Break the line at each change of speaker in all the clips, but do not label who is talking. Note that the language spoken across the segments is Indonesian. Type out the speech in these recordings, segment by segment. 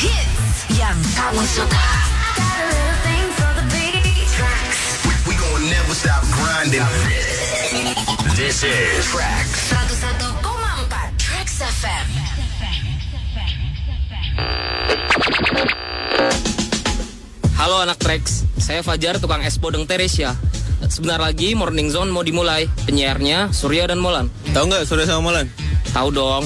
Hits yang kamu suka.
We gonna never stop grinding.
This is
Tracks 101,4 Tracks FM.
Halo anak Trax, saya Fajar tukang es podeng Teresia. Sebentar lagi Morning Zone mau dimulai. Penyiarnya Surya dan Molan.
Tahu nggak Surya sama Molan?
Tahu dong.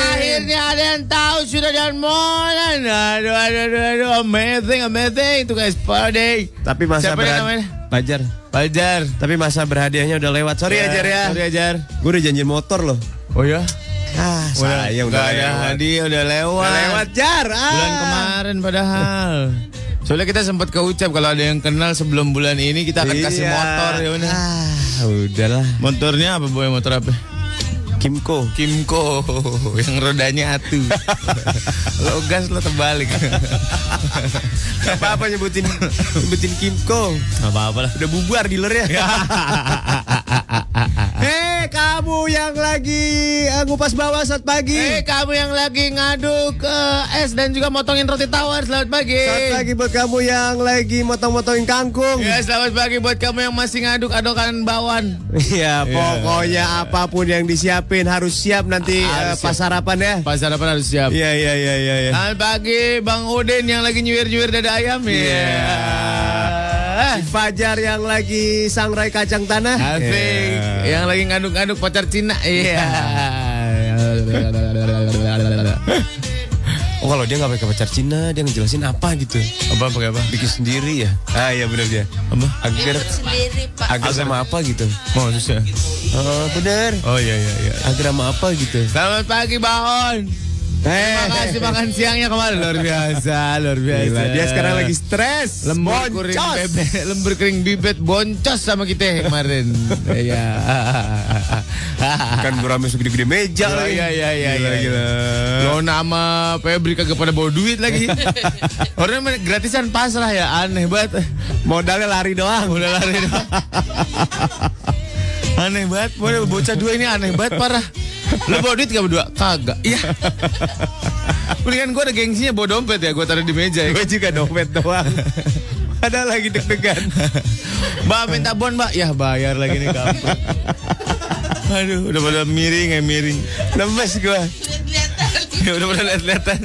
Akhirnya ada yang tahu Surya dan Molan. Aduh, aduh, aduh, aduh, amazing, amazing. Tukang Sparday.
Tapi masa
Siapa dia
berhad-
namanya?
Pajar.
Pajar.
Tapi masa berhadiahnya udah lewat. Sorry ya, Jar ya.
Iya, Sorry ajar.
Gue udah janjian motor loh.
Oh ya?
Ah, saya udah
nggak ada
lewat.
hadiah, udah lewat. ya.
Udah lewat Jar. Ah.
Bulan kemarin padahal. Soalnya kita sempat ke Ucap kalau ada yang kenal sebelum bulan ini kita akan kasih
Iya.
motor ya udah.
Ah, udahlah.
Motornya apa boy motor apa?
Kimco.
Kimco yang rodanya atu. lo gas lo terbalik.
Gak apa-apa nyebutin nyebutin Kimco.
apa-apa lah.
Udah bubar dealernya. Hei kamu yang lagi eh, ngupas bawah saat pagi.
Eh kamu yang lagi ngaduk eh, es dan juga motongin roti tawar selamat pagi.
Saat pagi buat kamu yang lagi motong-motongin kangkung.
Ya selamat pagi buat kamu yang masih ngaduk adokan bawan.
Iya, pokoknya apapun yang disiapin harus siap nanti
Harus
eh, pas
siap.
harapan ya.
Pas sarapan harus siap.
Iya, iya, iya, iya, iya.
Selamat pagi Bang Udin yang lagi nyuir-nyuir dada ayam. Iya.
Ah, Si Fajar yang lagi sangrai kacang tanah. Iya.
Asik.
Ya.
Yang lagi ngaduk-ngaduk pacar Cina. Iya.
Oh, kalau dia nggak pakai pacar Cina, dia ngejelasin apa gitu.
apa pakai apa?
Bikin sendiri ya. Ah, iya benar dia.
Apa?
Agar
Sendiri, Pak.
agar sama apa gitu.
Oh, susah.
Oh, bener.
Oh iya iya iya.
Agar sama apa gitu.
Selamat pagi Baon. Terima kasih makan siangnya kemarin luar biasa, luar biasa.
Gila, dia sekarang lagi stres.
lembur
Boncos.
kering bebek, lembur kering bibit boncos sama kita kemarin. Iya.
Kan gurame segede-gede meja
Oh,
lagi.
iya iya iya
Gila,
iya.
gila.
Lo nama Febri kagak pada bawa duit lagi. Orang main gratisan pasrah ya aneh banget.
Modalnya lari doang.
Udah lari doang. Aneh banget, Bo- bocah dua ini aneh banget parah. Lo bawa duit gak berdua? Kagak. Iya. Mendingan gue ada gengsinya bawa dompet ya, gue taruh di meja ya.
Gue juga dompet doang. Ada lagi deg-degan.
Mbak minta bon mbak, ya bayar lagi nih kampret. Aduh, udah pada miring ya miring.
Lemes gue.
Ya udah pada lihat-lihatan.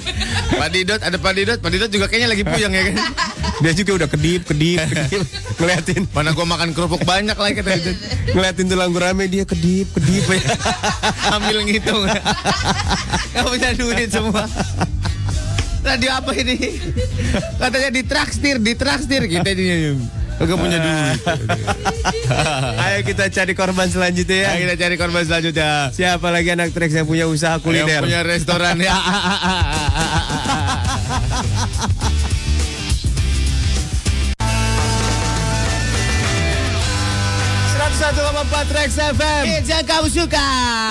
Pak Didot, ada Pak Didot. Pak Didot juga kayaknya lagi puyeng ya kan.
Dia juga udah kedip, kedip, kedip. Ngeliatin,
Mana gue makan kerupuk banyak lagi kata Didot.
ngeliatin tulang gurame dia kedip, kedip.
Ambil ngitung. Gak punya duit semua. Radio apa ini? Katanya ditraktir, ditraktir kita ini. Gak punya duit.
Ayo kita cari korban selanjutnya ya.
Ayo kita cari korban selanjutnya.
Siapa lagi anak trek yang punya usaha
Yang
kuliner?
punya restoran ya.
Trek FM.
Pizza Eh, kamu suka.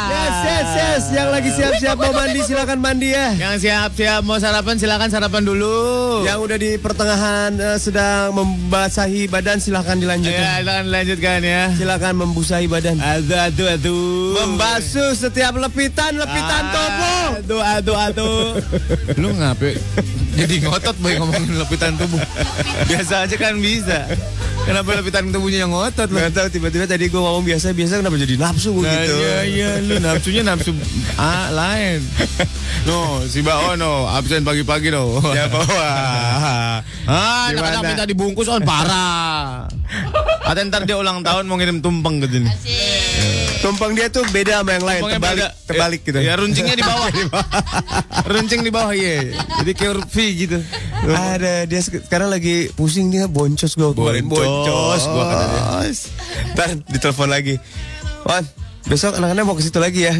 Yes, yes, yes. Yang lagi siap-siap mau mandi silakan mandi ya.
Yang siap-siap mau sarapan silakan sarapan dulu.
Yang udah di pertengahan eh, sedang membasahi badan silakan
ya,
dilanjutkan.
silakan lanjutkan ya.
Silakan membusahi badan.
Aduh, aduh, aduh. Ah,
Membasuh setiap lepitan, lepitan tubuh.
Aduh, aduh, aduh. Lu ngapain? Jadi ngotot boy ngomongin lepitan tubuh. Biasa aja kan bisa. Kenapa lepitan tubuhnya yang ngotot lu?
Gak tau tiba-tiba tadi gue ngomong biasa-biasa kenapa jadi nafsu gua
Nah,
gitu.
Iya, iya, lu nafsunya nafsu ah, lain. No, si Baono absen pagi-pagi no.
Ya bawa.
Ah,
Gimana?
anak-anak minta dibungkus on parah. Atau ntar dia ulang tahun mau ngirim tumpeng ke sini.
Tumpeng dia tuh beda sama yang lain,
Tumpengnya
terbalik,
beda.
terbalik gitu.
Ya runcingnya di bawah. Runcing di bawah iya. Jadi kayak huruf V gitu.
Ada dia sek- sekarang lagi pusing dia boncos gua kemarin.
Boncos, gua
gua
kata dia.
Ntar ditelepon lagi. Wan, besok anak-anak mau ke situ lagi ya.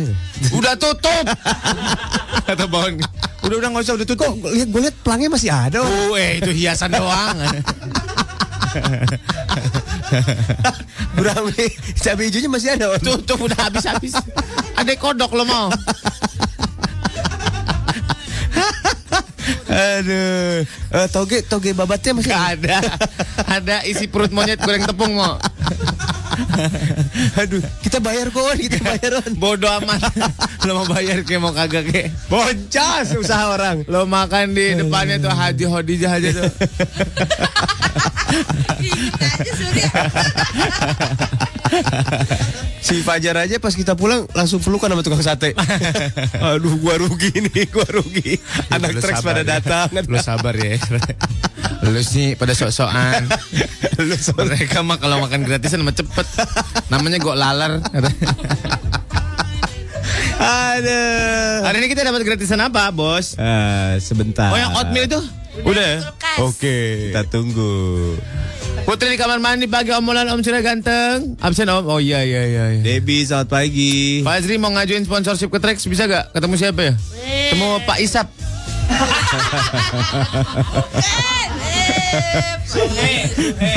Udah tutup. Kata Bon. Udah udah nggak usah udah tutup.
Kok lihat gue lihat pelangnya masih ada. Wan.
Oh, eh itu hiasan doang.
Gurame cabai hijaunya masih ada. Wan.
tutup udah habis habis. Ada kodok lo mau.
Aduh. Eh,
Kan.
toge toge babatnya masih
Gak ada. Ada isi perut monyet goreng tepung mau.
Aduh, kita bayar kok, Wan,
Kan.
kita bayar. Wan.
Bodoh amat. Lo mau bayar ke mau kagak ke?
Boncas usaha orang.
Lo makan di depannya tuh Haji Hodijah aja tuh.
Dikit aja Surya.
Si Fajar aja pas kita pulang langsung pelukan sama tukang sate. Aduh, gua rugi nih, gua rugi. Anak
Lu
treks
sabar
pada
ya.
datang.
Lu sabar ya. Lu sih pada sok-sokan.
Lu sore.
Mereka mah kalau makan gratisan mah cepet. Namanya gok lalar.
Ada. Eh,
Hari ini kita dapat gratisan apa, Bos?
sebentar.
Oh, yang oatmeal itu?
Udah. ya?
Kulkas.
Oke. Kita tunggu.
Putri di kamar mandi pagi omelan Om Surya ganteng. Absen Om. Oh iya iya iya. iya.
Debbie, selamat pagi.
Pak Azri mau ngajuin sponsorship ke Trax bisa gak? Ketemu siapa ya? Ketemu Pak Isap.
Eh, eh,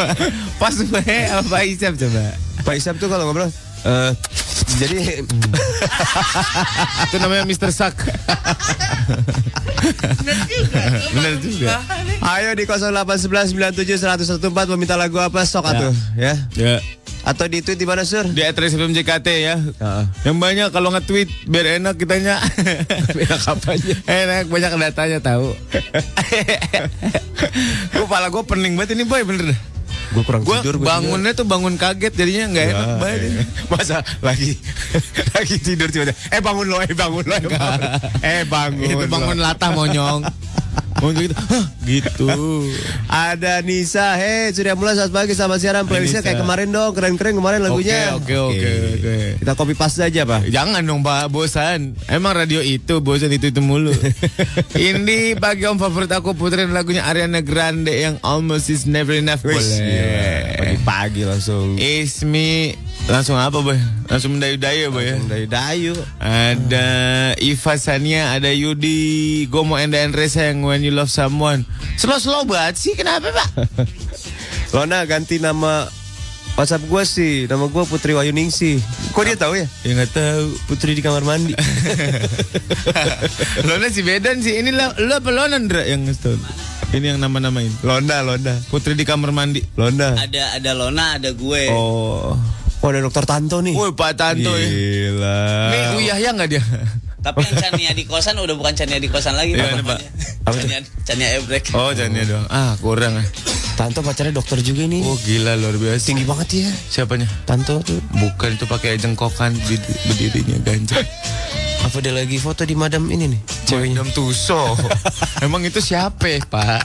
Pas gue sama Pak Isap coba.
Pak Isap tuh kalau ngobrol eh, jadi
Itu namanya Mr. Sak.
Bener juga.
Bener juga.
ayo di 08197114 meminta lagu apa sok atuh ya.
Ya.
Atau di tweet di mana Sur?
Di atres FM JKT ya. Yang banyak kalau nge-tweet biar enak kitanya. enak apanya? Enak banyak datanya tahu. Gue pala gue pening banget ini boy bener dah.
Gue kurang
Gue
tidur gua
bangunnya tuh bangun kaget jadinya nggak
tidur.
enak
Ah,
banget.
iya. Masa lagi lagi tidur tiba Eh bangun lo, eh bangun lo. Eh bangun. Eh, bangun
Itu
lo.
bangun latah monyong. monyong gitu. Hah, gitu.
Ada Nisa, hey sudah mulai saat pagi sama siaran
Nisa.
playlistnya kayak kemarin dong, keren-keren kemarin lagunya.
Oke, oke, oke, oke.
Kita copy paste aja pak.
Jangan dong Pak, bosan. Emang radio itu bosan itu itu mulu. Ini pagi om favorit aku puterin lagunya Ariana Grande yang Almost Is Never Enough.
Wih, gila.
Boleh. Iya,
Pagi-pagi langsung.
Is me langsung apa boy? Langsung mendayu-dayu boy ya.
Dari Dayu.
Ada Iva Sania, ada Yudi, Gomo and the Andre sayang When You Love Someone. Slow-slow banget sih, kenapa pak?
Lona ganti nama WhatsApp gue sih, nama gue Putri Wayu Ningsih. Kok dia tahu ya?
ya nggak tahu.
Putri di kamar mandi.
Lona si Bedan sih, ini lo, lo apa Lona Ndra yang nge-stone? Ini yang nama-namain.
Lona, Lona,
Putri di kamar mandi.
Lona.
Ada ada Lona, ada gue.
Oh, oh ada dokter Tanto nih.
Woi Pak Tanto ya.
Gila.
Ini uyahnya nggak dia?
Tapi yang Chania di kosan udah bukan Chania di kosan lagi.
Iya, ini,
Pak,
Pak.
namanya. Chania, Chania Ebrek.
Oh jangan dong. Ah kurang ah.
Tanto pacarnya dokter juga nih.
Oh gila luar biasa.
Tinggi banget ya.
Siapanya?
Tanto tuh.
Bukan itu pakai jengkokan di- berdirinya ganjel.
Apa dia lagi foto di madam ini nih? Ceweknya.
Madam Tuso. Emang itu siapa Pak?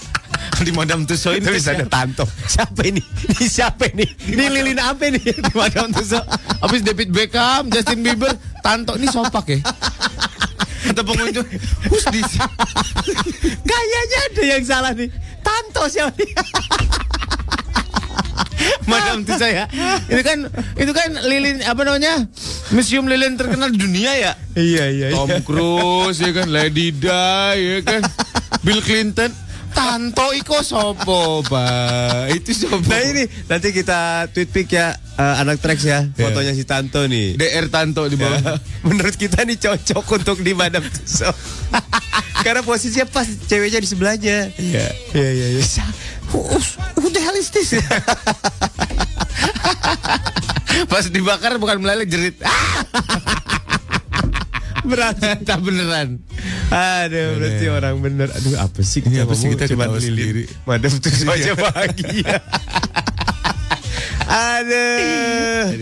Di Madam Tuso itu
Tapi bisa ada Tanto. Siapa ini? Ini siapa ini? Ini lilin apa ini?
Di Madam Tuso. Habis David Beckham, Justin Bieber, Tanto ini sopak ya. Kata pengunjung, who's this?
Kayaknya ada yang salah nih. Tanto siapa nih?
Madam Tuso ya. Itu kan itu kan lilin apa namanya? Museum lilin terkenal di dunia ya.
iya, iya.
Tom Cruise ya kan, Lady Di ya kan, Bill Clinton, Tanto Iko Sopo, Pak. Itu Sopo.
Nah ini nanti kita tweet pic ya eh, anak tracks ya
Iya.
fotonya si Tanto nih.
DR Tanto di
Ya.
bawah.
Menurut kita nih cocok untuk di Madam Tussauds. Karena posisinya pas ceweknya di sebelahnya.
Iya.
Iya iya iya. Who, who the hell is this?
Pas dibakar bukan meleleh jerit. Berarti tak beneran.
Aduh, berarti orang bener. Aduh, apa sih
Ini Iya.
kita
apa sih
ngomong
kita
cuma
ketawa
lilin.
sendiri? Iya.
Madam Tussauds aja bahagia. Aduh.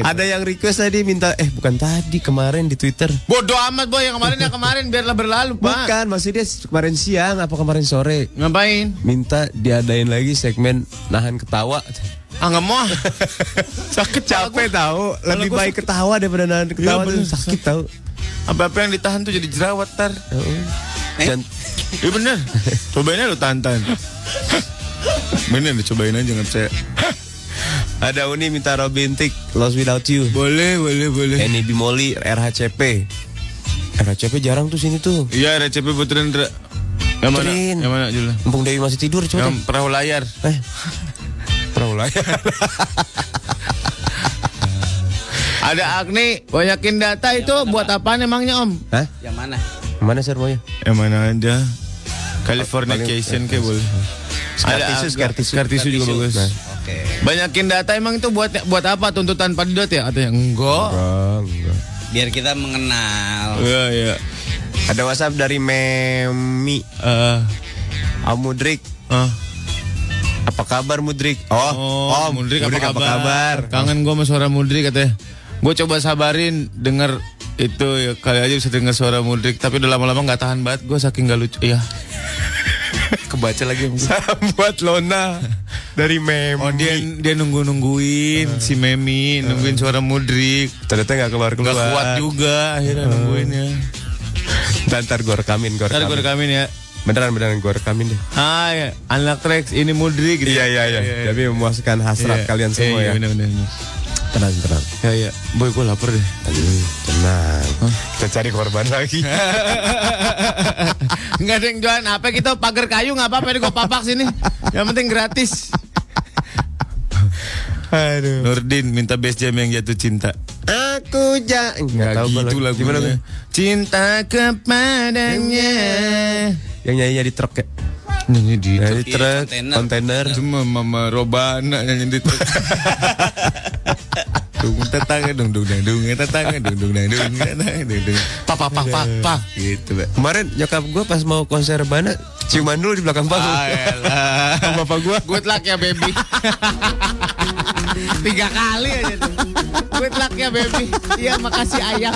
Ada yang request tadi minta eh bukan tadi kemarin di Twitter.
Bodoh amat boy yang kemarin yang kemarin biarlah berlalu, Pak.
Bukan, maksudnya kemarin siang apa kemarin sore
Ngapain?
minta diadain lagi segmen nahan ketawa.
Ah nggak mau.
Sakit capek tahu, lebih
gua
baik ketawa daripada nahan ketawa
bener.
tuh sakit tahu.
Apa-apa yang ditahan tuh jadi jerawat tar.
Eh? Dan
Iya bener. Cobain aja lu tantan. Bener, cobain aja nggak percaya.
ada Uni minta Robin Tick Lost Without You.
Boleh, boleh, boleh.
Eni Bimoli RHCP. RHCP jarang tuh sini tuh.
Iya, RCP Putrin Dra. Yang mana?
Putrin.
Yang mana Jul?
Mumpung Dewi masih tidur coba.
Yang perahu layar.
Eh. Perahu layar.
Ada Agni, banyakin data itu buat apaan emangnya Om?
Hah?
Yang mana?
Mana servonya?
Yang mana aja? Californication kayak boleh. Ada
tisu,
agak-
scar tisu.
scar tisu juga bagus.
Nah.
pakai.
Banyakin data emang itu buat buat apa? Tuntutan Padidot ya? Katanya enggak.
Biar kita mengenal.
Iya, iya.
Ada WhatsApp dari Memi
Eh,
Ah, Mudrik.
ah.
Apa kabar Mudrik? Oh, Om,
Mudrik, apa, kabar? Kangen gue sama suara Mudrik katanya. Gue coba sabarin denger itu ya, kali aja bisa denger suara Mudrik tapi udah lama-lama nggak tahan banget gue saking gak lucu ya kebaca lagi sama gua.
Salam buat Lona dari Memi.
oh dia dia nunggu nungguin
Eh.
si Memi nungguin suara Mudrik
ternyata nggak keluar keluar. Eh.
nggak kuat juga akhirnya nungguin ya
Ntar gue rekamin, gue
ntar
rekamin.
gue rekamin ya
Beneran beneran gue rekamin deh.
Hai, anak Rex ini Mudrik gitu.
Iya iya iya. Tapi memuaskan hasrat
Iya.
kalian semua
Iya,
ya.
Iya, bener, bener, bener.
Tenang tenang.
Iya, iya. Boy, gue lapar deh.
Aduh, tenang. Kita cari korban lagi.
Enggak ada yang jualan apa kita pagar kayu nggak apa-apa ini gue papak sini. Yang penting gratis.
Aduh.
Nurdin minta best jam yang jatuh cinta.
Aku ja nggak tahu gua
gitu
lagi.
lagunya.
Gimana gua?
Cinta kepadanya.
Yang nyanyi di truk ya.
Nyanyi di
Nyanyi
Di
truk,
kontainer.
kontainer.
Cuma mama Robana nyanyi di truk. Dung tetangga dung dung dung dung tetangga dung dung dung dung tetangga dung dung. Pa pa pa pa pa gitu, Pak.
Kemarin nyokap gue pas mau konser Bana ciuman dulu di belakang panggung.
Ah,
Sama bapak gue.
Good luck ya baby Tiga kali aja tuh Good luck ya baby Iya makasih ayah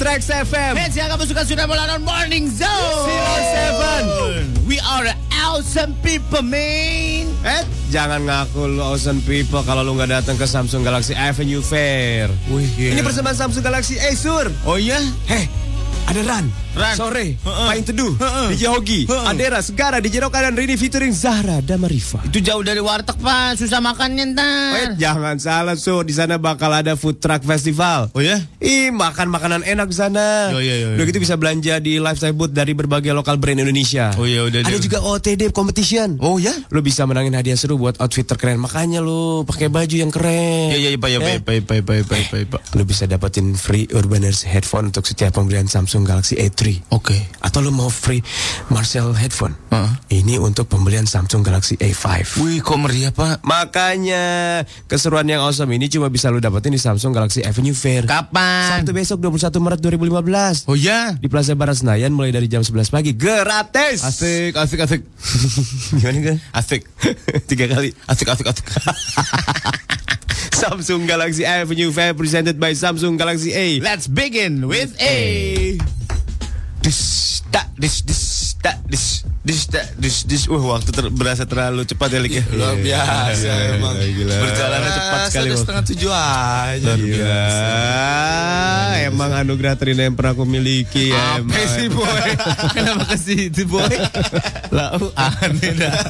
Trax FM.
Hey siapa kamu suka sudah melawan Morning Zone
Seven.
We are the awesome people man
Eh, jangan ngaku lu awesome people kalau lu nggak datang ke Samsung Galaxy Avenue Fair.
Wih, iya.
Ini persembahan Samsung Galaxy Acer.
Oh iya
Heh, ada Ran.
Ran.
Sore,
Heeh.
Pain Teduh,
Heeh.
DJ Hogi,
Heeh.
Adera, Segara, DJ Roka, dan Rini featuring Zahra Damarifa.
Itu jauh dari warteg pak Susah makannya ntar
Eh, jangan salah, Sur. Di sana bakal ada food truck festival.
Oh iya
Ih, makan makanan enak di sana.
Yo, yo, yo, yo.
Udah gitu bisa belanja di lifestyle booth dari berbagai lokal brand Indonesia.
Oh, iya, udah,
Ada
udah.
juga OTD competition.
Oh iya
Lo bisa menangin hadiah seru buat outfit terkeren. Makanya lo pakai baju yang keren.
Iya iya pak ya pak ya, pak ya, pak ya, pak ya, pak ya, pak ya, pak
Lo bisa dapetin free Urban Ears headphone untuk setiap pembelian Samsung Galaxy A3.
Oke
Atau lo mau free Marcel headphone?
Heeh.
Ini untuk pembelian Samsung Galaxy A5.
Wih kok meriah pak
Makanya keseruan yang awesome ini cuma bisa lo dapetin di Samsung Galaxy Avenue Fair.
Kapan
Sabtu besok 21 Maret 2015.
Oh iya
Di Plaza Barat Senayan mulai dari jam 11 pagi. Gratis.
Asik asik asik
Gimana kan?
Asik
Tiga kali.
Asik asik asik
Samsung Galaxy Avenue Fair presented by Samsung Galaxy A.
Let's begin with A. Dis tak dis dis tak dis dis tak dis dis. Wah waktu ter- berasa terlalu cepat ya Lik ya. Luar biasa
Iya,
emang. Berjalannya cepat sekali waktu.
setengah tujuh aja. Luar
Gila.
biasa. Emang anugerah terindah yang pernah aku miliki ya.
Apa
emang.
sih boy? Kenapa ke situ boy? Lau aneh dah.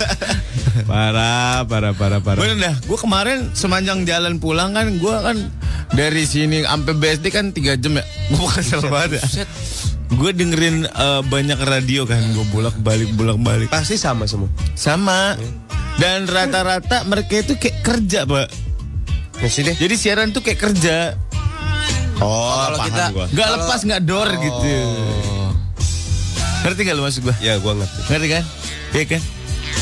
Parah, parah, parah, parah.
Bener dah, gue kemarin semanjang jalan pulang kan, gue kan dari sini sampai BSD kan 3 jam ya. Gue kesel banget ya. Gue dengerin eh, banyak radio kan, gue bolak-balik, bolak-balik.
Pasti sama semua.
Sama. Dan rata-rata mereka itu kayak kerja, Pak.
Masih deh.
Jadi siaran tuh kayak kerja.
Oh, paham
kita-
gua. Oh.
Gak lepas, gak dor gitu. Ngerti gak lu maksud gua?
Ya, gua ngerti.
Ngerti kan? Iya kan?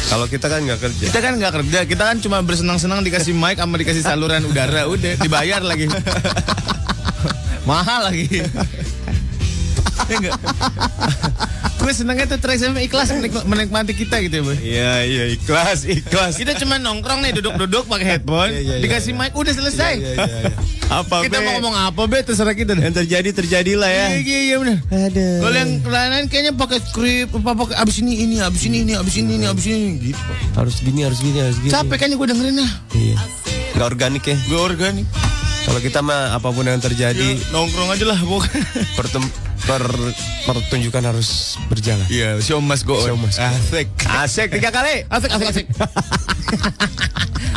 Kalau kita kan nggak kerja.
Kita kan gak kerja, kita kan cuma bersenang-senang dikasih mic sama dikasih saluran udara, udah dibayar lagi. Mahal lagi. ya enggak? Gue senangnya tuh Trax FM ikhlas menik- menikmati kita gitu ya, Boy.
Iya, iya, ikhlas, ikhlas.
Kita cuma nongkrong nih duduk-duduk pakai headphone,
Iya, iya, iya,
dikasih mic udah selesai.
Apa,
Kita
Be?
mau ngomong apa be terserah kita deh.
Yang terjadi terjadilah ya.
Iya iya iya benar.
Aduh.
Kalau yang lain kayaknya pakai skrip apa pakai abis ini ini abis ini ini abis ini ini abis ini ini,
Iya,
gitu.
harus gini, harus gini, harus gini.
Capek kayaknya gue dengerin lah.
Iya. Nggak organik ya.
Gue organik.
Kalau kita mah apapun yang
Iya.
terjadi,
nongkrong aja lah bukan.
pertem- per- pertunjukan harus berjalan.
Iya, show must go on.
Show must go on.
Asik. ya,
Asik tiga kali.
Asik asik asik.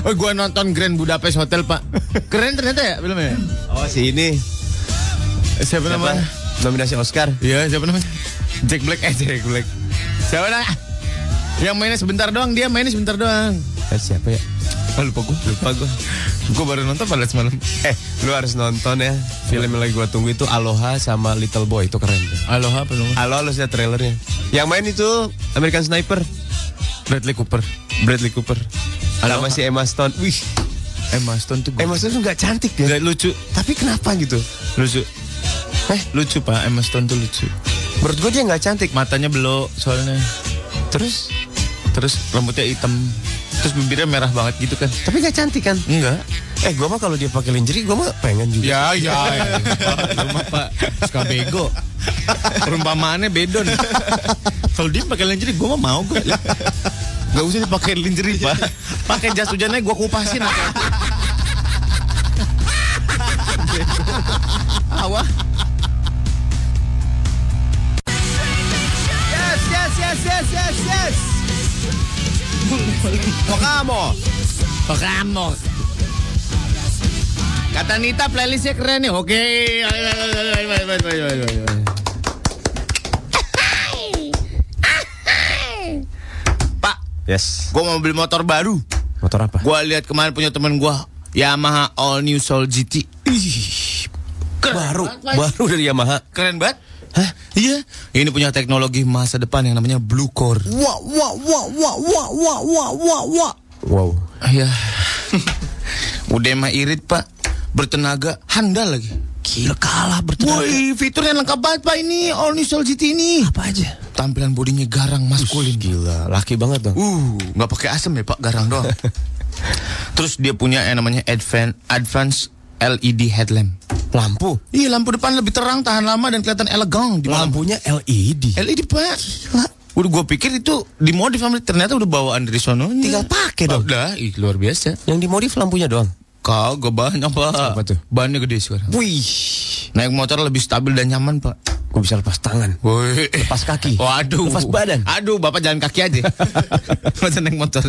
Oh, gue nonton Grand Budapest Hotel pak. Keren ternyata ya filmnya.
Oh si ini
Siapa
apa?
namanya?
Nominasi Oscar.
Iya, siapa namanya? Jack Black eh Jack Black. Siapa namanya? Yang mainnya sebentar doang, dia mainnya sebentar doang.
Eh, siapa ya?
Oh,
Ah,
lupa gue. Lupa gue. Gue baru nonton pada semalam.
Eh, lu harus nonton ya. Film yang lagi gua tunggu itu Aloha sama Little Boy. Itu keren. tuh.
Aloha belum.
Ah,
Aloha lu lihat trailernya. Yang main itu American Sniper.
Bradley Cooper.
Bradley Cooper. Sama si Emma Stone. Wih,
Emma Stone tuh.
Emma Stone tuh gak cantik dia.
Nggak lucu.
Tapi kenapa gitu?
Lucu. Eh, lucu pak. Emma Stone tuh lucu.
Menurut gua dia gak cantik.
Matanya belok soalnya. Terus? Terus rambutnya hitam. Terus bibirnya merah banget gitu kan?
Tapi gak cantik kan?
Enggak.
Eh, gua mah kalau dia pakai lingerie, gua mah pengen
Ya,
juga.
ya, ya. Rumah Pak, suka bego. Perumpamaannya bedon.
Kalau dia pakai lingerie, gue mah mau gue. Gak usah dipakai lingerie pak.
Pakai jas hujannya gua kupasin. apa?
Yes, yes, yes, yes, yes, yes. Pokamo.
Pekamo. Kata Nita playlistnya keren nih. Oke. Pak,
Yes.
gua mau beli motor baru.
Motor apa?
Gua lihat kemarin punya temen gua Yamaha All New Soul GT. Ih, keren
Baru,
banget, Pak.
baru dari Yamaha.
Keren banget. Hah? Iya. Ini punya teknologi masa depan yang namanya Blue Core. Wah, wah, wah, wah, wah, wah, wah, wah, wah.
Wow.
Ya. Udah mah irit, Pak. Bertenaga handal lagi. Gila kalah bertenaga. Woi, fiturnya lengkap banget Pak ini All New Soul GT ini. Apa aja? Tampilan bodinya garang maskulin.
Gila, laki banget dong.
Uh, nggak pakai asam ya Pak, garang doang. Terus dia punya yang namanya Advan Advance LED headlamp.
Lampu.
Iya, lampu depan lebih terang, tahan lama dan kelihatan elegan di malam.
Lampunya E LED.
LED pak Udah gue pikir itu dimodif sama ternyata udah bawaan dari sono.
Tinggal pakai dong.
Udah, ih, luar biasa.
Yang dimodif lampunya doang.
Kagak banyak pak.
Apa tuh?
Bannya gede sekarang.
Wih,
Naik motor lebih stabil dan nyaman pak.
gue bisa lepas tangan.
Woi.
Lepas kaki.
Waduh.
Lepas badan.
Aduh, bapak jalan kaki aja. Masa naik motor.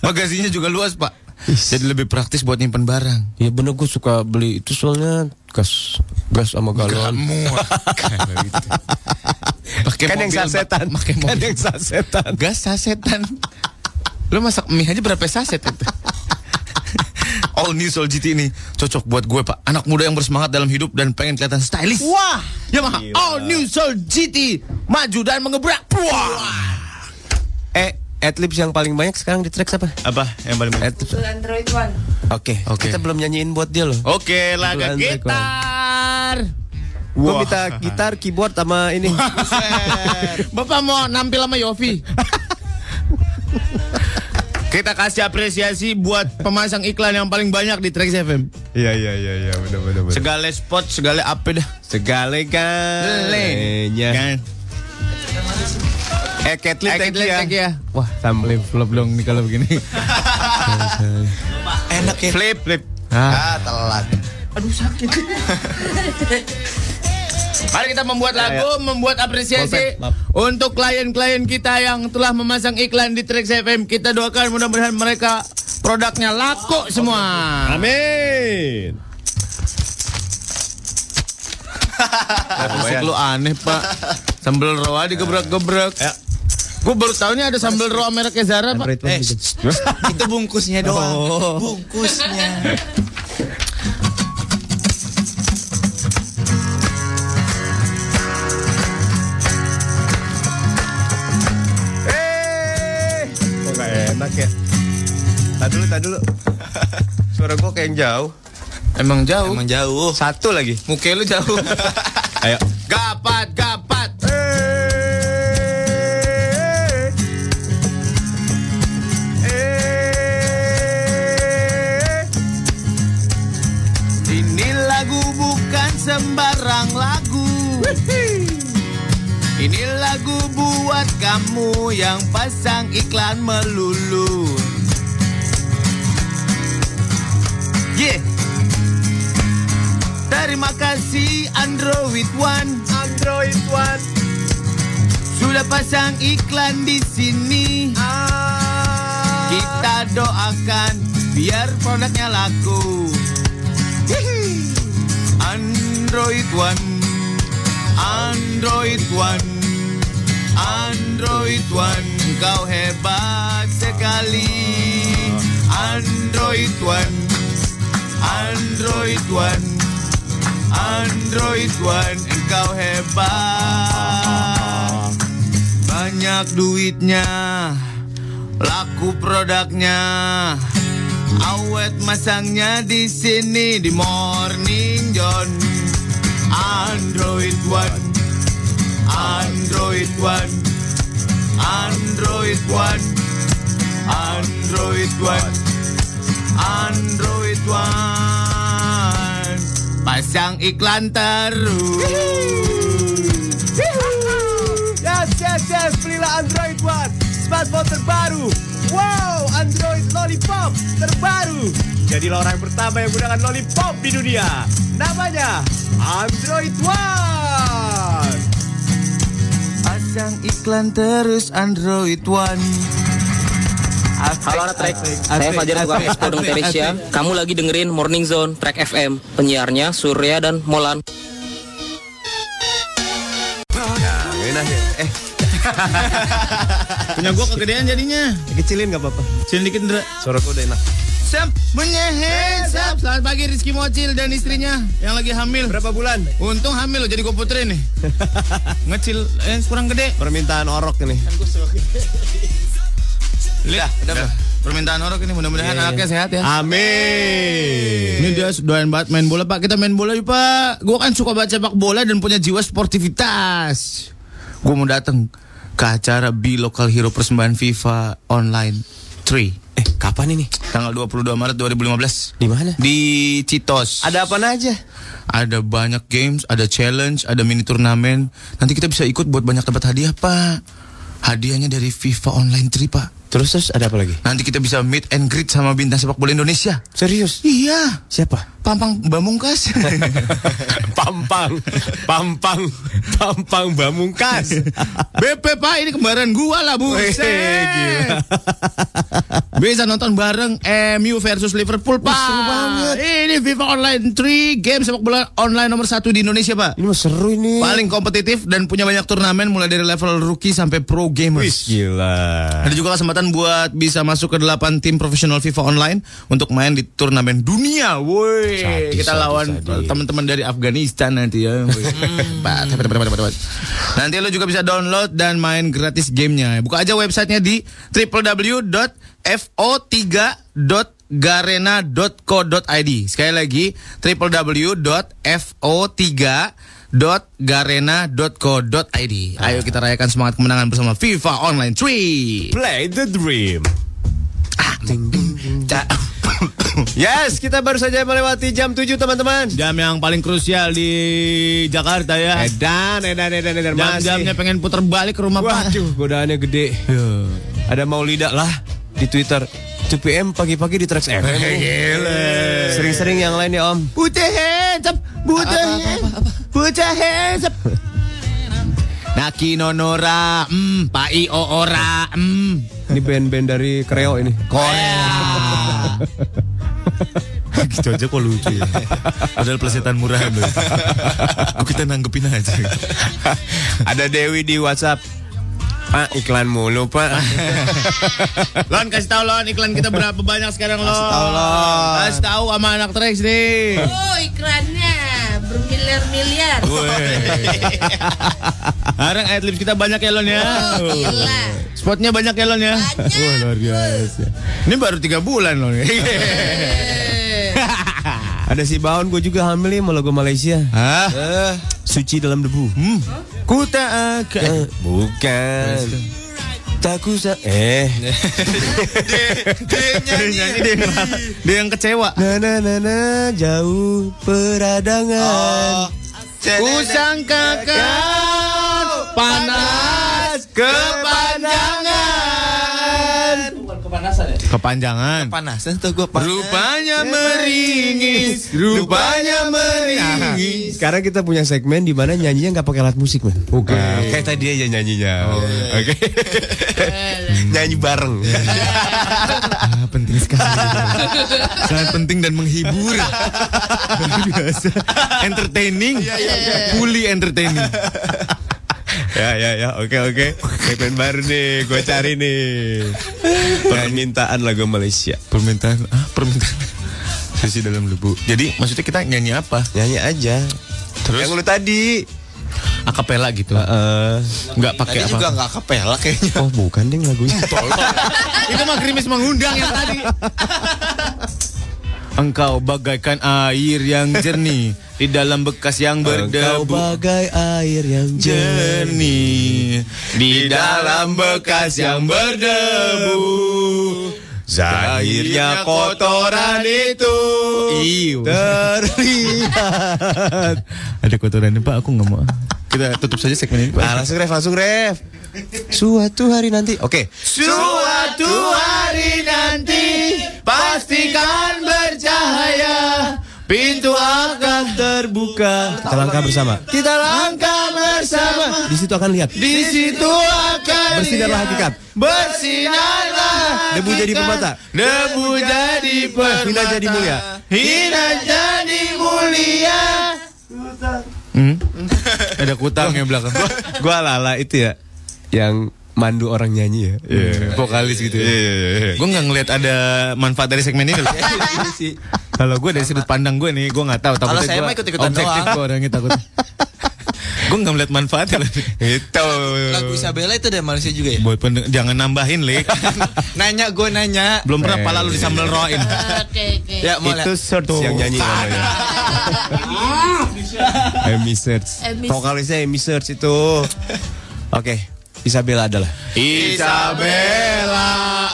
Bagasinya juga luas pak. Jadi lebih praktis buat nyimpen barang.
Ya bener gue suka beli itu soalnya gas gas sama galon.
Kan Muat. Pakai
Kan yang
mobil, Pak.
sasetan.
Pakai
Kan
mobil.
yang sasetan.
Gas sasetan. Lu masak mie aja berapa saset itu? All new Soul GT ini cocok buat gue pak Anak muda yang bersemangat dalam hidup dan pengen kelihatan stylish Wah Yamaha All new Soul GT Maju dan mengebrak Wah
Eh, adlibs yang paling banyak sekarang di tracks apa?
Apa yang paling?
Adlibs.
Itu Android One.
Oke,
Oke.
kita belum nyanyiin buat dia
Oh,
loh.
Oke lah.
Laga
Bulan Black
gitar
Gue minta gitar, keyboard sama ini.
Bapak mau nampil sama Yofi Kita kasih apresiasi buat pemasang iklan yang paling banyak di Trax FM
Iya iya iya iya benar benar benar.
Segala spot, segala apa dah
Segala galanya.
Kan
Eh, Kathleen,
Eh,
thank you
Kathleen,
ya.
thank you ya.
Wah, sampai
Flip dong nih kalau begini.
enak ya.
Flip flip.
Ah, Mari kita membuat
Ya,
lagu, membuat apresiasi
Maaf,
untuk klien-klien kita yang telah memasang iklan di Trax FM. Kita doakan mudah-mudahan mereka produknya laku semua.
Amin.
Musik lu aneh, Pak. Sambal roa digebrak-gebrak.
Ya.
Gue baru tahu nih ada sambal roa mereknya Zara, Pak. Eh,
Itu bungkusnya doang.
Oh.
Bungkusnya.
Kok gak enak ya? Tadi dulu, tadi dulu. Suara gue kayak yang jauh.
emang jauh.
Emang jauh.
Satu lagi.
Muka lu jauh.
Ayo.
gapat, gapat. Ini lagu bukan sembarang lagu. Ini lagu buat kamu yang pasang iklan melulu. Yeah. Terima kasih Android One. Android One. Sudah pasang iklan di sini. Ah. Kita doakan biar produknya laku. Hihi. Android One. Android One. Android One, kau hebat sekali. Android One Android One Android One Engkau hebat Banyak duitnya Laku produknya Awet masangnya di sini di Morning John Android One Android One Android One Android One Android One Pasang iklan terus
Yes, yes, yes, belilah Android One Smartphone terbaru Wow, Android Lollipop terbaru Jadilah orang pertama yang menggunakan Lollipop di dunia Namanya Android One
Pasang iklan terus Android One
Halo anak trek, saya Fajar tukang Expo Dong Teresia. ya. Kamu lagi dengerin Morning Zone Track FM. Penyiarnya Surya dan Molan.
Punya gua kegedean jadinya
Kecilin gak apa-apa
Sini dikit Ndra
Suara gua udah enak
Sam, menyehe, Sam. Selamat pagi Rizky Mocil dan istrinya yang lagi hamil.
Berapa bulan?
Untung hamil loh jadi gue putri nih. Ngecil, eh, kurang gede.
Permintaan orok ini
Lihat, ada permintaan orang ini mudah-mudahan
Iya,
anaknya sehat ya.
Amin
Ini dia doain banget main bola pak. Kita main bola yuk pak. Gue kan suka baca sepak bola dan punya jiwa sportivitas. Gue mau datang ke acara Be Local Hero Persembahan FIFA Online 3
Eh, kapan ini?
tanggal 22 Maret 2015
Di mana?
di Citos.
Ada apa aja?
Ada banyak games, ada challenge, ada mini turnamen. Nanti kita bisa ikut buat banyak dapat hadiah, Pak. Hadiahnya dari FIFA Online 3, Pak.
Terus terus ada apa lagi?
Nanti kita bisa meet and greet sama bintang sepak bola Indonesia.
Serius?
Iya.
Siapa?
Pampang Bamungkas.
Pampang, Pampang, Pampang Bamungkas.
BP Pak, ini kembaran gua lah, Bu.
Wih, gila.
Bisa nonton bareng MU versus Liverpool, Pak.
seru banget.
Ini FIFA Online 3 game sepak bola online nomor satu di Indonesia, Pak.
Ini mah seru ini.
Paling kompetitif dan punya banyak turnamen mulai dari level rookie sampai pro gamers.
gila.
Ada juga kesempatan buat bisa masuk ke 8 tim profesional FIFA online untuk main di turnamen dunia. Woi,
Sadis,
kita
sadis,
lawan
sadis. Hmm.
teman-teman dari Afghanistan nanti ya. Woi. Pat, pat, pat, pat, pat, pat. nanti lo juga bisa download dan main gratis gamenya. Buka aja websitenya di www.fo3.garena.co.id. Sekali lagi www.fo3.garena.co.id. Ayo kita rayakan semangat kemenangan bersama FIFA Online 3.
Play the dream.
Ca-
Yes, kita baru saja melewati jam 7 teman-teman.
Jam yang paling krusial di Jakarta ya.
Edan, edan, edan, edan.
Jam-jamnya pengen putar balik ke rumah Pak.
Waduh, godaannya gede. Ada Maulida lah di Twitter. 2 PM pagi-pagi di Trax FM. Sering-sering yang lain ya Om.
Putih handsome, putih handsome, putih handsome. Naki nonora, mm, pai oora, mm,
Ini band-band dari Kreo ini.
Korea.
Gitu aja kok lucu ya. Padahal plesetan murahan loh. Kok kita nanggepin aja.
Ada Dewi di WhatsApp. Pak, iklan mulu, Pak.
Lon kasih tahu Lon iklan kita berapa banyak sekarang Lon. Kasih tahu Lon. Kasih tahu sama anak Trax nih.
Oh iklannya bermiliar-miliar.
Sekarang ad libs kita banyak ya Lon ya.
Oh gila.
Spotnya banyak ya Lon ya.
Banyak.
Ini baru tiga bulan loh.
Ada si Baon, gue juga hamil ya sama logo Malaysia.
Hah?
Suci dalam debu. Eh. Hmm. Ku tak akan. Bukan. Tak kusa. Eh.
Nyanyi dia yang ngerasa- dia yang kecewa.
Na na na na jauh peradangan.
Kusangka kau panas kepanjangan. Kepanasan ya? Kepanjangan. Panasan tuh gue Rupanya meringis, rupanya meringis.
Sekarang kita punya segmen di mana nyanyinya nggak pakai alat musik, man. Oke. Oh, iya. kayak tadi aja nyanyinya. Oke. Nyanyi bareng.
Iya. Ah,
penting sekali. Sangat penting dan menghibur.
Iya,
Luar biasa. Entertaining. Fully entertaining.
Ya ya ya, oke oke. Segmen baru nih, gue cari nih. Permintaan lagu Malaysia.
Permintaan ah permintaan sisi dalam debu. Jadi maksudnya kita nyanyi apa?
Nyanyi aja. Terus yang lu tadi.
Akapela gitu.
Ah,
Enggak pakai apa?
juga nggak kepelak kayaknya.
Oh bukan ding lagunya.
Itu mah gerimis mengundang yang tadi.
Engkau bagaikan air yang jernih di dalam bekas yang berdebu.
bagai air yang
Jernih di dalam bekas yang berdebu.
Zahirnya kotoran itu
Iu.
terlihat.
Ada kotorannya Pak, aku nggak mau. Kita tutup saja segmen ini Pak.
Nah, langsung ref, langsung ref. Suatu hari nanti. Oke.
Suatu hari nanti pastikan bercahaya pintu akan terbuka.
Kita langkah bersama.
Kita langkah bersama.
Di situ akan lihat.
Di situ akan
Bersinarlah
lihat.
hakikat.
Bersinarlah
Debu
hakikat.
jadi permata.
Debu jadi permata
Hina jadi mulia.
Hina jadi mulia hmm? Ada kutangnya belakang
Gua lala itu ya yang mandu orang nyanyi ya.
Iya.
Vokalis gitu
Iya,
ya. Gue nggak ngeliat ada manfaat dari segmen ini loh. Kalau gue dari sudut pandang gue nih, gue nggak tahu. Takutnya
Kalau saya
gua
mah ikut-ikutan
objektif
doang.
gue orangnya takut. gue nggak ngeliat manfaatnya. loh.
Itu. Lagu Isabella itu dari Malaysia juga ya?
Buat pendeng- jangan nambahin lek.
Nanya gue nanya.
Belum pernah pala lu disambel roin.
Oke oke.
Ya, mau
Itu
lihat.
search yang nyanyi namanya. Emi Search.
Emi-
Vokalisnya Emi Search itu. Oke. Isabella adalah
Isabella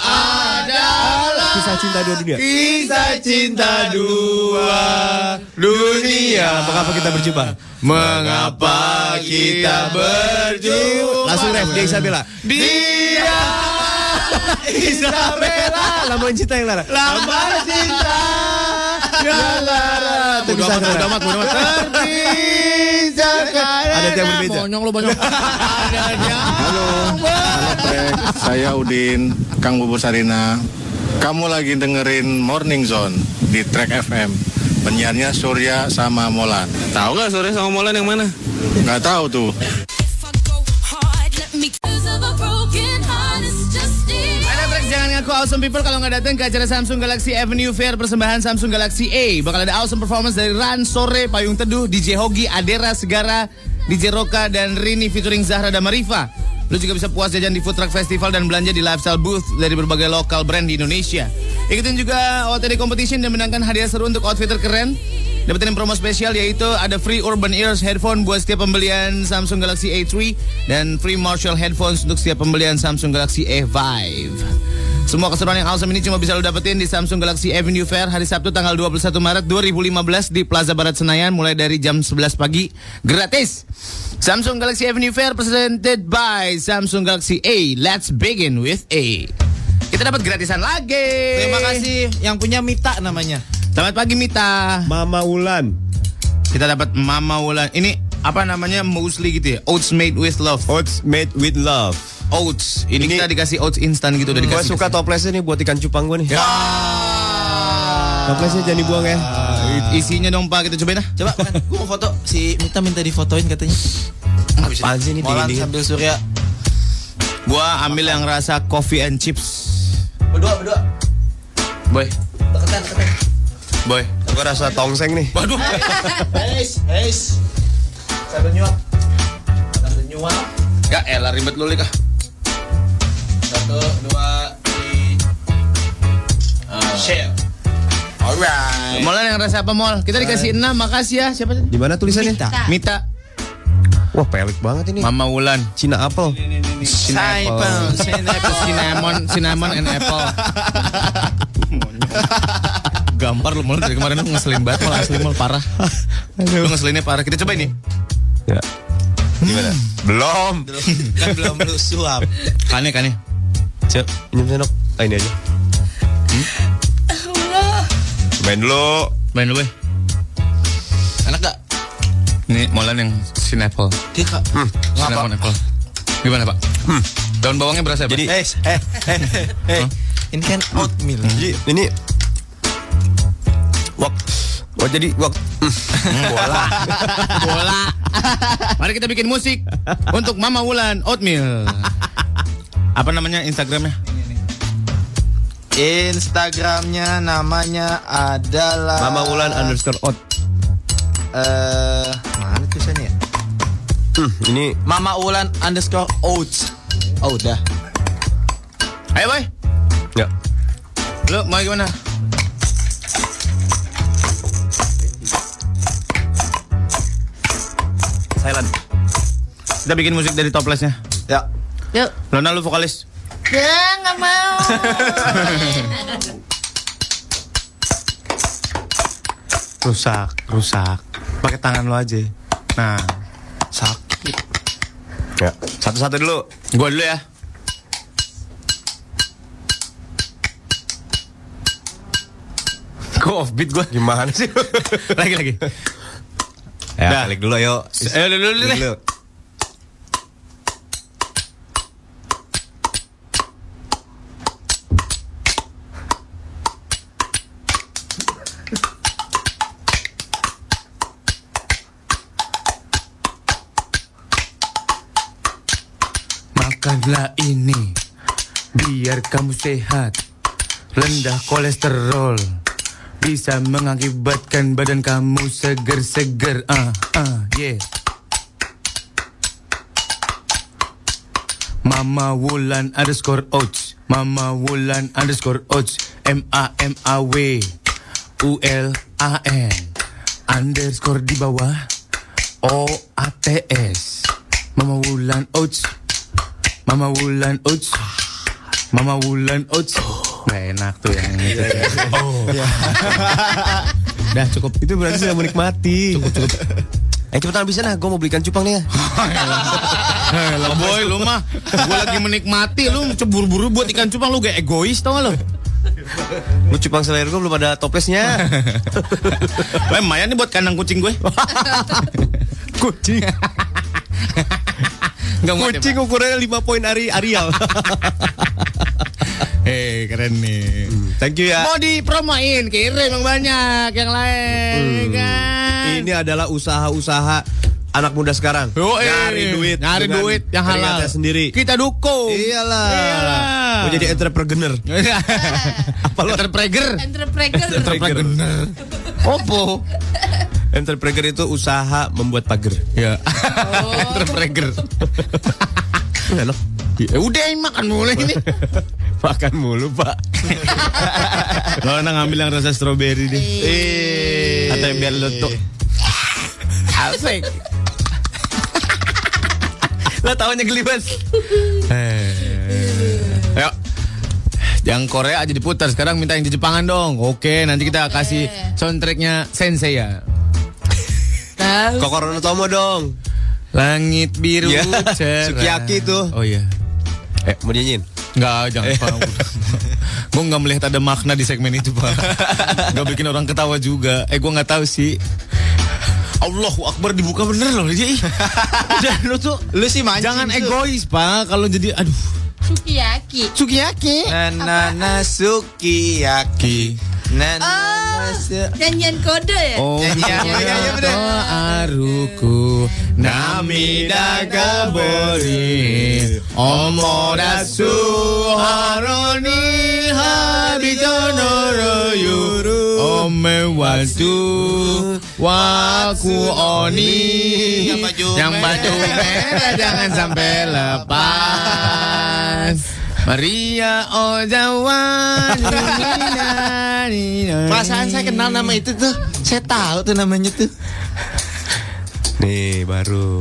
adalah
kisah cinta dua dunia.
kisah cinta dua dunia.
Mengapa kita berjumpa?
Mengapa kita berjumpa?
Langsung ref dia Isabella.
Dia Isabella
Lamuan cinta yang lara.
lamar cinta yang lara
Bodo amat, bodo amat, bodo amat.
terpisah karena
Ada yang berbeda.
Bonyong lo bonyong
Halo, halo Trek. Saya Udin, Kang Bubur Sarina. Kamu lagi dengerin Morning Zone di Trek FM. Penyiarnya Surya sama Molan.
Tahu nggak sore sama Molan yang mana?
Nggak tahu tuh.
Ada trek jangan ngaku awesome people kalau nggak datang ke acara Samsung Galaxy Avenue Fair persembahan Samsung Galaxy A bakal ada awesome performance dari Ran Sore Payung Teduh DJ Hogi Adera Segara DJ Roka dan Rini featuring Zahra dan Marifa Lu juga bisa puas jajan di Food Truck Festival dan belanja di Lifestyle Booth dari berbagai lokal brand di Indonesia. Ikutin juga OTD Competition dan menangkan hadiah seru untuk outfitter keren. Dapetin promo spesial yaitu ada free Urban Ears headphone buat setiap pembelian Samsung Galaxy A3 dan free Marshall headphones untuk setiap pembelian Samsung Galaxy A5. Semua keseruan yang awesome ini cuma bisa lo dapetin di Samsung Galaxy Avenue Fair hari Sabtu tanggal 21 Maret 2015 di Plaza Barat Senayan mulai dari jam 11 pagi gratis. Samsung Galaxy Avenue Fair presented by Samsung Galaxy A. Let's begin with A. Kita dapat gratisan lagi.
Terima kasih yang punya Mita namanya.
Selamat pagi Mita.
Mama Ulan.
Kita dapat Mama Wulan. Ini apa namanya muesli gitu ya? Oats made with love.
Oats made with love.
Oats. Ini,
Ini-
kita dikasih oats instan gitu
Hmm,
udah
Gue
dikasih.
suka toplesnya nih buat ikan cupang gue nih.
Ya.
Toplesnya jangan dibuang ya.
Ah. Isinya dong Pak, kita cobain ah.
Coba kan, gue mau foto si Mita minta difotoin katanya.
Apaan sih ini
Molan
dingin-dingin?
sambil Surya.
Gua ambil yang rasa coffee and chips.
Berdua, berdua.
Boy,
Deketan, deketan.
boy.
Gue rasa tongseng nih.
Waduh.
Eis, eis. Sambil nyuap. Sambil nyuap.
ya elah ribet lu Lik, ah.
Satu, dua, tiga. Share. Alright.
Molan yang rasa apa Mol? Kita dikasih 6, makasih ya. Siapa tadi?
Di mana tulisannya?
Mita,
Wah, pelik banget ini.
Mama Wulan,
Cina apel.
Apple, cinnamon, cinnamon and apple. Gampar lu Mol dari kemarin lu ngeselin banget Mol asli Mol parah. Lu ngeselinnya parah. Kita coba ini.
Ya. Gimana? Belum.
Kan belum lu suap.
Kane kane.
Cek, minum sendok. Ah, ini aja. Main dulu.
Main dulu, Boy.
Enak gak?
Ini Molan yang cinnamon.
Dia kak.
Cinnamon apple. Gimana, Pak? Daun bawangnya berasa, Pak?
Jadi, eh, eh, eh, eh.
Ini kan oatmeal.
Jadi, ini wak. Oh jadi wak.
bola Mari kita bikin musik untuk Mama Wulan Oatmeal.
Apa namanya Instagramnya?
Instagramnya namanya adalah
Mama Wulan underscore out.
eh mana tulisannya ya?
Hmm, Ini
Mama Ulan underscore Oats. Oh udah.
Ayo boy,
ya.
lo mau gimana?
Silent. Kita bikin musik dari toplesnya.
Ya.
Yuk.
Lona lu vokalis.
Ya, nggak mau.
Rusak, rusak. Pakai tangan lu aja. Nah, sakit. Ya. Satu-satu dulu.
Gua dulu ya.
Kok offbeat gua? Gimana sih? lagi lagi. Ya, Dah. balik dulu ayo. Ayo dulu dulu. dulu.
Makanlah ini biar kamu sehat. Rendah kolesterol bisa mengakibatkan badan kamu seger-seger. Ah, ah, yeah. Mama Wulan underscore oats. Mama Wulan underscore oats. M A M A W U L A N underscore di bawah O A T S. Mama Wulan oats. Mama Wulan oats. Mama Wulan oats. Gak enak tuh yang itu. Oh. Dah cukup.
Itu berarti saya menikmati. Cukup, cukup. Eh cepetan habisin lah, gue mau belikan cupang nih ya
Lah boy lu mah Gue lagi menikmati Lu cebur-buru buat ikan cupang Lu gak egois tau gak lu
Lu cupang selayar gue belum ada toplesnya
Wah, Mayan nih buat kandang kucing gue
Kucing
Gak muat
Kucing ukurannya 5 poin Ari Arial
Eh keren nih
Thank you ya
Mau dipromoin Kirim yang banyak Yang lain kan
Ini adalah usaha-usaha anak muda sekarang
Yoi.
Nyari duit
Nyari
dengan
duit yang halal Gitu.
keringatnya sendiri
Kita dukung
Iyalah Mau jadi entrepreneur
Apa lu Iya. Entrepreneur
Entrepreneur.
Entrepreneur Opo
Entrepreneur itu usaha membuat pagar
Ya Entrepreneur
Enak
Ya udah makan mulai ini
Makan mulu pak
Lo enak ngambil yang rasa strawberry deh
Atau yang biar letuk
Asik
Lah tahunya gelibas
Eh. Ayo. Yang Korea aja diputar. Sekarang minta yang di Jepangan dong. Oke, nanti kita kasih soundtracknya Sensei ya.
Kokorono Tomo dong
Langit biru
Iya.
cerah.
Sukiyaki tuh.
Oh iya.
Eh mau nyanyiin
Enggak,
Eh.
jangan Pak. gue nggak melihat ada makna di segmen itu, Pak. Gak bikin orang ketawa juga. Eh, gue nggak tahu sih. Allahu Akbar dibuka bener loh, Ji. Udah, lu tuh
Lu sih mancing.
jangan
tuh.
egois, Pak. Kalau jadi aduh,
Sukiyaki.
sukiyaki.
Nanana sukiyaki.
Oh,
Nanana su-
janjian kode ya?
Oh,
Iya, iya, iya, iya, bener.
aruku namida gabori omodasu haroni habitonoro yuru ome wasu waku oni
Yang baju
yang baju
merah.
merah jangan sampai lepas Maria Ozawa
Perasaan saya kenal nama itu tuh. Saya tahu tuh namanya tuh.
Nih baru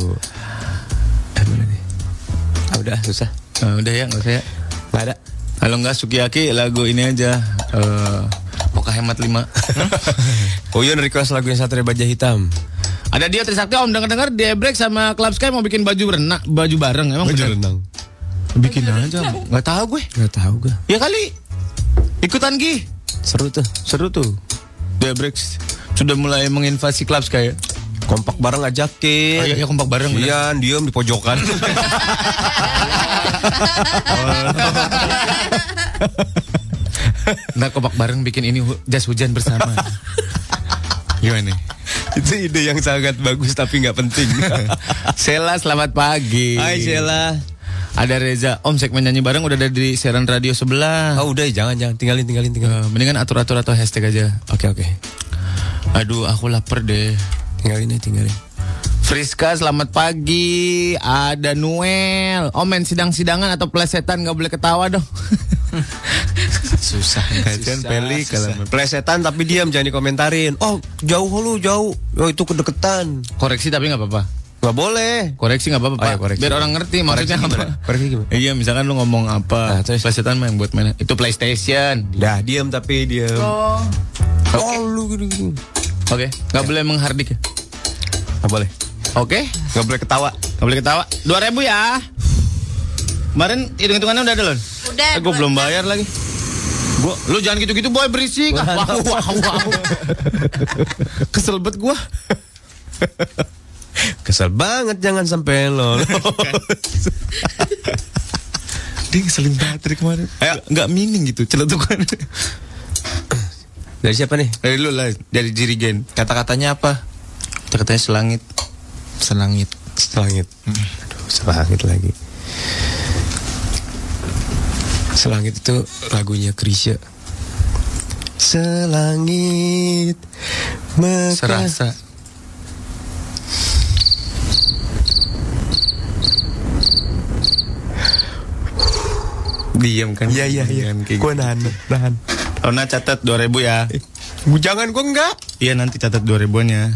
Ah, Udah susah
Ah, udah ya, nggak usah ya.
Gak ada
Kalau nggak sukiyaki lagu ini aja. eh Poka hemat 5
Uyun request lagunya Satria Baja Hitam
Ada dia Trisakti Om denger dengar Debrek sama Club Sky mau bikin baju berenang, baju bareng emang bener.
renang
Bikin aja. Nggak tahu gue.
Gak tau gue
Ya kali. Ikutan Gi.
Seru tuh
Seru tuh. Debrek sudah mulai menginvasi Club Sky ya.
Kompak bareng
Oh, iya,
ajakin
iya, kompak bareng. bener.
Ian diem di pojokan.
Ntar kompak bareng bikin ini hu- jas hujan bersama. Gimana? nih?
Itu ide yang sangat bagus tapi nggak penting.
Sela selamat pagi.
Hai Sheila.
Ada Reza. Om segmen nyanyi bareng udah ada di siaran radio sebelah.
Oh udah jangan jangan tinggalin tinggalin tinggalin.
Eh, mendingan atur-atur atau hashtag aja.
Oke oke.
Aduh, Eh, aku lapar deh.
Tinggalin aja tinggalin.
Friska selamat pagi. Ada Noel. Omen sidang-sidangan atau plesetan nggak boleh ketawa dong.
Susah. Kajian peli kalau plesetan tapi diam jangan dikomentarin. Oh jauh lu jauh. Oh itu kedeketan.
Koreksi tapi nggak apa-apa.
Nggak boleh.
Koreksi nggak apa-apa.
Oh, iya,
Pak.
koreksi.
Biar orang ngerti maksudnya apa.
Koreksi gimana?
Iya, misalkan lu ngomong apa?
Nah, terus?
plesetan mah yang buat mainan. Itu PlayStation.
Dah diam tapi diam. Oh. lu gitu.
Oke, nggak boleh menghardik Oh. ya.
Nggak boleh.
Oke,
Nggak boleh ketawa.
nggak boleh ketawa. 2000 ya. Kemarin hitung-hitungannya udah ada loh.
Udah.
Eh, gue
dua-
belum bayar lagi. Gua, lu jangan gitu-gitu boy berisik. Ah, Wow, wow, wow. Kesel banget gua.
Kesel banget jangan sampai lo.
Kan. Dia ngeselin banget dari kemarin. Ayo, nggak mining gitu celetukan.
Dari siapa nih?
Dari lu lah, dari dirigen.
Kata-katanya apa?
Kata-katanya selangit.
Selangit. Selangit.
Hmm.
Aduh, selangit lagi. Selangit itu lagunya Krisya. Selangit mekar-
Serasa. Diam kan?
Iya iya iya. Gue nahan nahan.
Ona catat 2000 ya.
Gua jangan gua enggak.
Iya nanti catat 2000-nya.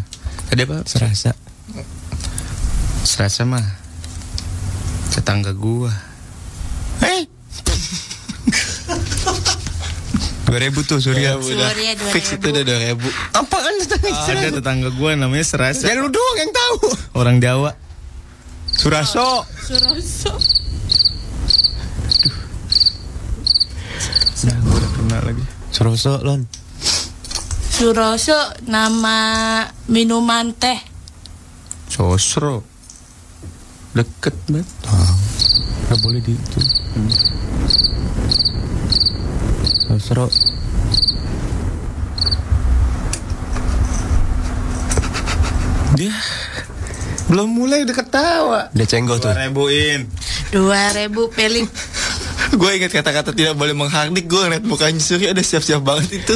Tadi apa?
Serasa.
Serasa mah tetangga gua. Hei,
Eh. 2000 tuh Surya.
Surya dua ribu.
udah ribu.
Apaan
Ada tetangga gua namanya Serasa.
Dan lu doang yang tahu.
Orang Jawa.
Suraso.
Suroso.
Suraso lon.
Suroso nama minuman teh.
Sosro. Deket banget.
Gak boleh di itu. Suraso.
Dia belum mulai udah ketawa.
Udah cenggol tuh.
Ribuin.
Dua ribu peling.
gue inget kata-kata tidak boleh menghardik gue ngeliat mukanya Surya udah siap-siap banget itu.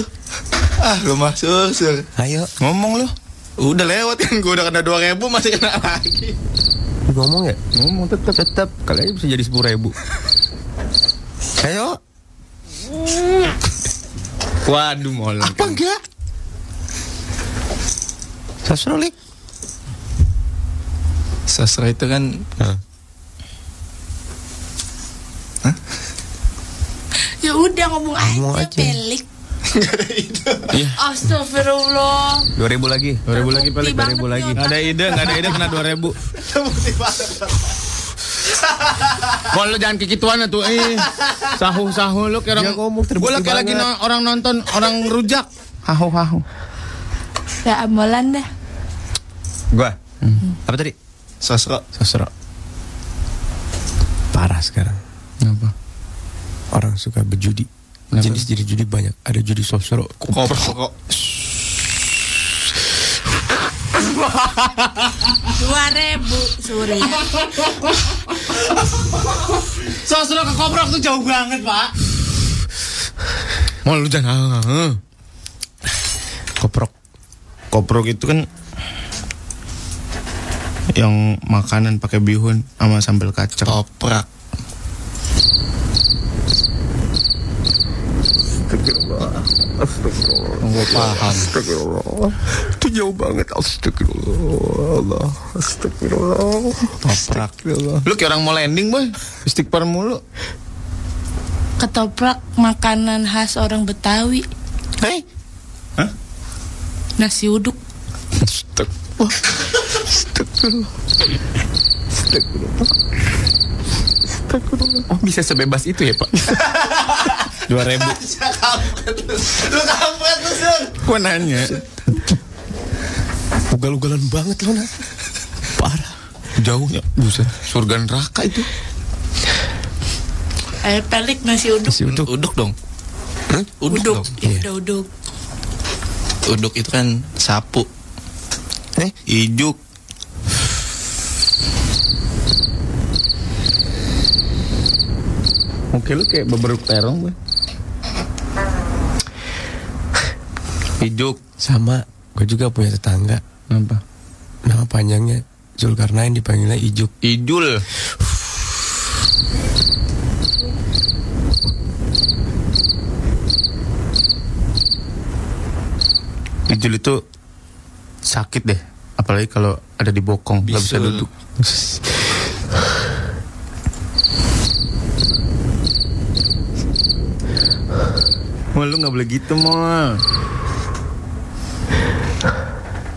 Ah, lu mah sur, sur.
Ayo
Ngomong lu. Udah lewat kan gue udah kena 2000 masih kena lagi.
ngomong ya. Ngomong tetap tetap. Kalau aja bisa jadi sepuluh ribu. Ayo.
Waduh, molek.
Apa enggak? Sasro lik.
Sastra itu kan
Ya udah ngomong
Ngomong
aja,
aja.
pelik. Astagfirullah.
Dua ribu lagi.
2000 lagi
Bukti banget
balik 2000 lagi.
nih
Nggak ada ide, nggak ada ide kena 2000. Mon lu jangan kikituan tuh eh. Sahu-sahu lu kayak orang
ngomong, terbukti
Gua lagi lagi
banget.
no- orang nonton orang rujak. Hahu hahu.
Ya amalan dah.
Gua. Apa tadi?
Sosro. Sosro.
Parah sekarang.
Ngapa?
Orang suka berjudi.
Kenapa?
Jenis jenis judi banyak. Ada judi sosro.
Koper kok.
Dua ribu Surya.
Sosro ke koprok tuh jauh banget, Pak. Mon lu jangan. heeh.
Koprok.
Koprok itu kan yang makanan pakai bihun sama sambal kacang. Toprak.
Gue paham. Itu jauh banget. Astagfirullah. Astagfirullah.
Toprak.
Astagfirullah.
Lu kayak orang mau landing, boy. Istighfar mulu.
Ketoprak makanan khas orang Betawi.
Hei.
Nasi uduk.
Oh, bisa sebebas itu ya, Pak? 2000.
Lu kampret lu, Sun.
Gua nanya.
Ugal-ugalan banget lo nak. Parah.
Jauhnya, buset. Surga neraka itu.
Eh, pelik nasi uduk.
Si untuk
Uduk dong. Uduk,
Uduk.
dong.
Ya, udah uduk.
Uduk itu kan sapu. Eh?
Ijuk.
Oke lu kayak beberuk terong gue.
Ijuk.
Sama, gue juga punya tetangga.
Kenapa?
Nama panjangnya Zulkarnain dipanggilnya Ijuk.
Idul.
Ijul itu sakit deh. Apalagi kalau ada di bokong, nggak bisa
Bisul.
duduk. Mal lu nggak boleh gitu mal.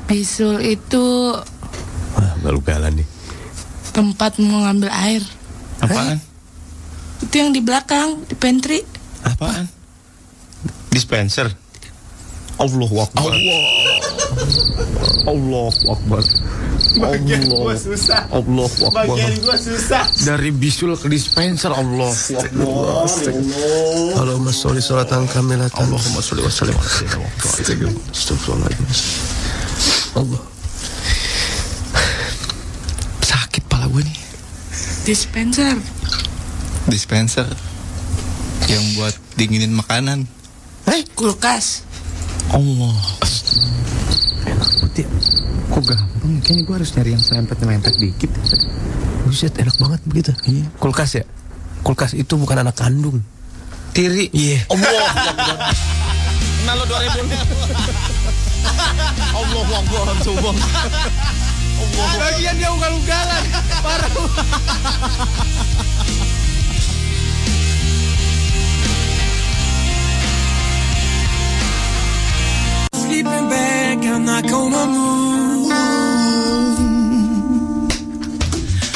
Bisul itu
Wah, galugalan nih.
tempat mau ngambil air.
Apaan?
Itu yang di belakang, di pantry.
Apaan? Dispenser. Allah wakbar. Allah. Allah wakbar.
Bagian gua susah.
Allah wakbar.
Bagian gua susah.
Dari bisul ke dispenser Allah wakbar.
Allahumma sholli sholatan kamilatan.
Allahumma sholli wa sallim ala sayyidina Muhammad. Astagfirullahaladzim.
Allah.
Sakit pala gue nih.
Dispenser.
Dispenser. Yang buat dinginin makanan.
Eh, kulkas.
Allah. Enak banget ya. Kok gampang? ya? Kayaknya gue harus nyari yang selempet-selempet dikit.
Buset, enak banget begitu. Iya. Kulkas ya? Kulkas itu bukan anak kandung.
Tiri.
Iya.
Kenal lo 2000
Allah Akbar. Subhan.
Bagian dia ugal-ugalan.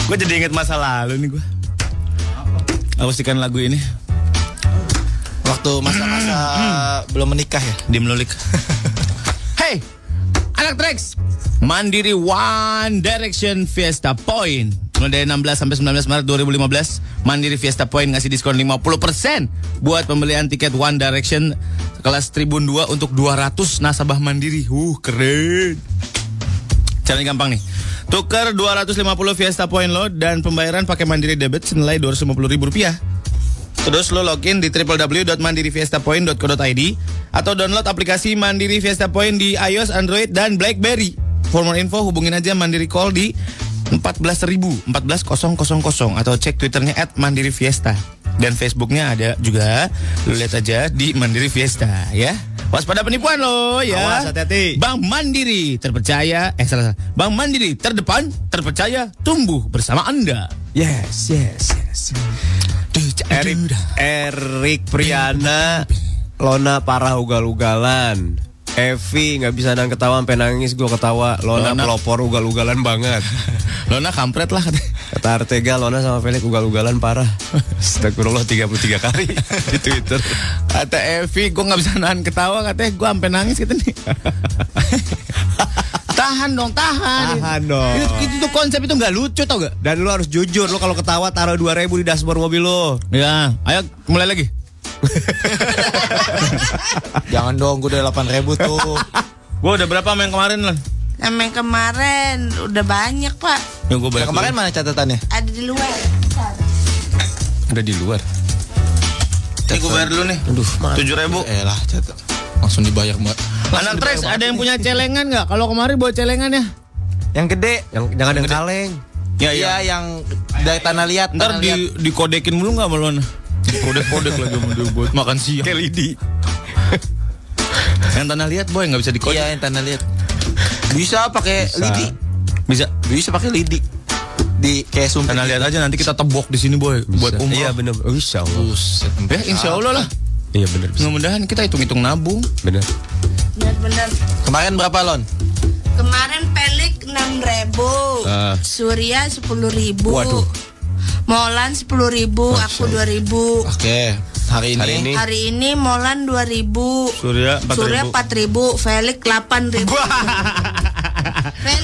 Gue jadi inget masa lalu nih gue. Akustikan lagu ini
Waktu masa-masa belum menikah ya?
di melulik.
Hey, anak Trax. Mandiri One Direction Fiesta Point. Mulai dari 16 sampai 19 Maret 2015, Mandiri Fiesta Point ngasih diskon 50% buat pembelian tiket One Direction kelas Tribun 2 untuk 200 nasabah Mandiri. Uh, keren. Caranya gampang nih. Tuker 250 Fiesta Point lo dan pembayaran pakai Mandiri Debit senilai 250 ribu rupiah. Terus lo login di www.mandirifiestapoint.co.id atau download aplikasi Mandiri Fiesta Point di iOS, Android, dan BlackBerry. For more info hubungin aja Mandiri Call di 14.000 14000 atau cek twitternya at Mandiri Fiesta dan Facebooknya ada juga lo lihat aja di Mandiri Fiesta ya waspada penipuan lo ya
Awas, hati-hati.
Bank Mandiri terpercaya eh salah, salah. Bank Mandiri terdepan terpercaya tumbuh bersama anda
Yes, yes, yes.
Erik, Erik Priana, Lona parah ugal-ugalan. Evi nggak bisa nang ketawa sampai nangis gue ketawa. Lona,
Lona.
pelopor ugal-ugalan banget.
Lona kampret lah
Kata Artega, Lona sama Felix ugal-ugalan parah.
Astagfirullah 33 kali di Twitter. Kata Evi, gue nggak bisa nahan ketawa katanya gue sampai nangis gitu nih. tahan dong, tahan.
Tahan dong.
Itu, itu tuh konsep itu nggak lucu tau gak?
Dan lu harus jujur, lu kalau ketawa taruh 2000 di dashboard mobil lu.
Ya, ayo mulai lagi.
Jangan dong, gue udah 8 ribu tuh.
Gue udah berapa main kemarin lah?
Sama yang kemarin udah banyak, Pak.
Ya, gue balik
Kemarin mana catatannya?
Ada di luar.
udah di luar. Ini gue bayar dulu nih.
Aduh, mana?
Tujuh ribu.
Eh lah, catat. Langsung dibayar mbak.
Anak Tres ada yang punya celengan nggak? Kalau kemarin bawa celengan ya?
Yang gede, yang jangan yang kaleng.
Ya
Iya yang dari tanah liat.
Ntar
tanah liat.
di dikodekin mulu nggak melon? Kodek-kodek lagi mau dia buat makan siang. Kelidi. Yang tanah liat boy nggak bisa dikodek.
Iya yang tanah liat. Bisa pakai lidi.
Bisa.
Bisa pakai lidi. Di kayak sumpit. gitu.
Tanah liat aja nanti kita tebok di sini boy buat umroh.
Iya bener, insya Allah.
Ya insya Allah lah.
Iya bener,
Mudah-mudahan kita hitung-hitung nabung.
bener.
Benar-benar.
Kemarin berapa lon?
Kemarin Pelik 6.000.
Ah.
Surya 10.000.
Waduh.
Molan 10.000, aku 2.000.
Oke. Hari
Iya.
ini.
Hari ini.
Hari ini Molan 2000
Surya 4.000.
Surya 4000 Felix 8000 Felix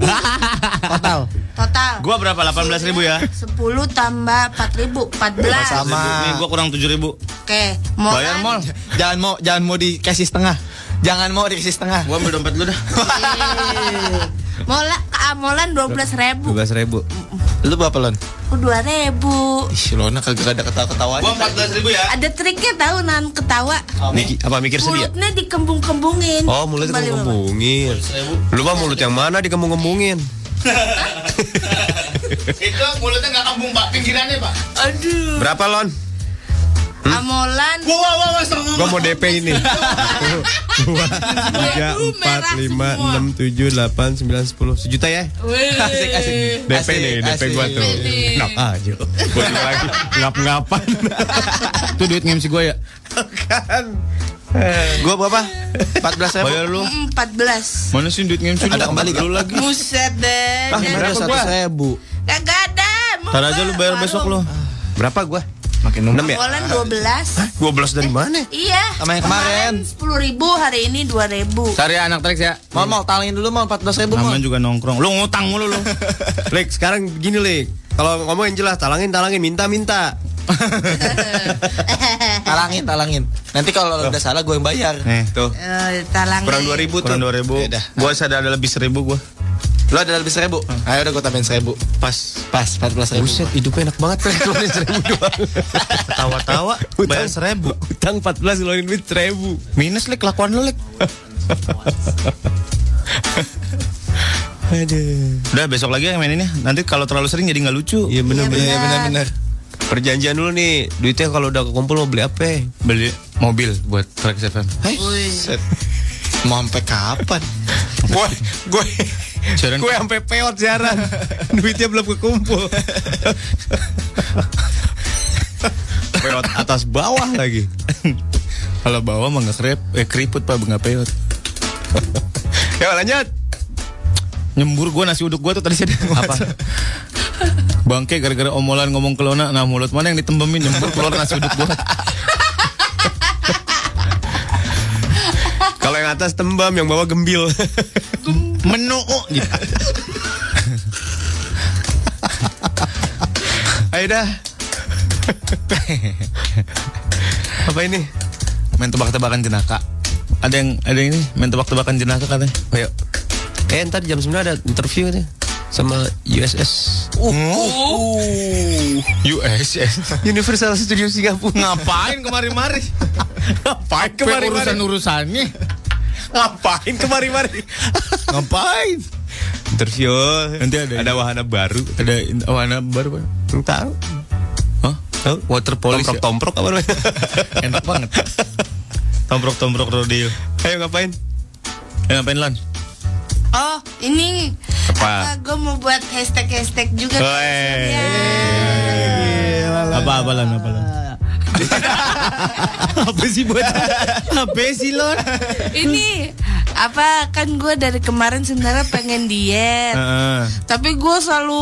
14000
Total.
Total
Gua berapa? 18.000 ya?
10 tambah 4000 14
Sama.
Nih gua kurang 7.000 ribu.
Oke Molan
Bayar mall.
Jangan mau jangan mau dikasih setengah.
Jangan mau diisi setengah.
Gua ambil dompet lu dah.
Mola, ah, molan dua belas ribu. Oh,
12 ribu. Lu berapa lon?
Dua ribu.
Ih, Lona kagak ada ketawa-ketawa.
Gua 14 ribu ya.
Ada triknya tahu nan ketawa.
Miki- apa mikir sedih? ya?
Mulutnya dikembung-kembungin.
Oh, mulutnya
Kembali, Mama.
dikembung-kembungin. Lu mah mulut yang mana dikembung-kembungin?
Itu mulutnya nggak kembung pak, pinggirannya pak.
Aduh.
Berapa lon?
Ah, Amolan.
Wow wow wow, wow setengah
Gua mau DP ini.
tiga
Aduh,
empat
merah
lima
semua.
enam tujuh delapan sembilan sepuluh sejuta ya
Wih.
DP nih DP gua tuh ngap aja gua juga lagi ngap ngapan
Itu duit ngemsi gue ya.
Kan.
Gua berapa? 14 ribu. Bayar lu.
Mm, Empat belas.
Mana sih duit ngemsi?
Ada kembali lu lagi.
Buset deh.
Ah,
Dan-
berapa satu ribu.
Kagak ada. mau
Ntar aja lu bayar
baru.
besok lu. Berapa gua? Makin 6 ya?
Amolan dua belas.
12 dari mana?
Iya.
Sama yang kemarin.
Sepuluh ribu hari ini dua ribu.
Cari anak trek ya.
Mau mau talangin dulu mau 14 ribu mau.
Namanya juga nongkrong. Lu ngutang mulu lu.
Lek sekarang gini Lek kalau ngomong yang jelas talangin talangin minta minta
Talangin, talangin. Nanti kalau udah salah gue yang bayar.
Eh.
Tuh.
Eh, talangi.
Kurang 2000 tuh.
Kurang
Ya
2000.
udah. Gua ada ada lebih 1000 gua. Lo ada lebih 1000?
Hmm.
Ayo udah gua tambahin 1000. Pas. Pas 14.000. Buset, hidupnya enak banget Trek. Cuma 1000 doang. Ketawa-tawa bayar 1000.
utang 14 ngeluarin duit seribu
Minus lek kelakuan lo lek.
Udah besok lagi yang maininnya. Nanti kalau terlalu sering jadi nggak lucu.
iya bener
Iya,
bener
bener.
bener bener perjanjian dulu nih duitnya kalau udah kekumpul mau beli apa
Beli mobil buat trek FM.
Hei. set. Mau sampai kapan? Gue gue
Jaran-
gue sampai peot jaran.
duitnya belum kekumpul
Peot atas bawah lagi.
Kalau bawa mah nggak kerep, eh, keriput pak, nggak peot.
Ya lanjut.
Nyembur gue nasi uduk gue tuh tadi saya apa? Bangke gara-gara omolan ngomong ke Lona, nah mulut mana yang ditembemin nyembur keluar nasi uduk gue.
kalau yang atas tembam yang bawah gembil
Menu oh, gitu.
ayo dah apa ini
Main tebak-tebakan jenaka. Ada yang ada yang ini main tebak-tebakan jenaka katanya.
Ayo. Eh ntar jam 9 ada interview nih sama USS
USS.
Universal Studio Singapura.
Ngapain kemari-mari?
Ngapain
Kemari urusan-urusannya.
Ngapain kemari-mari?
Ngapain?
interview.
Nanti ada
ada wahana baru.
Ada in- wahana baru Pak.
Belum tahu.
Hah?
Tahu?
Water police. ya?
Tomprok-tomprok apa namanya?
Enak banget. Tomprok-tomprok rodeo.
Ayo ngapain?
Eh, ngapain lan?
Oh, ini
Apa?
gue mau buat hashtag-hashtag juga.
Oh, iya,
Ya.
Apa apa lan? Apa lan? apa sih buat? apa sih lon?
Ini apa kan gue dari kemarin sebenarnya pengen diet.
Ah,
Tapi gue selalu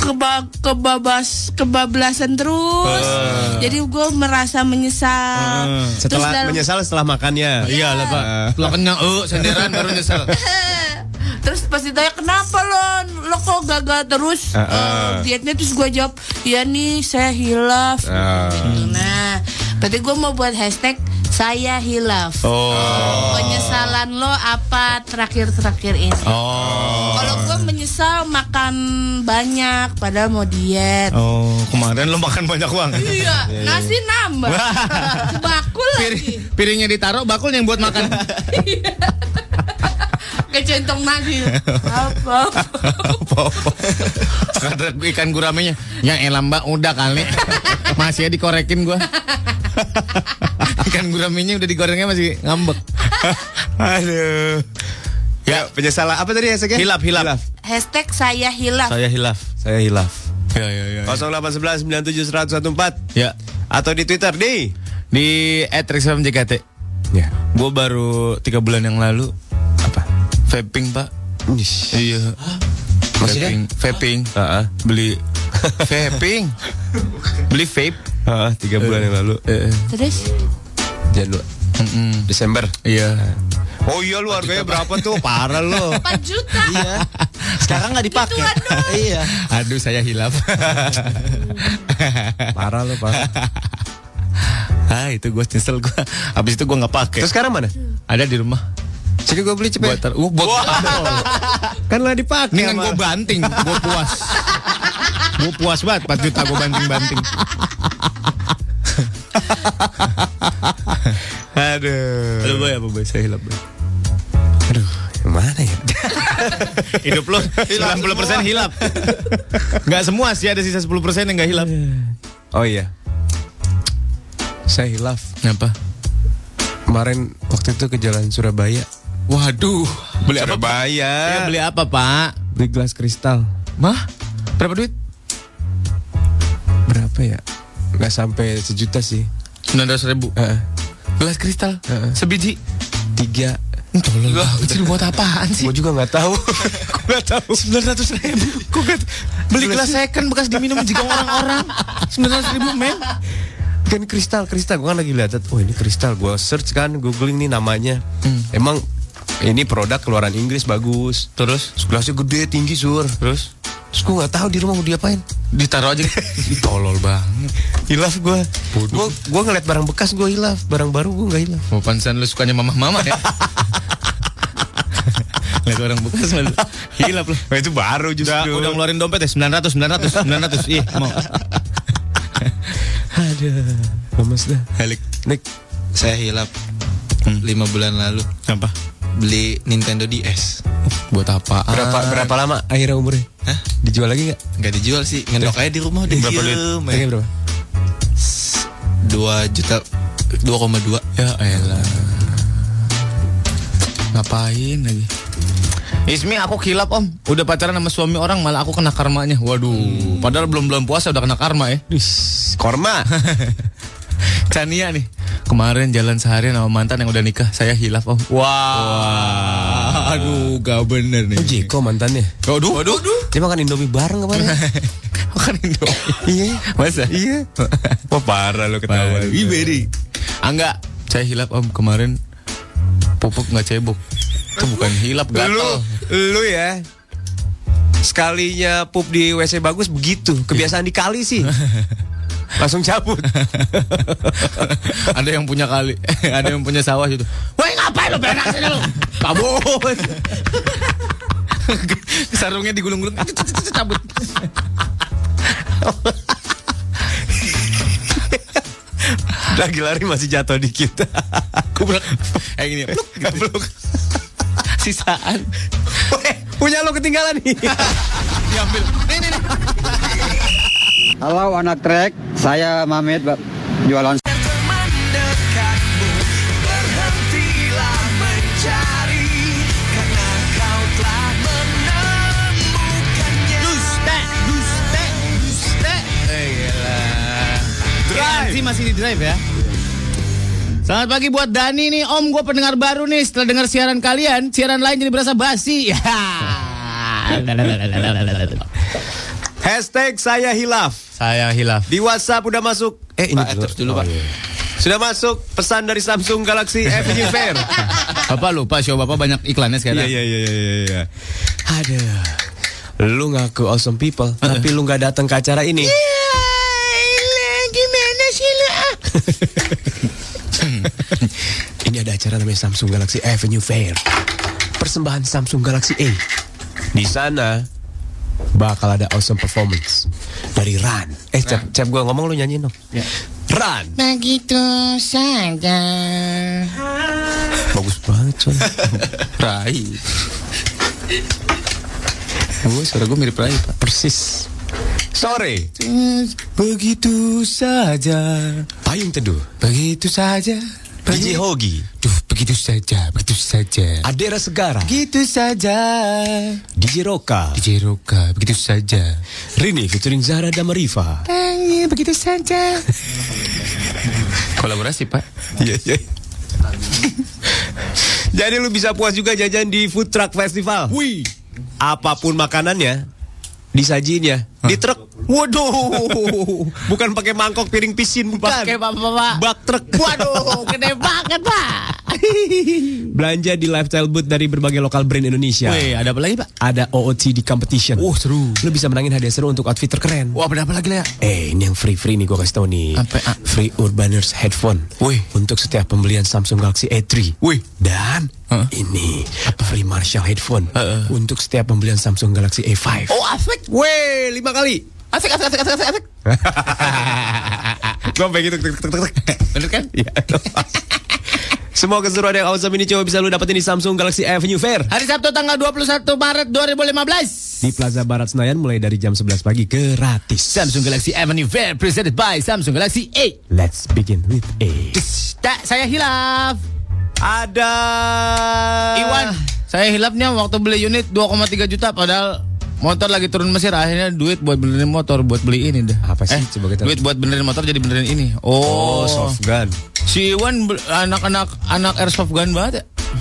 keba kebabas kebablasan terus. Jadi gue merasa
Eh.
menyesal. Terus
hmm. Setelah
dalam-
menyesal setelah makannya.
Iya lah pak.
Ah.
Lah kenyang, eh senderan baru nyesel.
Terus pas ditanya kenapa lo lo kok gagal terus eh, dietnya terus gue jawab ya nih saya hilaf. Gitu. Nah, berarti gue mau buat hashtag saya hilaf. Penyesalan lo apa terakhir-terakhir ini?
Oh.
Oh.
Kalau gue menyesal makan banyak padahal mau diet.
Oh kemarin lo makan banyak banget.
Iya, nasi nambah. Bakul lagi.
Piringnya ditaruh, bakul yang buat makan.
Kecentong nasi. Apa?
Ada ikan guramenya. Yang elam mbak udah kali. Masih aja dikorekin gua. ikan guramenya udah digorengnya masih ngambek.
Aduh. Ya, penyesalan apa tadi ya Hilaf, hilaf.
Hashtag saya hilaf.
Saya hilaf. Saya hilaf.
Ya ya ya.
0811 97114
Ya.
atau di Twitter di
Di @rexfam JKT.
Ya.
Gue baru tiga bulan yang lalu apa? Vaping pak. Iya.
Maksudnya?
Vaping. Vaping.
Heeh.
Beli vaping. Beli vape.
Heeh, 3 bulan yang lalu.
Eh,
Terus?
Januari.
mm-mm.
Desember.
Iya.
Oh iya lu harganya berapa tuh? Parah lu.
4 juta.
Sekarang nggak dipakai.
Gituan doang.
Iya.
Aduh saya hilaf.
Parah lu, parah.
ah itu gue nyesel gue. Abis itu gue nggak pakai.
Terus sekarang mana?
Ada di rumah.
Jadi gue beli cepet.
Buat, uh, buat
Kan lah dipakai.
Dengan
sama-
gue banting, gue puas. gue puas banget, 4 juta gue banting-banting.
Aduh.
Lu boy apa boy? Saya hilap boy.
Yang Mana ya?
Hidup lo 90% hilap. Gak semua sih ada sisa 10% yang gak hilap.
Oh iya.
Saya hilaf.
Kenapa?
Kemarin waktu itu ke jalan Surabaya
Waduh, beli apa? Pak? Ya,
Surabaya.
beli apa, Pak?
beli gelas kristal.
Mah? Berapa duit?
Berapa ya? Nggak sampai sejuta sih.
900 ribu.
Heeh.
Gelas kristal.
Heeh.
Sebiji.
tiga.
Tolong. Kecil buat apaan sih?
Gue juga nggak tahu. Gue nggak tahu.
sembilan ratus ribu kok gak beli gelas second bekas diminum juga orang-orang sembilan ratus ribu men
Kan kristal, kristal. Gue kan lagi lihat, oh ini kristal. Gue search kan, googling nih namanya.
Hmm.
Emang ini produk keluaran Inggris bagus.
terus
Gelasnya gede, tinggi sur.
terus
Terus gue nggak tahu di rumah mau diapain.
ditaruh aja tolol banget
Hilaf gue. Gue gue ngeliat barang bekas gue hilaf, barang baru gue nggak hilaf.
mau pansan lu sukanya mama-mama ya Lihat orang bekas malu. Hilap lu.
Wah, itu baru justru.
Udah, udah ngeluarin dompet ya 900 900 900. Ih,
Iya,
mau.
Ada. Lemes dah.
Helik.
Nek,
Saya hilap lima bulan lalu
Hmm. Apa?
beli Nintendo DS.
Buat apa?
berapa berapa lama Ah, akhirnya umurnya?
Hah?
Dijual lagi nggak?
Nggak dijual sih, ngendok aja di rumah udah
Berapa duit?
diem aja.
Harganya berapa?
Dua juta, 2,2
Ya elah. Ngapain lagi? Ismi aku kilap om Udah pacaran sama suami orang malah aku kena karmanya Waduh
Hmm.
Padahal belum belum puasa udah kena karma ya
Korma.
Chania nih Kemarin jalan seharian sama mantan yang udah nikah Saya hilaf om Wah Aduh gak bener nih
Oh Jeko mantannya.
Waduh Waduh
Dia makan Indomie bareng apa ya?
Makan Indomie Iya Masa? Iya
Wah parah lu ketawa.
Iberi Angga Saya hilaf om kemarin Pupuk gak cebok Itu bukan hilaf
Lu,
gatel
lu ya. Sekalinya pup di WC bagus begitu. Kebiasaan dikali sih. Langsung cabut.
ada yang punya kali, ada yang punya sawah gitu. Woi ngapain lu berak sini lu? Kabut. Sarungnya digulung-gulung, cabut.
Lagi lari masih jatuh dikit. Eh,
Kubrak. Kayak gini. pluk, gitu. Sisaan.
Weh, punya lu ketinggalan nih.
Diambil. Nih nih nih.
Halo anak trek, saya Mamet Pak. Jualan
Drive. masih di drive ya. Selamat pagi buat Dani nih Om gue pendengar baru nih Setelah dengar siaran kalian Siaran lain jadi berasa basi Ya.
Hashtag saya hilaf.
Saya hilaf
Di WhatsApp udah masuk. Eh ini dulu.
dulu pak.
Sudah masuk pesan dari Samsung Galaxy F Fair.
Bapak lupa show bapak banyak iklannya sekarang
Iya iya iya iya iya.
kan, ah? Aduh. Lu ngaku awesome people, tapi lu nggak datang ke acara ini.
Iya,
Gimana sih lu ah?
Ini ada acara namanya Samsung Galaxy Avenue Fair. Persembahan Samsung Galaxy A. Di sana bakal ada awesome performance dari Ran. Eh, cep, cep gue ngomong lu nyanyiin dong.
Ya.
Ran.
Begitu saja.
Bagus banget coy.
Rai Gue suara gue mirip Rai pak
Persis. Sore. Begitu saja. Payung teduh.
Begitu saja
DJ Hogi.
Duh begitu saja Begitu saja
Adera Segara.
Begitu saja
DJ Roka.
DJ Roka Begitu saja
Rini featuring Zahra Damarifa.
Tangi begitu saja Kolaborasi pak
Iya, iya. Jadi lu bisa puas juga jajan di Food Truck Festival. Wih. Apapun makanannya disajiin ya di truk Waduh. Bukan pakai mangkok piring pisin, bukan.
Pakai apa, Pak?
Bak truk.
Waduh, gede banget, Pak.
Belanja di lifestyle booth dari berbagai lokal brand Indonesia.
Wih, ada apa lagi, Pak?
Ada OOTD competition.
Wah, seru.
Lu bisa menangin hadiah seru untuk outfit terkeren.
Wah, apa lagi ya? Eh, ini yang free-free nih gua kasih tau nih.
ah?
Free Urbaners headphone. Wih. Untuk setiap pembelian Samsung Galaxy A3. Wih. Dan ini free Marshall headphone. Untuk setiap pembelian Samsung Galaxy A5.
Oh, asik.
ah. Weh, lima kali.
Asik, asik, asik, asik, asik.
Gua pengen tuk tuk tuk tuk.
Bener kan?
Iya. Semua keseruan yang awesome ini coba bisa lu dapetin di Samsung Galaxy Avenue Fair.
Hari Sabtu tanggal 21 Maret 2015.
Di Plaza Barat Senayan mulai dari jam 11 pagi gratis.
Samsung Galaxy Avenue Fair presented by Samsung Galaxy A.
Let's begin with A.
Tak, saya hilaf.
Ada
Iwan, saya hilafnya waktu beli unit 2,3 juta padahal motor lagi turun mesin akhirnya duit buat benerin motor buat beli ini dah.
Apa sih? Coba kita-
duit buat benerin motor jadi benerin ini. Oh,
Oh, soft gun.
Si Iwan be- anak-anak anak airsoft gun banget ya.
Hmm.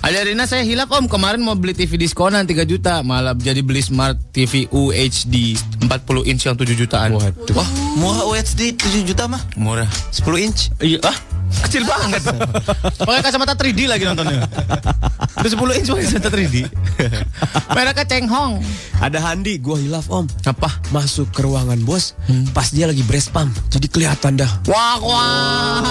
Ada Rina saya hilaf om kemarin mau beli TV diskonan 3 juta malah jadi beli smart TV UHD 40 inch yang 7 jutaan.
Waduh.
Wah, murah UHD 7 juta mah.
Murah.
10 inch.
Iya, ah, kecil banget. Pakai kacamata 3D lagi nontonnya. Udah 10 inch pakai kacamata 3D. Mereknya Cenghong.
Ada Handi, gua hilaf om.
Apa?
Masuk ke ruangan bos,
Hmm.
pas dia lagi breast pump. Jadi kelihatan dah.
Wah, wah.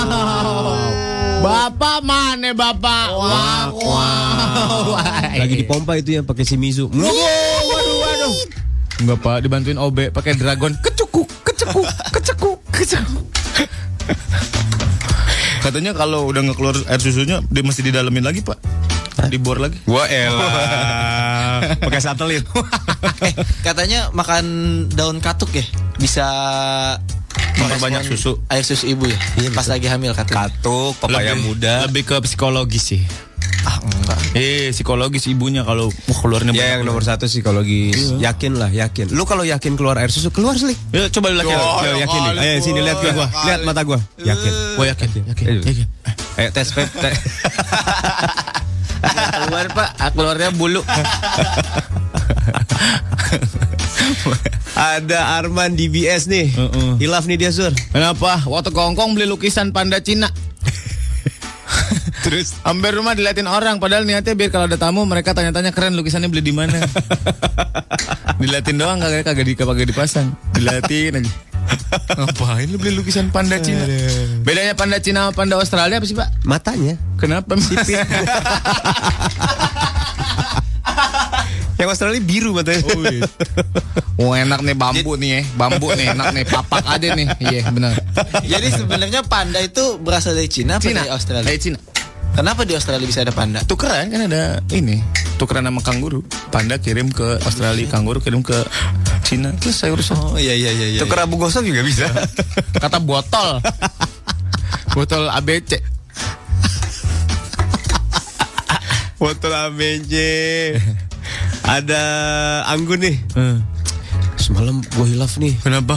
Bapak mana bapak? Wah, wah.
Lagi dipompa itu yang pakai Shimizu.
Waduh, waduh. Enggak pak, dibantuin OB pakai dragon. Kecukuk, kecekuk, kecekuk, kecekuk.
Katanya kalau udah ngekeluar air susunya dia mesti didalemin lagi, Pak. Dibor lagi. Wah, elah.
Pakai satelit.
eh, katanya makan daun katuk ya bisa
Memperbanyak
merespon
susu.
Eh,
Air susu ibu ya. Pas lagi hamil katanya.
Katuk,
Lebih-
Lebih ke psikologis sih.
Ah, enggak.
Eh, psikologis ibunya kalau wah, keluarnya banyak.
Ya yang nomor satu psikologis.
Iya.
Yakin lah, yakin. Lu kalau yakin keluar air susu keluar sih. Oh,
Ya, coba lu laki
Yo, yakin
Oh, iya.
nih.
Eh,
Ayo sini lihat gue, gua. lihat mata gua. Yakin.
Gue yakin, yakin,
Ayo.
yakin.
Eh. Ayo tes vape. te-
Keluar pak, Ah, keluarnya bulu.
Ada Arman DBS nih.
Heeh.
Hilaf nih dia Sur.
Kenapa? Waktu ke Hongkong beli lukisan panda Cina.
Terus
Hampir rumah diliatin orang Padahal niatnya biar kalau ada tamu Mereka tanya-tanya keren lukisannya beli di mana Diliatin doang kagak kagak di kagak dipasang Diliatin aja Ngapain lu beli lukisan panda Cina Bedanya panda Cina sama panda Australia apa sih pak?
Matanya.
Kenapa sipit?
Yang Australia biru matanya.
iya.
oh enak nih bambu nih ya Bambu nih enak nih Papak aja nih Iya benar
Jadi sebenarnya panda itu berasal dari Cina, apa
Cina
dari Australia?
Dari Cina
Kenapa di Australia bisa ada panda?
Tukeran kan ada ini Tukeran sama kanguru Panda kirim ke Australia Kanguru kirim ke Cina Terus saya urusan
Oh iya iya iya. iya.
tuker abu gosok juga bisa.
kata botol botol ABC
Foto ABJ. Ada Anggun nih.
Semalam gue hilaf nih.
Kenapa?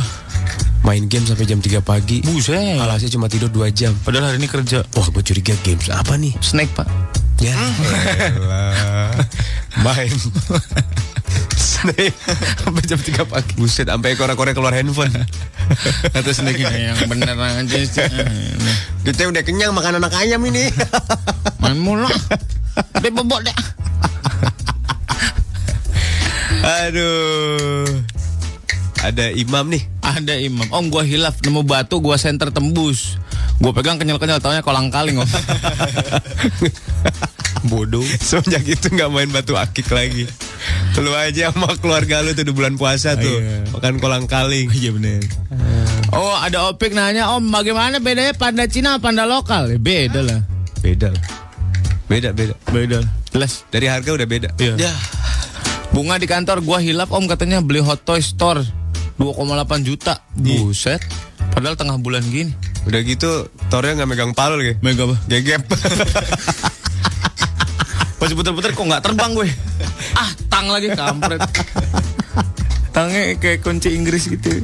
Main game sampai jam 3 pagi.
Buset.
Alasnya cuma tidur 2 jam.
Padahal hari ini kerja.
Wah, gue curiga games apa nih?
snack pak
Ya.
Main. Snake sampai jam 3 pagi. Buset, sampai ekor-ekornya keluar handphone.
atau snack Iya, yang bener aja sih
Kita udah kenyang makan anak ayam ini.
main mulu deh bobok deh
Aduh. Ada Imam nih.
ada imam om gua hilaf nemu batu gua senter tembus gua pegang kenyal kenyal taunya kolang kaling om
Bodoh. Semenjak itu nggak main batu akik lagi. Lu aja sama keluarga lu tuh di bulan puasa tuh. Makan kolang kaling. Iya bener.
oh ada opik nanya om bagaimana bedanya panda Cina sama panda lokal Ya, beda lah
Beda lah. Beda, beda.
beda jelas
Dari harga udah beda.
Ya,
bunga di kantor gua hilaf om katanya beli hot toy store 2,8 juta buset padahal tengah bulan gini
Udah gitu, Tornya nggak megang gitu. palu lagi.
mega apa
Gegep.
Pas puter-puter kok nggak terbang gue.
ah tang lagi kampret tangnya kayak kunci Inggris gitu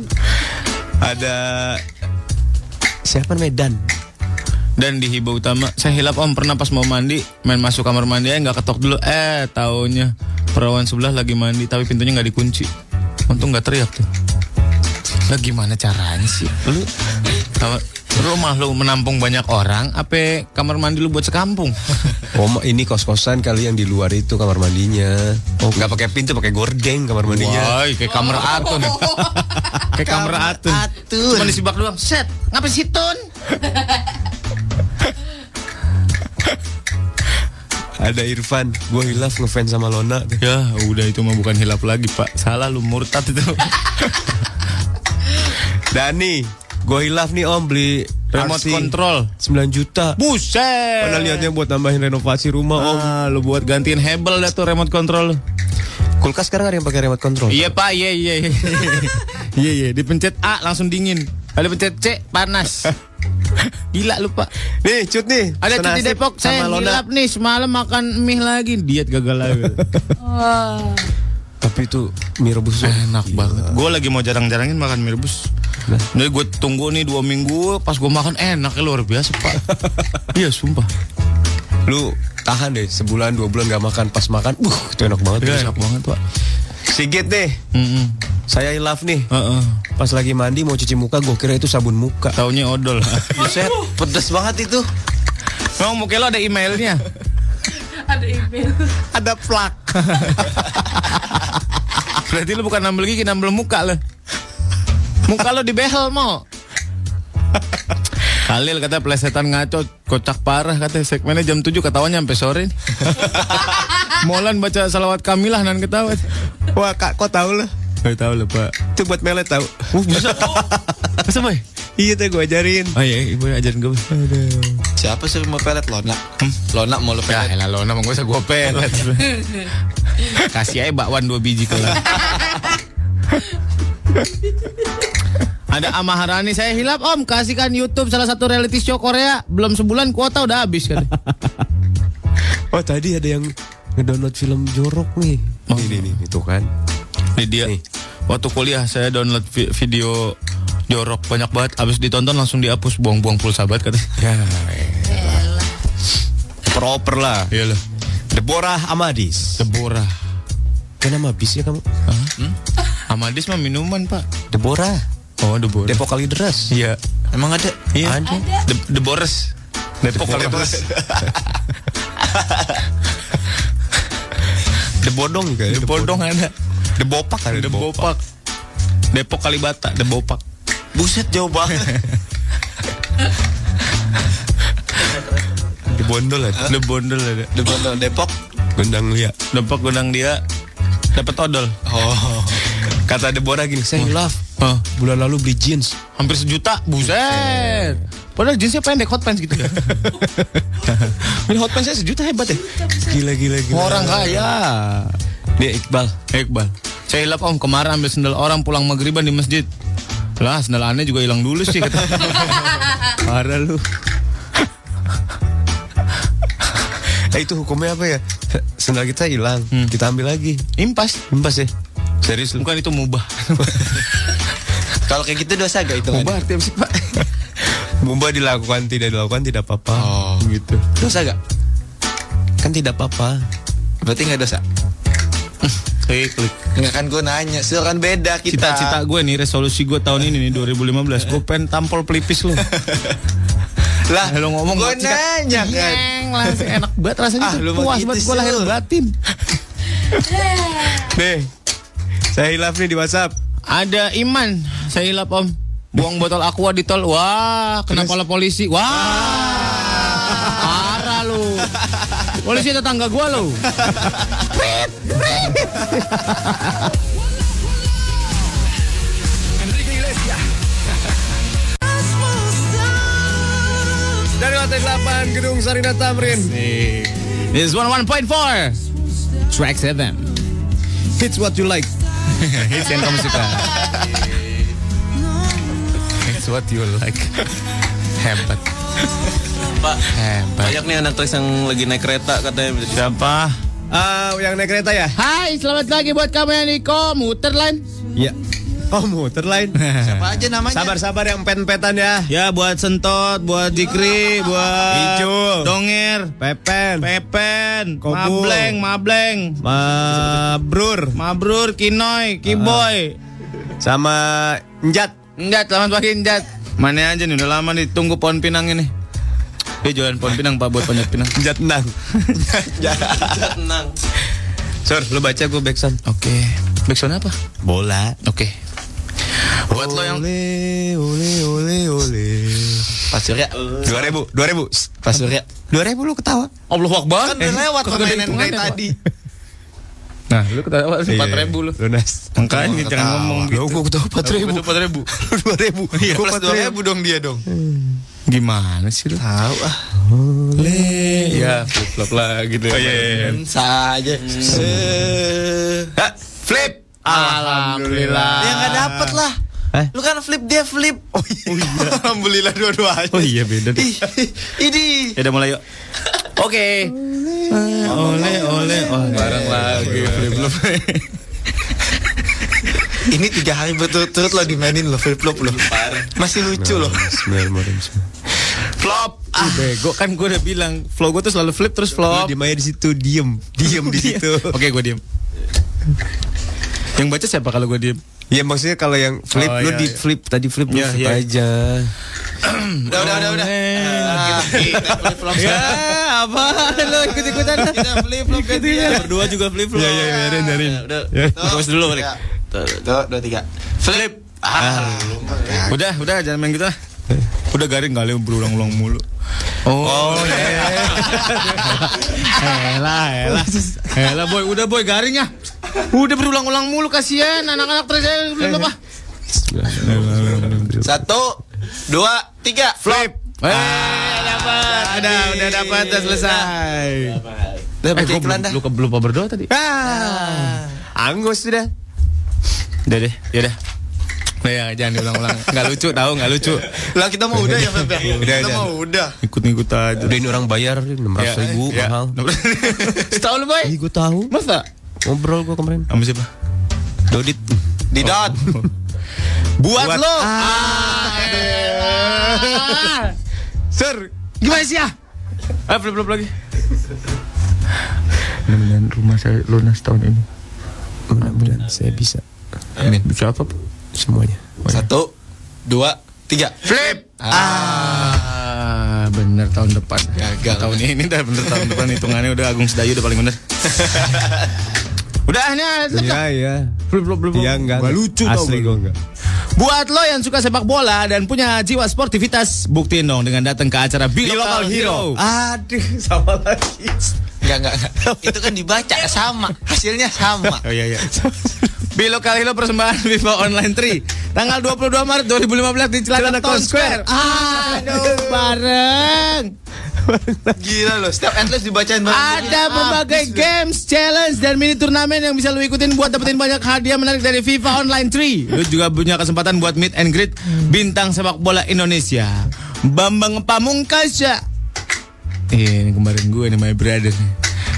Ada
Siapa namanya Dan?
dan di hibah utama saya hilap om pernah pas mau mandi main masuk kamar mandi aja nggak ketok dulu eh taunya perawan sebelah lagi mandi tapi pintunya nggak dikunci
Untung nggak teriak tuh. Lah gimana caranya sih? Lu apa, rumah lu menampung banyak orang, apa kamar mandi lu buat sekampung?
Oh, ini kos-kosan kali yang di luar itu kamar mandinya. Oh, iya. nggak pakai pintu, pakai gorden kamar mandinya.
Wah,
Iya,
kayak kamar atun.
kayak kamar atun.
Cuma disibak doang. Set, ngapain sih Tun?
Ada Irfan, gue hilaf ngefans sama Lona.
Ya, udah itu mah bukan hilaf lagi, Pak. Salah lu murtad itu.
Dani, gue hilaf nih Om beli
Remote control.
9 juta.
Buset.
Padahal liatnya buat tambahin renovasi rumah Om.
Ah, lu buat gantiin Hebel dah tuh remote control.
Kulkas sekarang ada yang pakai remote control.
Iya, Pak. Iya, iya. iya. Iya, iya, dipencet A langsung dingin. Ada pencet C panas. Gila lu, Pak.
Nih, cut nih.
Ada cuti
Senasib
Depok, saya
sama Lona.
ngilap nih semalam makan mie lagi, diet gagal lagi.
Tapi itu mie rebus tuh
Enak banget.
Gue lagi mau jarang-jarangin makan mie rebus. Nih gue tunggu nih dua minggu, pas gue makan enak Ya, luar biasa pak. Iya sumpah.
Lu tahan deh sebulan dua bulan gak makan pas makan, uh itu enak banget.
Iya,
tuh.
enak banget pak.
Sigit deh,
Mm-mm.
saya hilaf nih.
Heeh.
Pas lagi mandi mau cuci muka, gue kira itu sabun muka.
Taunya odol.
Buset, pedes banget itu.
Memang muka lo ada emailnya.
Ada email.
Ada plak. Berarti lu bukan nambel gigi, nambel muka lo. Muka lo dibehel mau. Khalil kata plesetan ngaco kocak parah kata segmennya jam 7 ketawanya sampai sore. nih. Molan baca salawat kamilah nan ketawa.
Wah kak, kok tahu lo?
Gak tahu lah pak.
Itu buat melet tahu.
Uh, bisa. Bisa, Boy?
Iya tuh gue ajarin.
Oh iya, ibu ajarin gue.
Siapa sih mau pelet Lona? Hmm, Lona mau lo
Ya
pelet.
elah lo nama gue usah gue pelet Kasih aja bakwan dua biji kalau Ada Amaharani saya hilap om Kasihkan Youtube salah satu reality show Korea Belum sebulan kuota udah habis kan
Oh tadi ada yang ngedownload film jorok nih.
Oh.
Ini nih, itu kan.
Ini dia. Waktu kuliah saya download vi- video jorok banyak banget. Abis ditonton langsung dihapus, buang-buang pulsa banget katanya.
Ya. Proper lah.
Iyalah.
Deborah Amadis.
Deborah.
Kan nama bis ya kamu?
Amadis mah minuman pak.
Deborah.
Oh Deborah.
Depok kali deras.
Iya.
Emang ada?
Iya.
Ada.
De- Debores. Depok kali Debores.
Debodong juga. ya,
Debodong ada.
Debopak kan?
Debopak. Depok Kalibata, Debopak.
Buset jauh banget.
Debondol ya.
Debondol ada.
Di Bondol Depok.
Gondang Lia.
Depok gondang dia dapat odol.
Oh.
Kata Deborah gini, saya hilaf. Bulan lalu beli jeans.
Hampir sejuta,
Eh.
buset. Padahal jeansnya pendek, hot pants gitu.
ya.
Ini hot pants saya sejuta hebat ya. Gila gila gila.
Orang kaya. Eh,
Nih Iqbal.
Iqbal. Saya hilap om kemarin ambil sendal orang pulang maghriban di masjid. Lah sendal aneh juga hilang dulu sih kata.
Parah lu. eh itu hukumnya apa ya? Sendal kita hilang, kita ambil lagi.
Impas.
Impas ya.
Serius Bukan itu mubah.
Kalau kayak gitu dosa gak itu?
Mubah artinya apa sih pak? Mubah dilakukan tidak dilakukan tidak apa-apa.
Oh.
Gitu.
Dosa gak?
Kan tidak apa-apa.
Berarti gak dosa?
Klik, klik.
Enggak kan gue nanya, sih kan beda kita.
Cita-cita gue nih resolusi gue tahun ini nih 2015 gue pengen tampol pelipis lu.
Lah,
Eh, lu ngomong sikat.
gue nanya kan.
Neng langsung enak banget rasanya
Ah,
tuh.
lu mah
puas
gitu
banget gue
sih,
lahir
lu.
batin.
Nih, saya hilaf nih di WhatsApp.
Ada Iman, saya hilap om. Buang botol aqua di tol. Wah, kena kepala polisi. Wah. Parah lu. Polisi tetangga gua lu.
Dari lantai 8 Gedung Sarina Tamrin.
This is 101.4. Track 7.
It's what you like.
Hits yang kamu suka. It's what you like. Hebat.
Pak,
Hebat.
banyak nih anak tulis yang lagi naik kereta katanya.
Siapa?
Ah, yang naik kereta ya?
Hai selamat pagi buat kamu ya, yang di komuter lain
Iya. Oh, muter lain.
Apa aja namanya?
Sabar-sabar yang pen-petan ya.
Ya buat sentot, buat jikri, buat
Icul.
dongeng, Peper, Pepen,
Pepen, Kobul.
Mableng, Mableng,
Mabrur,
Mabrur, Kinoy, Kiboy,
sama Njat.
Ah. Njat, selamat pagi Njat. Mana aja nih, udah lama nih tunggu pohon pinang ini. Dia jualan pohon pinang Pak buat panjat pinang.
Njat nang.
Tenang.
Sur, lu baca gue backsound.
Oke. Backsound apa?
Bola.
Oke. Buat lo yang
Ole, ole, ole, ole.
Pak Surya.
Dua ribu, dua ribu.
Pak Surya.
Dua ribu lu ketawa.
Allah Akbar.
Kan
Eh,
udah lewat permainan
hitungannya,
kayak
Pak.
tadi.
Nah, lu ketawa empat ribu lu.
Lunas.
Makanya jangan ngomong gitu. Lu ketawa empat ribu. Empat ribu.
Dua ribu. Iya.
Plus dua ribu dong dia dong. Gimana sih lu? Tahu ah. Ya, flip lagi deh.
Oh iya, iya, iya.
Saja.
Ha, Flip.
Alhamdulillah.
Ya nggak dapet lah.
Hah?
Lu kan flip dia flip. Oh iya.
Alhamdulillah dua-duanya. Oh iya beda deh.
Ini.
Ya udah mulai yuk. Oke. Ole ole ole. Barang lagi flip flop.
Ini tiga hari berturut-turut lo dimainin lo flip flop lo. Masih lucu lo.
Flop. Ah. Bego kan gue udah bilang flow gue tuh selalu flip terus flop. Iya.
Dia main di situ diem, diem di situ.
Oke gue diem. Yang baca siapa kalau gue diem?
Ya maksudnya kalau yang flip,
Oh,
lu
iya,
di
iya.
flip tadi flip lu
Iya,
flip
iya.
aja.
Udah udah udah Eh, udah.
Eh, ah.
flip flop. Ya apa lo ikut ikutan? Kita flip flop kan dia.
Berdua juga flip flop.
Iya iya biarin biarin.
Udah.
Ya.
Terus dulu balik. Dua dua tiga. Flip. Ah, lu mah.
Udah udah jangan main gitu ah. Udah garing kali berulang-ulang mulu. Oh,
iya.
Elah, elah. Elah Eh boy, udah boy garing ya. Udah berulang-ulang mulu kasihan anak-anak terus eh, flip flop ah.
Satu, dua, tiga. Ah, Flip.
Eh, dapat. Ada, udah dapat, udah selesai.
Dapat iklan dah.
lu ke lupa berdoa tadi.
Ah. Angus sudah.
Udah deh, ya udah. Nah, ya, jangan diulang-ulang. Enggak lucu, tahu enggak lucu.
Lah kita mau udah ya Feb ya?
Udah,
Kita
udah.
mau udah.
Ikut-ikut aja.
Udah ini orang bayar enam ratus
Uh,
Iya,
ribu mahal.
Ya. Tahu lu, Boy?
Ih, gue tahu.
Masa?
Ngobrol gue kemarin.
Sama siapa?
Dodit.
Di dot.
Buat,
Buat-
lo.
Ah.
Sir,
Gimana sih ya?
Eh,
Ayo flip flop lagi.
rumah saya lunas tahun ini.
Mudah-mudahan saya bisa
Amin. Bisa apa? Bu?
semuanya.
Satu, dua, tiga. Flip.
Ah, bener tahun depan. Gagal. Tahun ini dah bener tahun depan hitungannya udah Agung Sedayu udah paling bener. udah, ini aja.
Iya iya.
Flip flop flip. flop.
Iya enggak.
Nggak lucu tau
Asli
nggak?
gue enggak.
Buat lo yang suka sepak bola dan punya jiwa sportivitas, buktiin dong dengan datang ke acara Bilokal
Bilokal
Hero.
Hero.
Aduh, sama lagi. Enggak, enggak, enggak. Itu kan dibaca sama. Hasilnya sama.
Oh iya iya. Bilokal Hero persembahan Viva Online 3. Tanggal 22 Maret 2015 di Celana Town Square. Aduh, bareng.
Gila loh, setiap endless dibacain banget.
Ada berbagai games, challenge, dan mini turnamen yang bisa lo ikutin buat dapetin banyak hadiah menarik dari FIFA Online 3. Lo juga punya kesempatan buat meet and greet bintang sepak bola Indonesia. Bambang Pamungkas ya. Iya, ini kemarin gue nih, my brother nih.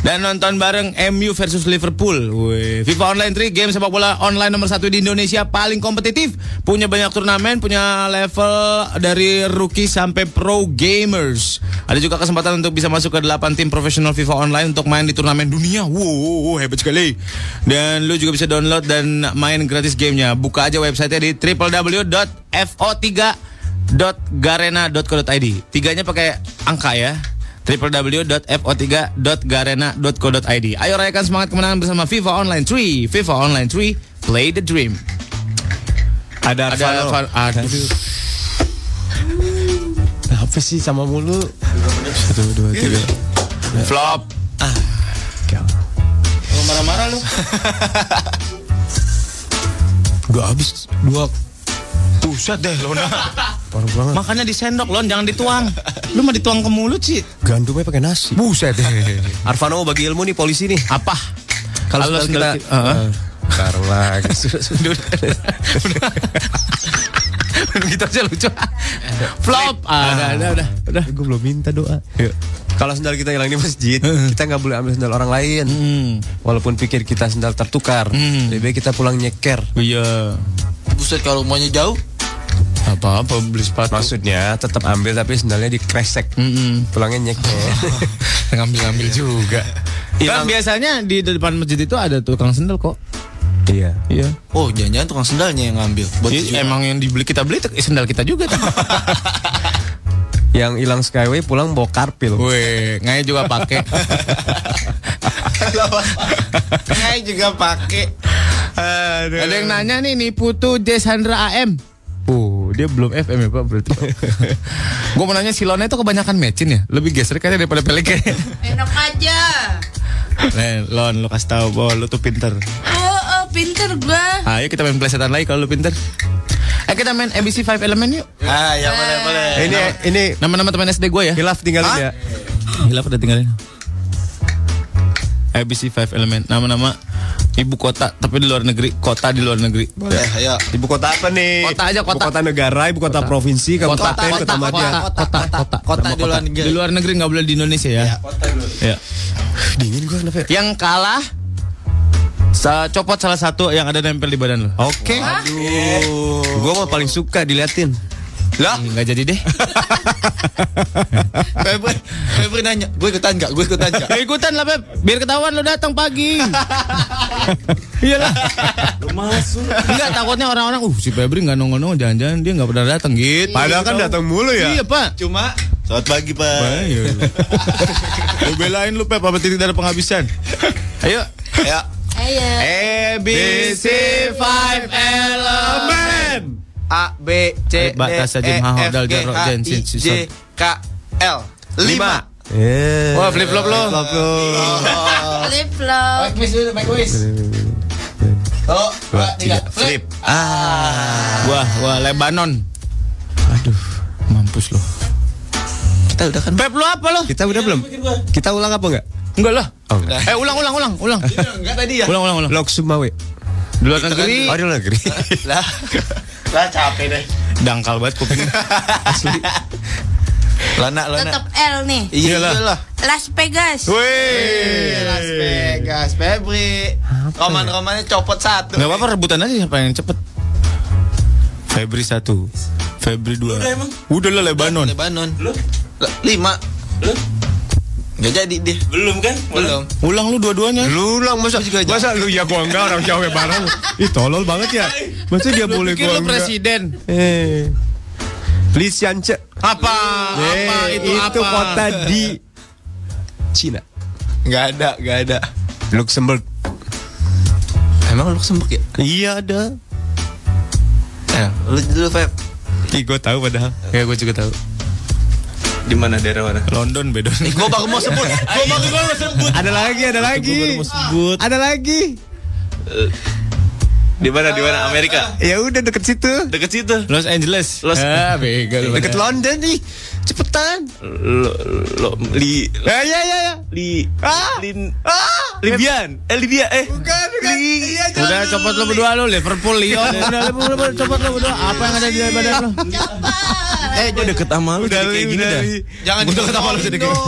Dan nonton bareng MU versus Liverpool. Wih, FIFA Online 3 game sepak bola online nomor satu di Indonesia paling kompetitif. Punya banyak turnamen, punya level dari rookie sampai pro gamers. Ada juga kesempatan untuk bisa masuk ke 8 tim profesional FIFA Online untuk main di turnamen dunia. Wow, hebat sekali. Dan lu juga bisa download dan main gratis gamenya. Buka aja websitenya di www.fo3.garena.co.id. Tiganya pakai angka ya www.fo3.garena.co.id Ayo rayakan semangat kemenangan bersama FIFA Online 3 FIFA Online 3 Play the Dream Ada
Ada Arvano.
Alfa- aduh.
Apa sih sama mulu? Satu, dua, tiga.
Flop
Gua habis dua.
Buset deh Lona
Parah banget.
Makannya di sendok Lon jangan dituang Lu mau dituang ke mulut sih
Gandumnya pakai nasi.
Buset. Arvano mau bagi ilmu nih polisi nih.
Apa?
Kalau
Kalau
spell
spell
kita
ki- Heeh.
Ntar lagi.
Gitu aja lucu Flop ah, Udah udah udah, udah.
Gue belum minta doa.
eh, Kalau sendal kita hilang di masjid,
Hmm.
kita nggak boleh ambil sendal orang lain. Walaupun pikir kita sendal tertukar, lebih baik kita pulang nyeker.
Hmm. Iya
Buset kalau maunya jauh.
Apa-apa beli sepatu. Maksudnya tetap ambil tapi sendalnya dikresek.
Hmm.
Pulangnya nyeket.
Ngambil-ngambil juga. Bang, Kan biasanya di depan masjid itu ada tukang sendal kok.
Iya.
Iya.
Oh, jangan-jangan tukang sendalnya yang ngambil. Buat tujuan.
emang yang dibeli kita beli tek- sendal kita juga.
Yang hilang Skyway pulang bawa karpil.
Weh, ngaya juga pakai.
Saya juga pakai.
Ada yang nanya nih, nih Putu Desandra AM. Uh,
Oh, dia belum FM ya Pak berarti.
Gue mau nanya silonnya itu kebanyakan mecin ya? Lebih geser kayaknya daripada pelek
Enak aja.
Len, lon, lu kasih tahu bahwa lu tuh pinter.
Oh, oh, pinter gua.
Ayo Ah, kita main plesetan lagi kalau lu pinter. Ayo kita main ABC 5 Element yuk.
Ah, ya boleh boleh.
Ini
ini
nama-nama teman SD gue ya.
Hilaf tinggalin
ya. Hilaf udah tinggalin. ABC 5 Element nama-nama ibu kota tapi di luar negeri, kota di luar negeri. Eh,
Boleh, ayo.
Ibu kota apa nih?
Kota aja, kota.
Ibu kota negara, ibu kota, provinsi,
Kota,
kabupaten,
kota, kota,
kecamatan.
kota, kota, kota, di luar negeri. Di luar negeri nggak boleh di Indonesia ya. Ya.
Dingin gue kenapa? ya?
Yang kalah sa- copot salah satu yang ada nempel di badan lo.
Oke. Gue mah paling suka diliatin.
Lah,
Hmm, Nggak jadi deh.
Febri, Febri nanya, gue ikutan nggak? Gue ikutan nggak?
Ya ikutan lah Beb, biar ketahuan lo datang pagi. Iyalah. Masuk. Enggak takutnya orang-orang, uh si Febri nggak nongol-nongol, jangan-jangan dia nggak pernah datang gitu.
Padahal kan datang mulu ya.
Iya Pak.
Cuma
Selamat pagi, Pak. Lu belain lu, Pep, apa titik dari penghabisan?
Ayo.
ya
Eh.
Ayo.
A B C 5 element.
A B C D
Alif, ba, ta, sa,
E
jim, ha, ha,
F
dal,
G
dal, ro,
H
jen,
I
sin, si,
J
son.
K L lima.
Eh,
Wah, flip flop lo.
Flip flop.
Oh, tiga. Flip.
Ah. Wah, wah Lebanon. Aduh, mampus lo.
Kita udah kan.
Pep lo apa lo?
Kita udah belum? Kita ulang apa enggak?
Enggak lah.
Oh, enggak.
Eh ulang ulang ulang ulang.
Enggak tadi ya.
Ulang ulang ulang.
Lok Sumawe.
Di luar negeri.
Oh, di luar negeri.
Lah. Lah capek deh.
Dangkal banget Iya kupingnya. Asli.
Lana lana.
Tetap L nih.
Iyalah.
Las Vegas.
Wih, Las Vegas, Febri.
ya?
Roman-romannya copot satu.
Enggak apa-apa rebutan aja siapa yang cepet.
Febri satu, Febri dua.
Udah, emang?
Udah lah Lebanon.
Lebanon. Lu? Lima. Lu? Gak jadi deh. Belum kan? Belum.
Ulang lu dua-duanya.
Lu ulang masa
Juga aja.
masa lu ya gua enggak orang Jawa bareng. Ih tolol banget ya. Masa dia boleh
Pikir
gua
lo
enggak.
presiden.
Eh. Lisiance.
Apa?
Eh,
apa itu,
itu
apa?
kota di Cina.
Gak ada, gak ada.
Luxembourg.
Emang lu sembek ya?
Iya ada.
Eh, lu dulu Feb.
Ih, gue tahu padahal.
Ya gue juga tahu.
Di mana daerah mana?
London beda.
Gue baru mau sebut. Gue baru mau sebut.
Ada lagi, ada lagi. Ada lagi.
Di mana di mana Amerika?
Ya udah deket situ.
Deket situ.
Los Angeles.
Los-
Ah, bego lu.
Deket London nih. Cepetan.
Lo, lo, li,
Ya ya ya. ya.
li,
Ah.
lin,
Ah.
Libian, eh Libya, eh.
Bukan, bukan. Iya, jangan
Udah
dulu.
copot lo berdua lo Liverpool Lyon. Udah Liverpool copot lo berdua apa yang ada di badan lo?
Eh, gue deket sama
Udah
jadi
li,
kayak gini
udah
dah.
li.
Jangan
Udah ketawa lu jadi kayak-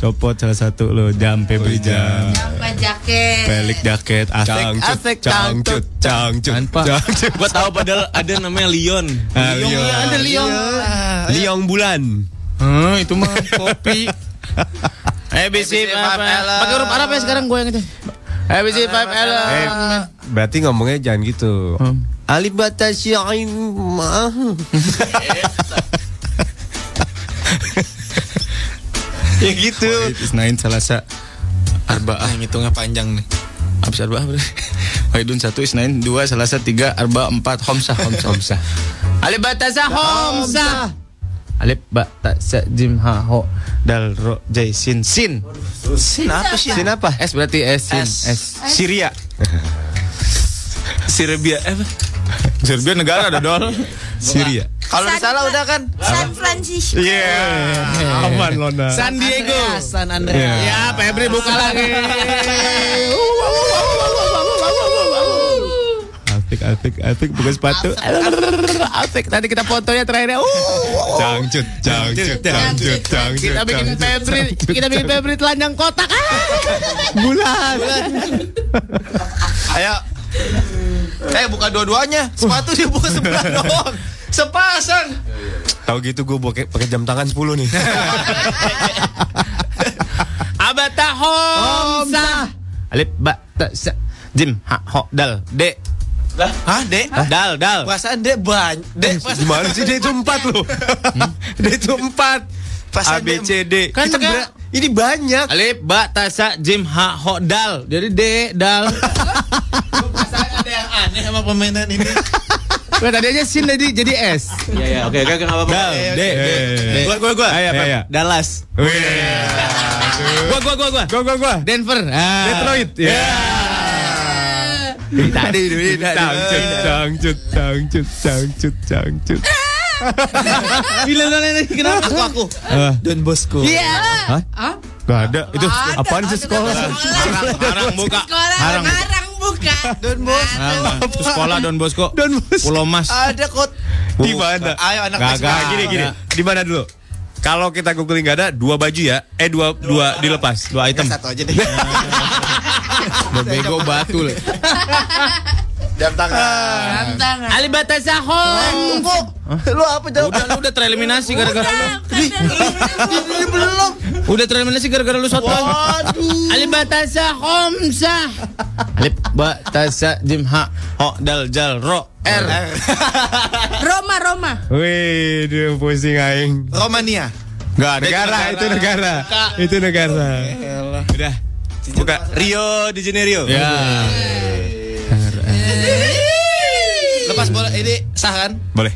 Copot salah satu lo, jam Febri jam.
Apa jaket?
Pelik jaket, asik,
Cangcut, cangcut, cangcut.
Tanpa.
Cangcut.
Gua tahu padahal ada namanya Leon.
Ah, Liong.
Ada Lyon.
Liong bulan.
Hmm, itu mah kopi. ABC
five L.
Pakai huruf Arab ya sekarang gue yang itu. ABC 5 L.
Eh, berarti ngomongnya jangan gitu.
Hmm.
Alif batas syain maaf. ya gitu.
Isnain Salasa Arba'ah
Ngitungnya panjang nih.
Habis Arba'ah berarti Waidun satu Isnain dua Salasa tiga Arba'ah empat Homsah Homsah Homsah Alif Batasa Homsah Alif Batasa Jim Ha Ho Dal Ro Jai Sin Sin
Sin
Ya.
apa sih? Sin apa?
S berarti S Sin
S.
S
Syria.
Serbia, eh. apa?
Serbia negara ada dol. Syria.
Kalau
San-
salah udah kan?
San Francisco.
Iya.
Yeah. Aman
Iya.
Lona.
San Diego
San Andreas.
Ya Febri buka lagi
Asik, asik, asik. Bukan sepatu.
Asik tadi kita fotonya terakhirnya uh.
Cangcut, cangcut, cangcut, cangcut.
Kita bikin Febri Kita bikin Febri telanjang kotak
Bulan.
Ayo. Eh buka dua-duanya. Sepatu dia buka sebelah doang.
Sepasang.
Tahu gitu gue pakai pakai jam tangan 10 nih.
Abata Homsa.
Alif ba ta sa jim ha ho dal de.
Lah,
Hah, de? Dal, dal.
Perasaan dek banyak. Dek pas- Hmm?
Gimana sih dia itu empat loh. Dia itu empat. A
Perasaan
B
dek-
C D.
Kan
Kita
enggak.
ber-
ini banyak.
Alif, ba, tasa, jim, ha, ho, dal. Jadi D, dal.
Ada yang aneh sama pemainan ini.
Wah, tadi aja sin tadi jadi S.
Iya, iya, oke, oke, enggak apa-apa.
Dal, de, de. de.
Gua gua
Ah,
gua.
iya,
Ayo, Pep.
Dallas.
Wih.
Gua, gua, gua, gua.
Gua gua gua.
Denver. Ah.
Detroit. Ya.
Tadi, tadi, tadi.
Cangcut, cangcut, cangcut, cangcut, cangcut.
Bila lagi kenapa aku aku?
Ah.
Don Bosco.
Iya.
Hah?
Hah?
Gak ada. Itu
Ada,
apaan sih
ada,
sekolah?
ada sekolah.
Harang buka.
Sekolah
Harang.
Harang buka. Don Bos.
Itu sekolah Don Bosco. Don Bosco. Pulau Mas.
Ada kot.
Di mana?
Ayo anak
Gak,
kelas
gak,
berapa?
gini, gini. Di mana dulu? Kalau kita googling gak ada, dua baju ya. Eh, dua, dua, dilepas. Dua item.
Satu aja deh.
Bego batul.
Jam
Ah.
tangan.
Tantangan.
Alibatasa ho.
Tunggu. Lu apa jawab?
Udah, lu udah tereliminasi gara-gara lu.
Ini belum.
Udah tereliminasi gara-gara lu satu.
Waduh.
Alif batasa homsah. Alif batasa jim ha ho dal jal ro r.
Roma Roma.
Wih, dia pusing aing.
Romania.
Gak ada. Negara, itu negara. Itu negara. Udah. Buka.
Rio di Janeiro.
Ya.
Lepas bola ini sah kan?
Boleh.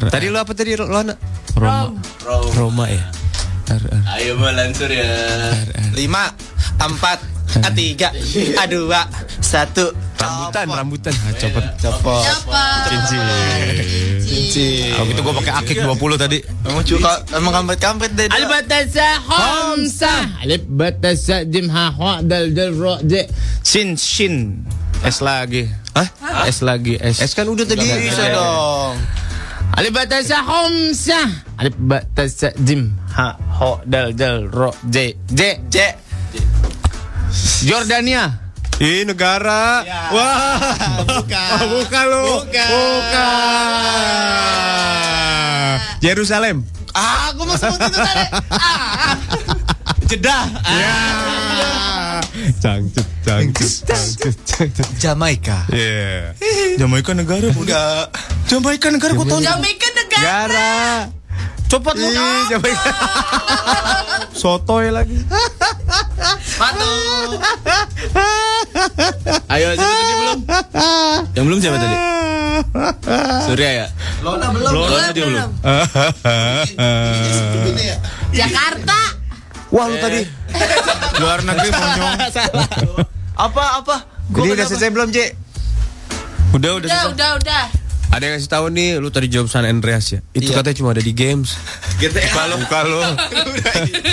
Tadi lu apa tadi Lona?
Roma.
Roma ya.
Ayo balansur ya. Lima, empat, ah, tiga, ah, dua, satu.
Rambutan, rambutan.
Copot, copot.
Siapa?
Cincin.
Kalau gitu gue pakai akik 20 tadi.
Iya. Emang cuka, emang kampret-kampret deh.
Alif batasa homsah. Alif batasa jim ha ho dal jal ro j. Sin sin. S lagi.
Hah?
S lagi S.
kan udah tadi bisa dong.
Alif batasa homsah. Alif batasa jim ha ho dal jal ro j. J.
C.
Jordania.
Ih, negara. Wah.
Iya. Bukan.
Oh, bukan lu.
Bukan.
Bukan. Yerusalem.
Ah, aku mau sebut itu tadi. Ah. Jeddah.
Ya. Cangcut, cangcut, cangcut, cangcut.
Jamaika.
Yeah. Jamaika negara
Enggak.
Jamaika negara kok tahu?
Jamaica negara.
Negara. Copot lu. Ih, Jamaika. Sotoy lagi.
Patuh.
Ayo siapa tadi belum? Yang belum siapa tadi? Surya ya.
Lona belum.
Belum, belum. Jakarta.
Wah, lu tadi
Luar negeri monyong.
apa apa?
Jadi
Gua
udah
kenapa?
selesai belum, J? Udah,
Udah,
udah. selesai.
udah, udah.
Ada yang kasih tahu nih, lu tadi jawab San Andreas ya. Itu katanya cuma ada di games. Buka lu, buka lu.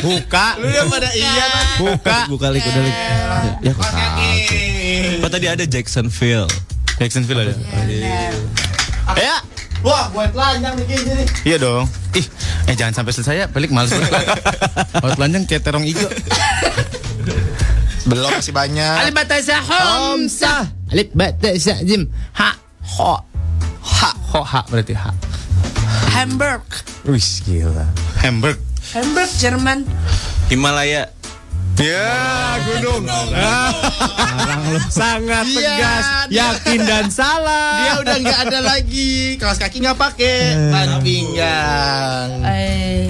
Buka.
Lu udah pada iya kan?
Buka.
Buka lagi, udah lagi.
Iya,
Ya, kok
Apa tadi ada Jacksonville? Jacksonville ada.
Ya.
Wah, gue telanjang nih kayaknya nih.
Iya dong. Ih, eh jangan sampai selesai ya, balik males banget. Kalau telanjang kayak terong ijo.
Belum masih banyak.
batasa homsah. Alif batasa jim ha ho. Ha ho ha berarti ha.
Hamburg.
Wih, gila.
Hamburg.
Hamburg Jerman.
Himalaya.
Ya, gunung. Ah, Sangat tegas, yakin dan
Iya,
salah.
Dia udah nggak ada lagi. Kaos kaki nggak pakai. Ban pinggang.
Eh.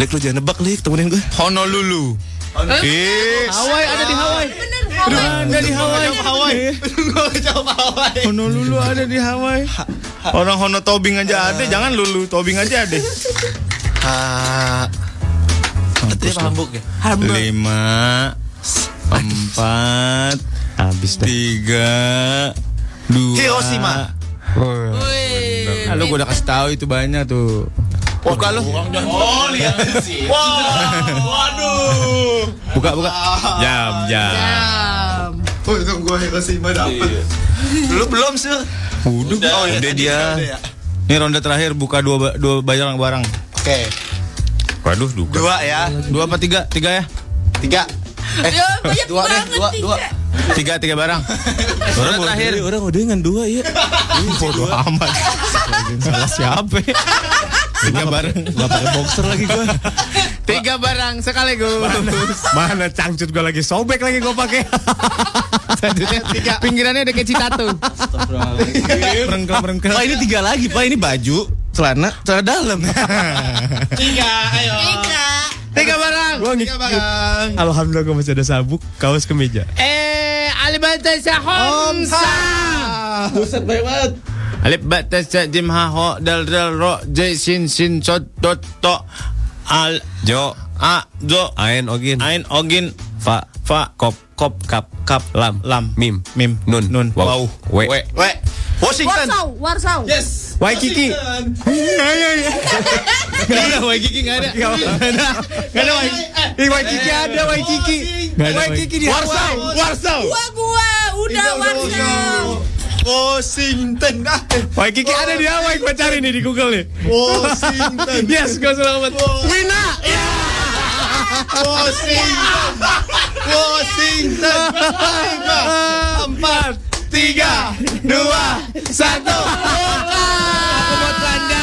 Lek lu jangan nebak, Lek, temenin gue. Honolulu. Ih,
Hawaii ada di Hawaii.
Bener, Hawaii.
Ada di Hawaii.
Gue coba Hawaii.
Honolulu ada di Hawaii.
orang Hono Tobing aja ada, jangan lulu Tobing aja ada.
Dia mabuk ya.
Lima, empat, habis tiga, dua.
Hiroshima.
Lalu gue udah kasih tahu itu banyak tuh.
Buka lu. Oh, lihat sih. Wah, waduh.
Buka buka.
Jam, jam.
Jam.
Untung gue Hiroshima dapet. Lu belum sih?
Udah, udah,
Oh, iya, tadi
dia.
udah ya.
Ini ronde terakhir buka dua ba- dua barang-barang.
Oke.
Waduh, duga.
Dua ya.
Dua apa tiga? Tiga ya.
Tiga. Eh,
Ya, banyak
dua deh,
banget
dua,
tiga.
dua.
Tiga, tiga barang.
Orang terakhir orang udah dengan dua
iya.
ya.
Bodoh amat. Salah siapa? ya? Tiga barang. Gak pakai boxer lagi gua.
Tiga barang sekaligus.
Mana cangcut gue lagi sobek lagi gue pakai.
Selanjutnya tiga. Pinggirannya ada keci tato.
Merengkel-merengkel. Pak ini tiga lagi, Pak. Ini baju, celana, celana dalam.
Tiga,
Iya.
ayo. Tiga. Tiga barang.
Gua
Tiga barang.
Alhamdulillah gue masih ada sabuk, kaos kemeja.
Eh, alif batasya homsa. Buset baik banget. Alif batasya jim ha ho dal dal ro j sin sin sot dot to al
Jo,
a do
Ain Ogin,
ain ogin
Fa,
fa
Kop, Kop, Kap, Kap, Lam,
Lam.
Mim,
Mim.
Nun,
Nun.
Wow, We,
We.
We. Washington.
Warsau, Warsau.
Yes.
Waikiki.
Gak ada Waikiki gak ada.
Gak ada Waikiki. Ih, Waikiki ada Waikiki.
Gak ada
Eh, Waikiki di
Warsaw, Warsaw.
Gua gua udah Warsau.
Washington. Ah,
Waikiki ada di Hawaii, gue cari nih di Google nih.
Washington.
Yes, gue selamat.
Wina. Ya. Washington. Washington. Lima, empat, tiga, dua, satu. Potlanda.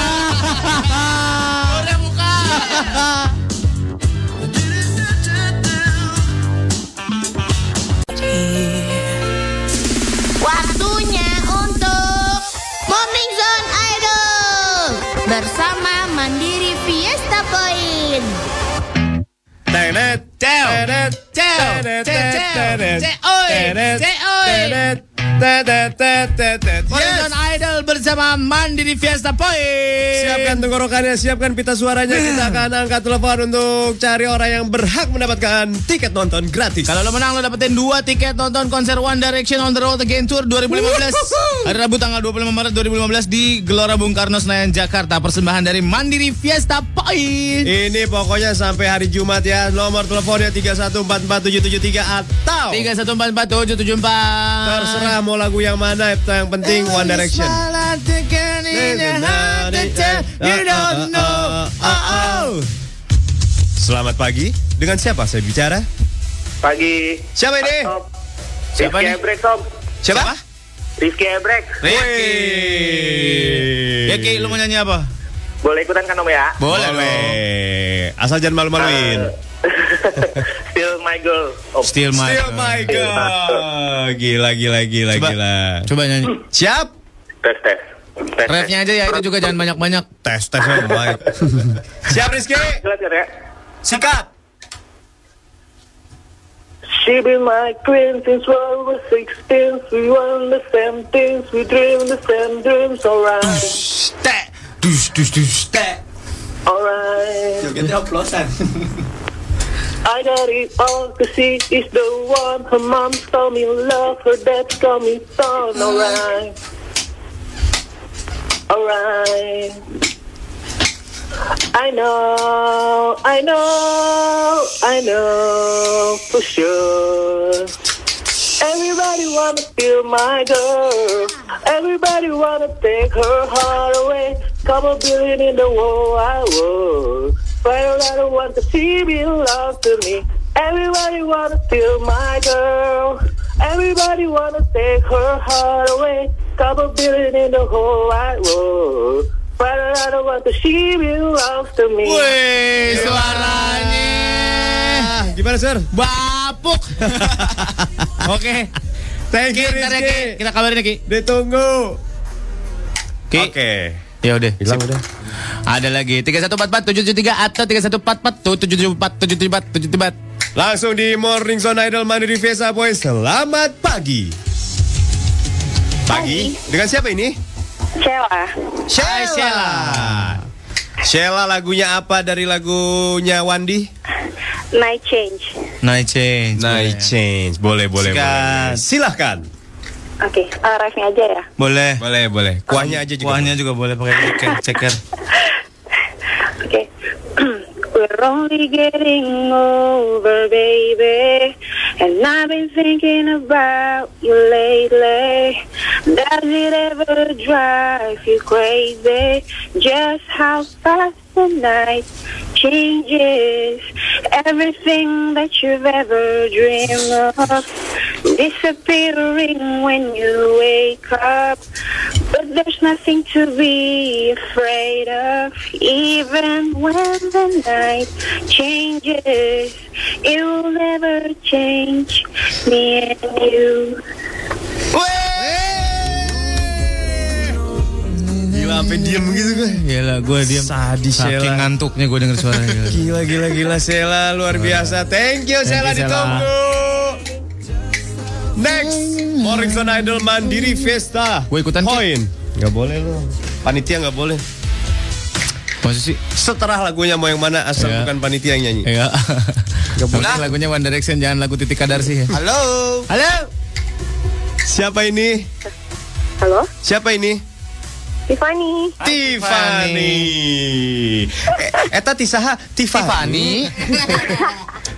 Waktunya untuk Morning Zone Idol bersama Mandiri Fiesta Point.
Tenet, Tenet, Tenet, Tenet, Tenet,
Eh,
Tenet, Tenet, Tenet, Tenet.
Horizon Idol bersama Mandiri Fiesta Point.
Siapkan tenggorokannya, siapkan pita suaranya. Kita akan angkat telepon untuk cari orang yang berhak mendapatkan tiket nonton gratis.
Kalau lo menang lo dapetin dua tiket nonton konser One Direction on the Road Again Tour 2015. Hari Rabu tanggal 25 Maret 2015 di Gelora Bung Karno Senayan Jakarta. Persembahan dari Mandiri Fiesta Point.
Ini pokoknya sampai hari Jumat ya. Nomor teleponnya 3144773 atau
3144774.
terserah mau lagu yang mana. Itu yang penting One Direction. Ah, Selamat pagi. Dengan siapa saya bicara?
Pagi.
Siapa ini?
Om. Rizky Ebrek, Om.
Siapa?
Rizky Ebrek.
Wih.
Ya Ki, lo mau nyanyi apa?
Boleh ikutan kan, Om ya?
Boleh. Boleh. Asal jangan malu-maluin.
Still my girl, Oh. Om.
Still my
Still my God. Gila, gila, gila,
Coba.
gila.
Coba nyanyi.
Siap?
Tes, tes. Tes, tes.
Refnya aja ya, itu juga jangan banyak-banyak.
Tes, tes, om, baik. Siap, Rizky?
Jelas kan ya?
Sikat.
She been my queen since we were 16 We want the same things We dream the same dreams Alright,
Tek. Dus, dus, dus, tek.
alright
Jogetnya oplosan.
I got it all Cause she is the one Her mom told me love Her dad told me son Alright Alright I know, I know, I know for sure. Everybody wanna feel my girl. Everybody wanna take her heart away. Couple billion in the world I was. But everybody want to see me love to me. Everybody wanna feel my girl. Everybody wanna take her heart away. Couple billion in the whole wide world. But I don't want to see you love to me.
Wih, suaranya.
Gimana, Sir?
Bapuk. Oke.
Thank you,
Ki, ntar ya, Ki.
Rizky.
Kita kabarin ya, Ki.
Ditunggu.
Ki.
Oke.
Ya udah, hilang udah. Ada lagi 3144773 atau 3144774774774.
Langsung di Morning Zone Idol Mandiri Vesa Boy. Selamat pagi. Pagi. Dengan siapa ini?
Cewa.
Sheila. Sheila. lagunya apa dari lagunya Wandi?
Night change.
Night change.
Night Change. Boleh, boleh, boleh. Silahkan.
Oke, eh, refnya aja ya.
Boleh.
Boleh, boleh. Kuahnya aja juga.
Kuahnya juga boleh pakai ceker, ceker.
Okay. We're only getting over, baby. And I've been thinking about you lately. Does it ever drive you crazy? Just how fast the night changes. Everything that you've ever dreamed of
disappearing when you wake up. But there's nothing to be afraid of, even when the night changes. It will never change me and you.
Gila, apa diem gitu gue?
Gila, gue diam.
Sadis
Saking
Sheila.
ngantuknya gue denger suaranya.
Gila, gila, gila, Sela luar biasa. Thank you,
Thank
Sela
you, Sheila.
ditunggu. Next, Morning Zone Idol Mandiri Fiesta. Gue ikutan Poin. Gak boleh lo. Panitia gak boleh. Posisi seterah lagunya mau yang mana asal
Iya.
bukan panitia yang nyanyi.
Iya. Nah. lagunya One Direction jangan lagu Titik Kadar sih. ya.
Halo. Halo. Siapa ini?
Halo.
Siapa ini?
Tiffany.
Tiffany. Eh, Eta Tisaha Tiffany.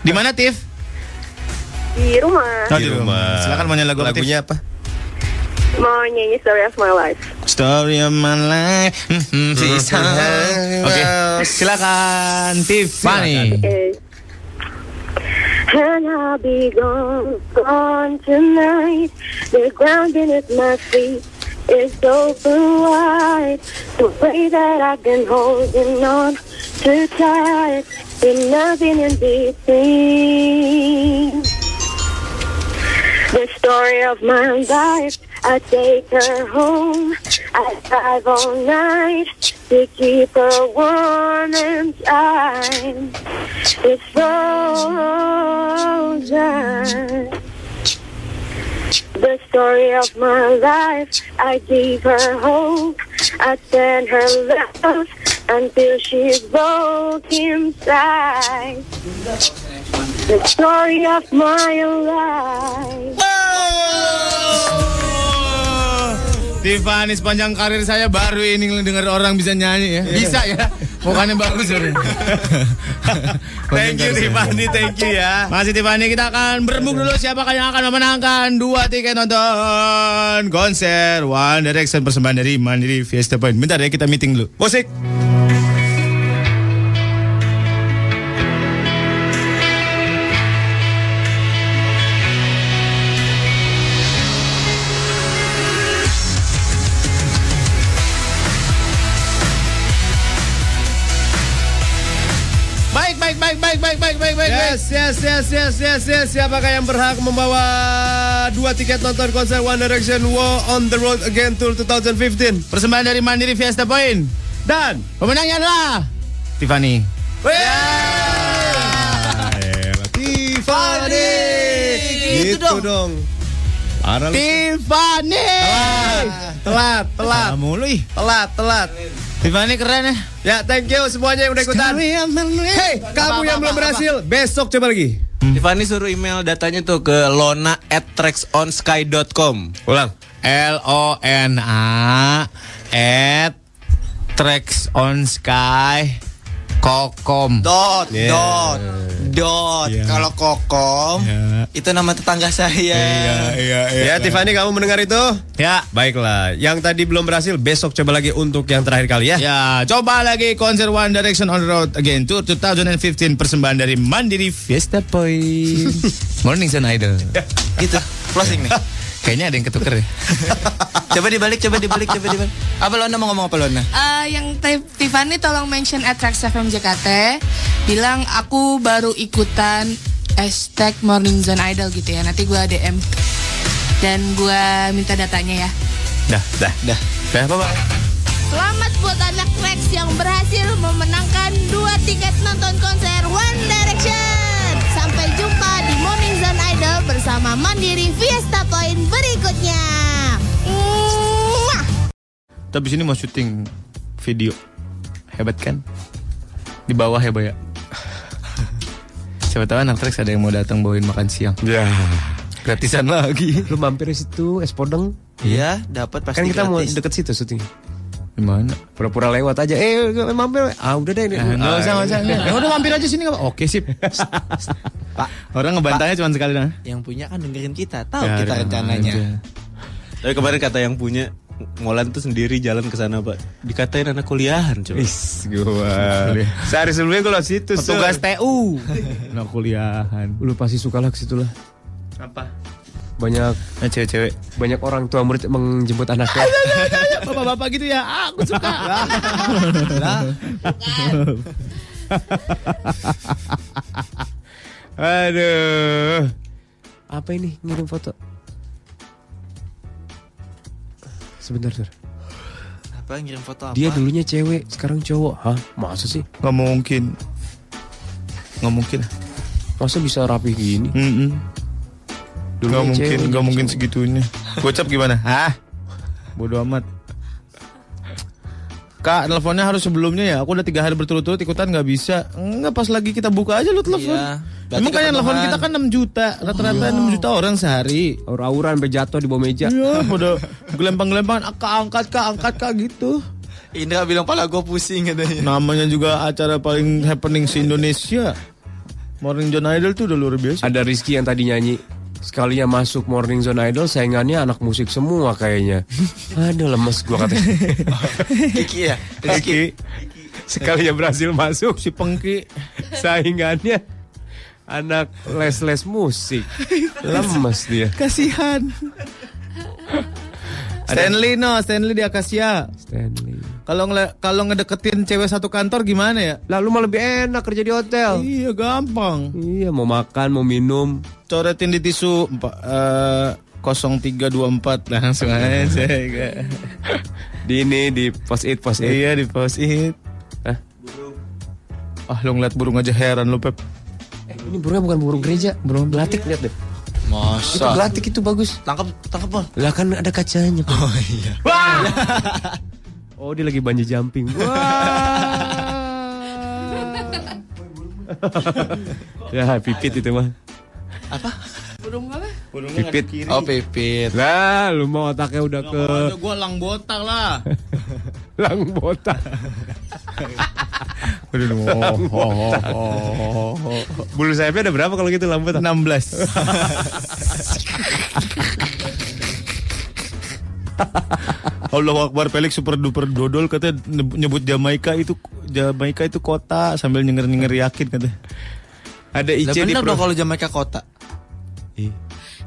Di mana Tiff?
Di rumah.
Di rumah.
Silakan mau nyanyi lagu apa, Tiff?
Lagunya apa?
Mau nyanyi Story of My Life.
Story of my life.
Mm-hmm,
Mhm, she's high. Oke, silakan Tiffany.
Okay. And I'll be gone, gone tonight. The ground beneath my feet is open wide. The way that I've been holding on too tight, there's nothing in between. The story of my life. I take her home. I drive all night to keep her warm inside. It's frozen. The story of my life. I give her hope. I send her love until she's broke inside. The story of my life.
Tiffany sepanjang karir saya baru ini dengar orang bisa nyanyi ya. Bisa ya. Mukanya bagus sorry.
Thank you Tiffany, thank you ya.
Masih Tiffany kita akan berembuk dulu siapa yang akan memenangkan dua tiket nonton konser One Direction persembahan dari Mandiri Fiesta Point. Bentar ya kita meeting dulu.
Musik.
Baik, baik, baik, baik, baik, baik, baik, baik.
Yes, yes, yes, yes, yes, yes. Siapakah yang berhak membawa dua tiket nonton konser One Direction War on the Road Again Tour 2015?
Persembahan dari Mandiri Fiesta Point.
Dan
pemenangnya adalah Tiffany.
Tiffany. Gitu, dong. Parah lu.
Tiffany.
Telat, telat. Telat, telat.
Tiffany keren ya.
Ya, thank you semuanya yang udah ikutan. Hey, kamu yang belum berhasil, besok coba lagi.
Tiffany suruh email datanya tuh ke lona at tracksonsky.com.
Ulang.
L O N A at Tracks on Sky Kokom.
Dot,
Yeah.
dot, dot. Kalau kokom, itu nama tetangga saya.
Iya. Ah,
ya, Tiffany kamu mendengar itu?
Ya.
Baiklah, yang tadi belum berhasil, besok coba lagi untuk yang terakhir kali ya.
Ya, coba lagi konser One Direction on the Road again Tour 2015 persembahan dari Mandiri Fiesta Point. Morning Sun Idol.
Gitu, closing nih.
Kayaknya ada yang ketuker ya.
Coba dibalik, coba dibalik, coba dibalik. Apa Lona mau ngomong apa Lona?
Eh, yang Ti- Tiffany tolong mention at Trax FM JKT bilang aku baru ikutan hashtag Morning Zone Idol gitu ya nanti gua DM dan gua minta datanya ya
Dah, dah, dah. Dah apa, Pak?
Selamat buat anak Rex yang berhasil memenangkan dua tiket nonton konser One Direction. Sampai jumpa di Morning Zone Idol bersama Mandiri Fiesta Point berikutnya. Mwah!
Tapi sini mau syuting video. Hebat kan? Di bawah ya, Baya. Siapa tahu anak Trax ada yang mau datang bawain makan siang. Ya. Gratisan lagi.
Lu mampir di situ es podeng.
Iya, dapat pasti
Kan kita mau
gratis.
deket situ syuting.
Gimana?
Pura-pura lewat aja. Eh, mampir. Ah, udah deh.
Eh, Nggak usah, nggak usah. Ya udah mampir aja sini nggak apa. Oke sip.
Pak,
Orang ngebantahnya cuma sekali nah.
yang punya kan dengerin kita, tahu
Ya,
kita
udah,
rencananya.
udah.
Tapi kemarin kata yang punya Molan tuh sendiri jalan ke sana pak Dikatain anak kuliahan coba
Gua. Sehari sebelumnya gue lewat situ.
Petugas TU. Nah kuliahan.
Lu pasti suka lah ke situ lah.
Apa?
banyak
Eh,
cewek-cewek banyak orang tua murid menjemput anaknya
Bapak-bapak gitu ya. Ah, aku suka.
Aduh. Apa ini ngirim foto? Sebentar, Sur.
Apa ngirim foto apa?
Dia dulunya cewek, sekarang cowok. Hah? Masa sih?
Nggak mungkin. Nggak mungkin.
Masa bisa rapi gini?
Mm
Dulunya
Nggak mungkin,
cewek,
nggak mungkin segitunya. Gocap gimana? Hah? Bodoh amat. Kak, teleponnya harus sebelumnya ya. Aku udah tiga hari berturut-turut ikutan nggak bisa. Enggak pas lagi kita buka aja lu telepon.
Iya, berarti
Emang kalian telepon
kepenuhan.
kita kan 6 juta, rata-rata 6 juta orang sehari.
Aura-auran sampai jatuh di bawah meja.
Iya, bodoh. Gelempang-gelempangan, "Ah, kak angkat, kak angkat, kak gitu.
Indra bilang pala gue pusing katanya.
Iya. Namanya juga acara paling happening se Indonesia. Morning John Idol tuh udah luar biasa.
Ada Rizky yang tadi nyanyi Sekalinya masuk Morning Zone Idol Saingannya anak musik semua kayaknya Aduh lemes gua katanya
Kiki ya.
Rizky Sekalinya berhasil masuk
Si Pengki
Saingannya Anak les-les musik Lemes dia
Kasihan. Stanley no, Stanley di Akasia.
Stanley.
Kalau ngele- kalau ngedeketin cewek satu kantor gimana ya?
Lalu mah lebih enak kerja di hotel.
Iya, gampang.
Iya, mau makan, mau minum.
Coretin di tisu empa- eh, 0324 langsung aja.
Di ini di post it post it.
iya, di post it.
Hah?
Ah, lu ngeliat burung aja heran lu, Pep.
Ini burungnya bukan burung gereja, burung belatik Iya. lihat deh. Itu
Masa.
belatik itu bagus.
Tangkap, tangkap Bang.
Lah kan ada kacanya. Oh iya. oh dia lagi banji jumping. ya pipit itu mah.
Burung apa?
Pipit.
Oh pipit.
Lah lu mau otaknya udah ke
Gua lang botak lah.
lang botak.
Aduh,
Lang
oh, oh,
botak.
oh, oh.
Bulu sayapnya ada berapa kalau gitu lang botak?
16. Allah Akbar Felix super duper dodol katanya ne- nyebut Jamaika itu Jamaika itu kota sambil nyenger nyenger yakin katanya.
Ada
Lah
IC di
bener
pro.
dong kalau Jamaika kota.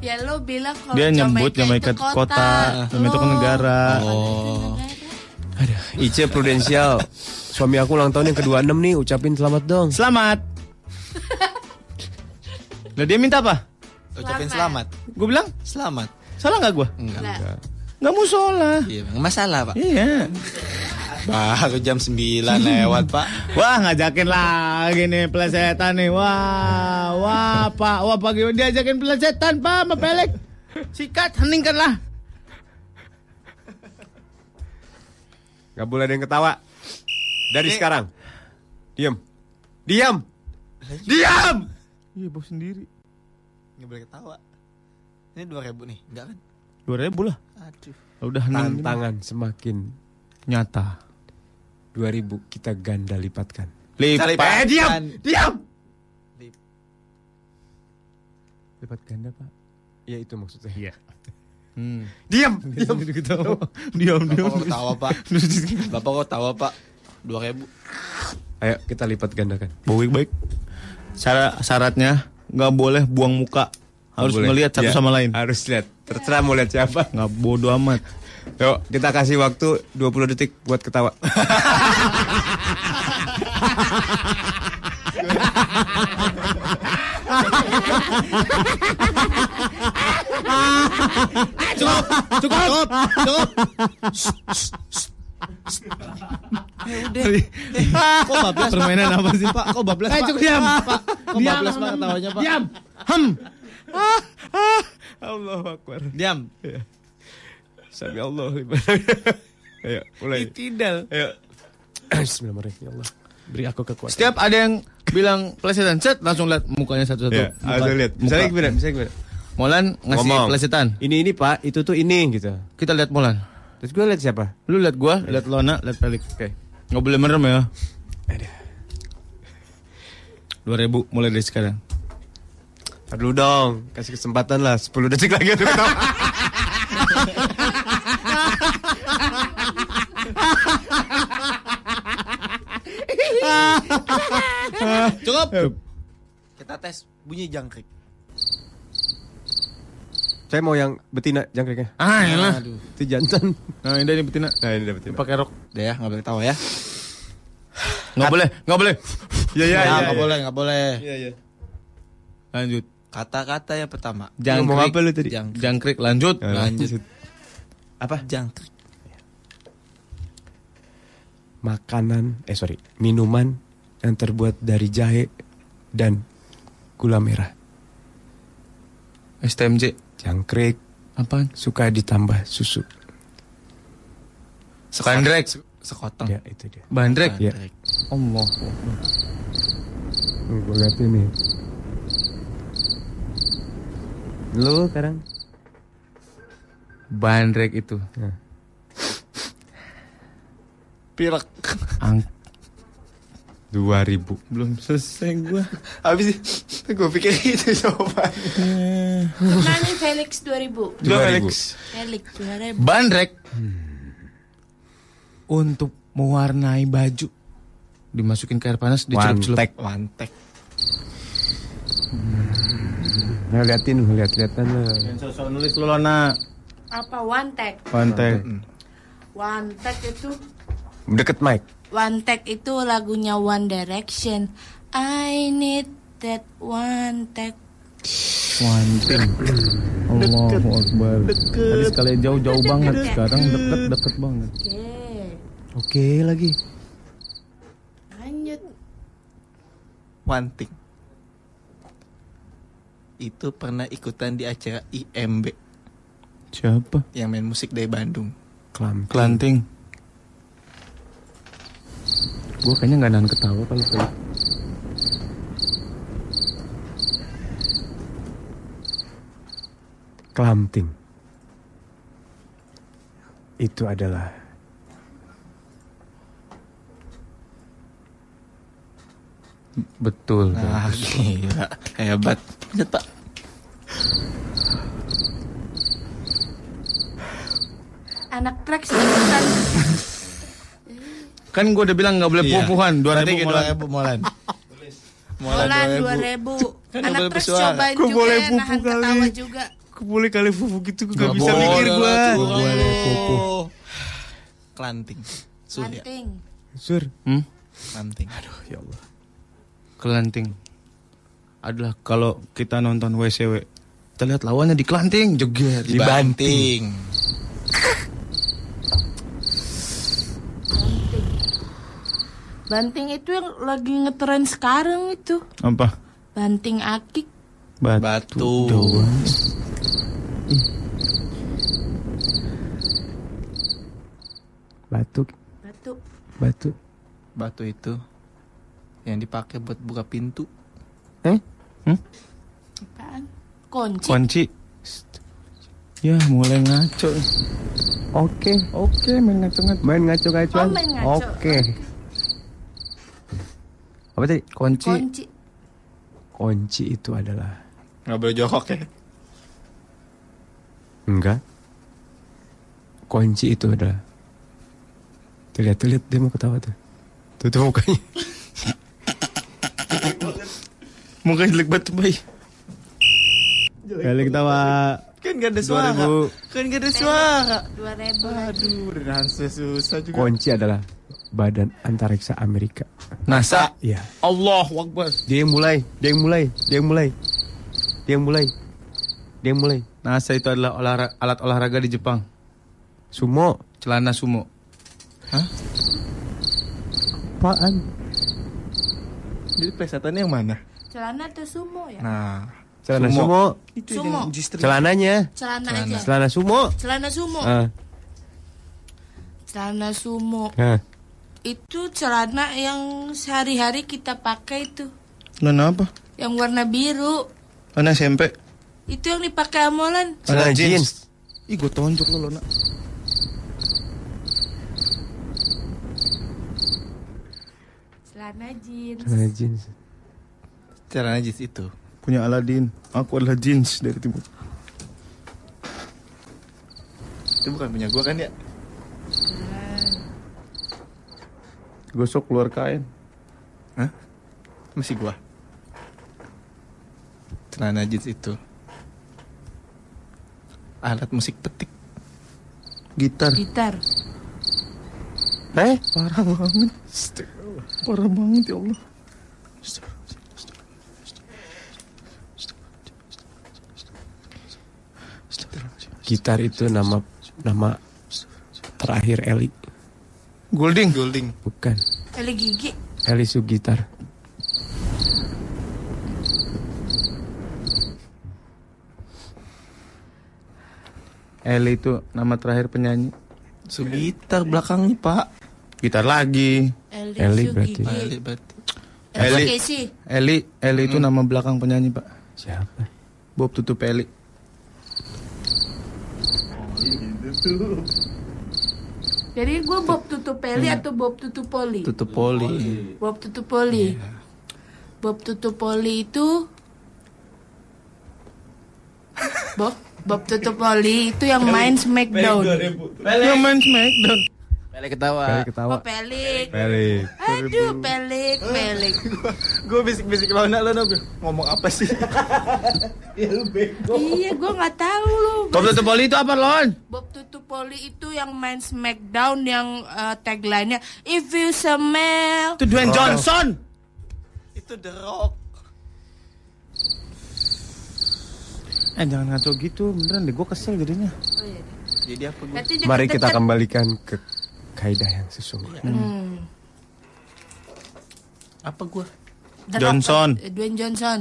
Ya lo bilang kalau
Dia nyebut
Jamaica
Jamaika itu kota, Jamaika itu kan negara.
Oh.
IC Prudensial. Suami aku ulang tahun yang ke-26 nih, ucapin selamat dong.
Selamat. Lah dia minta apa?
Ucapin selamat.
Gue bilang
Selamat.
salah nggak gue?
Enggak.
Nggak mau sholat.
Iya, Bang. masalah, Pak.
Iya.
Baru jam 9 lewat, Pak.
Wah ngajakin lagi nih pelesetan nih. Wah, wah pak, wah pak gimana diajakin pelesetan pak sama pelek. Sikat, heningkanlah.
Gak boleh ada yang ketawa. Dari sekarang. Diam. Diam. Diam.
Iya bos sendiri.
Nggak boleh ketawa. Ini 2000 nih, enggak kan?
Dua ribu lah.
Aduh.
Udah
Hmm.
hening.
Tantangan semakin
Nyata.
2000 kita ganda lipatkan.
Cari
Lipat.
Pak.
diam.
Kan.
Diam.
Lip-
Lipat ganda, Pak. Ya itu maksudnya. Iya.
Hmm.
Diam. Diam.
Diam,
Bapak
diam.
kok ketawa, Pak. Bapak kok ketawa, Pak. 2000.
Ayo kita lipat gandakan.
Baik-baik. Syarat syaratnya nggak boleh Eh, buang muka. Harus
Boleh.
Iya.
melihat
Ya,
satu sama lain.
Harus lihat. Terserah mau lihat siapa.
Nggak bodoh amat.
Yuk, kita kasih waktu 20 detik buat ketawa.
Cukup, cukup, cukup, cukup.
Kok bablas
Permainan apa sih pak?
Kok bablas,
Eh,
Pak?
cukup diam.
Pak, kok
Diam,
bablas, Pak,
Ham.
tawanya, Pak?
Diam. Hem. Ah,
Allah Akbar.
Diam.
Iya.
Sami Allah. Ayo, mulai.
Tidal.
Ayo. Bismillahirrahmanirrahim. Ya Allah. Beri aku kekuatan.
Setiap ada yang bilang plesetan set langsung lihat mukanya satu-satu.
Ya,
Muka-
harus lihat.
muka.
Misalnya gimana? Misalnya gimana?
Molan ngasih
Ngomong.
plesetan.
Ini ini Pak, itu tuh ini gitu.
Kita lihat Molan.
Terus gue lihat siapa?
Lu lihat gua, lihat Lona, lihat Felix.
Oke.
Nggak boleh merem ya.
Ada.
2000 mulai dari sekarang.
Ntar dulu dong, kasih kesempatan lah 10 detik lagi untuk ketawa.
Kita tes bunyi jangkrik.
Saya mau yang betina jangkriknya.
Ah, elah.
Itu jantan.
Nah, ini dari betina.
Nah, ini dari betina.
Pakai rok.
Ya, nggak boleh tawa ya.
Nggak boleh, nggak boleh.
Ya ya,
Nah,
nggak boleh, nggak boleh.
Iya, iya.
iya.
Lanjut.
Kata-kata yang pertama.
Jangkrik.
Ngomong apa lu?
tadi? Jangkrik. Lanjut.
Lanjut. Apa? Jangkrik.
Makanan, eh sorry, minuman yang terbuat dari jahe dan gula merah.
STMJ.
Jangkrik.
Apaan?
Suka ditambah susu.
Bandrek.
Sekoteng.
Ya, itu dia.
Bandrek.
Ya.
Allah.
Nih, Oh, gua ganti nih. Lu sekarang
Bandrek itu.
Pirek.
Ang
2000.
Belum selesai gua. Habis gua pikir itu coba. Oh.
Nani Felix 2000.
Dua Felix.
Felix 2000.
Bandrek. Untuk mewarnai baju. Dimasukin ke air panas, dicelup-celup.
Wantek.
Nah, liatin lu, lihat-lihatan lu.
Sosok nulis lolona.
Apa one tag?
Pantai.
One tag itu
Deket mic.
One Tag itu lagunya One Direction. I need that one tag.
Wanting. Allahu Akbar. Tadi sekali jauh-jauh banget, sekarang deket-deket banget.
Oke.
Oke lagi.
Lanjut.
Wanting. Itu pernah ikutan di acara IMB
Siapa?
yang main musik dari Bandung.
Kelam.
Kelanting. Gue kayaknya nggak nahan ketawa kalau kalau.
Kelamting. Itu adalah
Betul.
Nah,
Ah, gila. Hebat. Lanjut, Pak.
Anak ya, track sebutan.
Kan gue udah bilang nggak boleh
Iya.
pupuhan. Dua
Nanti
ribu
kita-
doang.
Molan.
Molan
2000.
2000.
Kan nggak
Anak
boleh
track
bersuara.
cobain
Gua
juga
boleh
ya,
pupu
nahan ketawa juga.
boleh kali fufu gitu gue
Nggak boleh, nggak
Gak
boleh
fufu. Kelanting. Surya.
Lanting.
Sur.
Hmm?
Kelanting. Aduh ya Allah.
Kelanting. Adalah kalau kita nonton WCW, kita lihat lawannya di kelanting, joget,
Dibanting.
Banting itu yang lagi ngetren sekarang itu.
Apa?
Banting akik.
Batu.
Batu.
doang.
Batuk,
Batu.
batuk.
Batu itu yang dipakai buat buka pintu.
Apaan? Kunci.
Kunci. Ya mulai ngaco.
Oke, oke main ngaco-ngaco. Main ngaco-ngacoan.
Oh, main ngaco.
Oke. Apa tadi? Kunci.
Kunci.
Kunci itu adalah
Gak boleh jokok ya.
Enggak. Kunci itu adalah Tuh lihat, tuh lihat dia mau ketawa tuh. Tuh tuh mukanya.
Mukanya jelek banget tuh, Bay.
Balik tawa.
Kan gak ada suara.
2000.
Kan gak ada suara.
2000.
Aduh, udah nahan susah juga.
Kunci adalah Badan Antariksa Amerika.
NASA.
Iya.
Allah Akbar.
Dia yang mulai, dia yang mulai, dia yang mulai. Dia yang mulai. Dia yang mulai.
NASA itu adalah olahra- alat olahraga di Jepang.
Sumo,
Celana sumo.
apaan?
Jadi plesetannya yang mana?
Celana atau sumo ya?
Nah,
Celana sumo.
itu
Sumo.
yang justru
Celananya.
Celana, Eh. aja.
Celana sumo.
Celana sumo.
Ah,
Celana sumo.
ah.
Itu celana yang sehari-hari kita pakai itu.
Celana apa?
Yang warna biru.
Celana SMP.
Itu yang dipakai Amolan.
Celana jeans.
Ih, gue tonjok lo, Lona.
Celana jeans.
Celana jeans.
celana jeans itu.
Punya Aladin. Aku adalah jeans dari timur.
Itu bukan punya gua kan ya?
Gosok keluar kain.
Masih gua. Celana jeans itu.
Alat musik petik.
Gitar.
Gitar.
Eh?
Parah banget. Parah banget ya Allah.
Gitar itu nama nama terakhir Eli.
Golding. Golding.
Bukan.
Eli gigi.
Eli Sugitar.
Eli itu nama terakhir penyanyi.
Sugitar belakangnya Pak.
Gitar lagi.
Eli Eli berarti. Sugigi.
Eli berarti.
Eli.
Eli. Eli, Eli itu nama belakang penyanyi pak.
Siapa?
Bob tutup Eli.
Jadi gue Bob tutup peli
Iya.
atau Bob tutup poli?
Tutup poli.
Bob tutup poli. Bob tutup poli itu Bob Bob tutup poli itu yang main Smackdown.
Yang main Smackdown.
Pele ketawa.
Pele ketawa.
Oh, Pelik.
Eli.
Aduh, Pelik, Pelik.
Gue bisik-bisik lawan lo Nob. Ngomong apa sih?
Iya, lu bego. Iya, gue nggak tahu lu.
Bob tutup poli itu apa lon?
Bob tutup poli itu yang main Smackdown yang eh, tagline-nya If you smell.
Itu Dwayne Johnson.
Itu The Rock.
Eh jangan ngaco gitu beneran deh gue kesel jadinya.
Jadi apa gue?
Berarti
Mari
deket-deket.
kita kembalikan ke kaidah yang sesungguhnya.
Hmm.
Apa gue?
The Rock,
Johnson.
eh, Dwayne Johnson.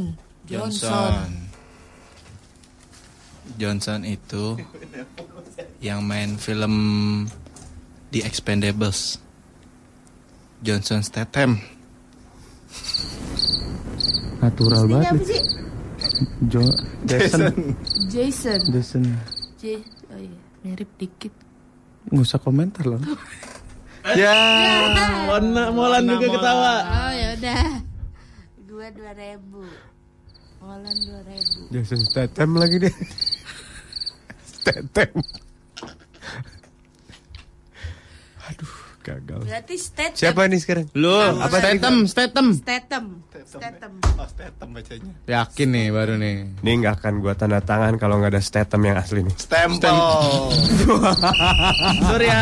Johnson itu yang main film The Expendables. Johnson Statham.
Natural
Ini apa
banget.
sih?
Jo Jason.
Jason.
Jason.
J oh iya, mirip dikit.
Nggak usah komentar lon.
Ya, Mona, Molan
Mona,
juga
Molan.
ketawa.
Oh ya udah. Dua dua ribu. Molan dua ribu.
Jason Statham lagi deh. Statham. Aduh, gagal.
Berarti Statham.
Siapa nih sekarang?
Lu
Apa
apa
tadi?
Statham? Statham.
Statham. Statham.
Statham bacanya.
Yakin nih baru nih. Ini nggak akan gua tanda tangan kalau nggak ada Statham yang asli nih.
Stempel. Surya.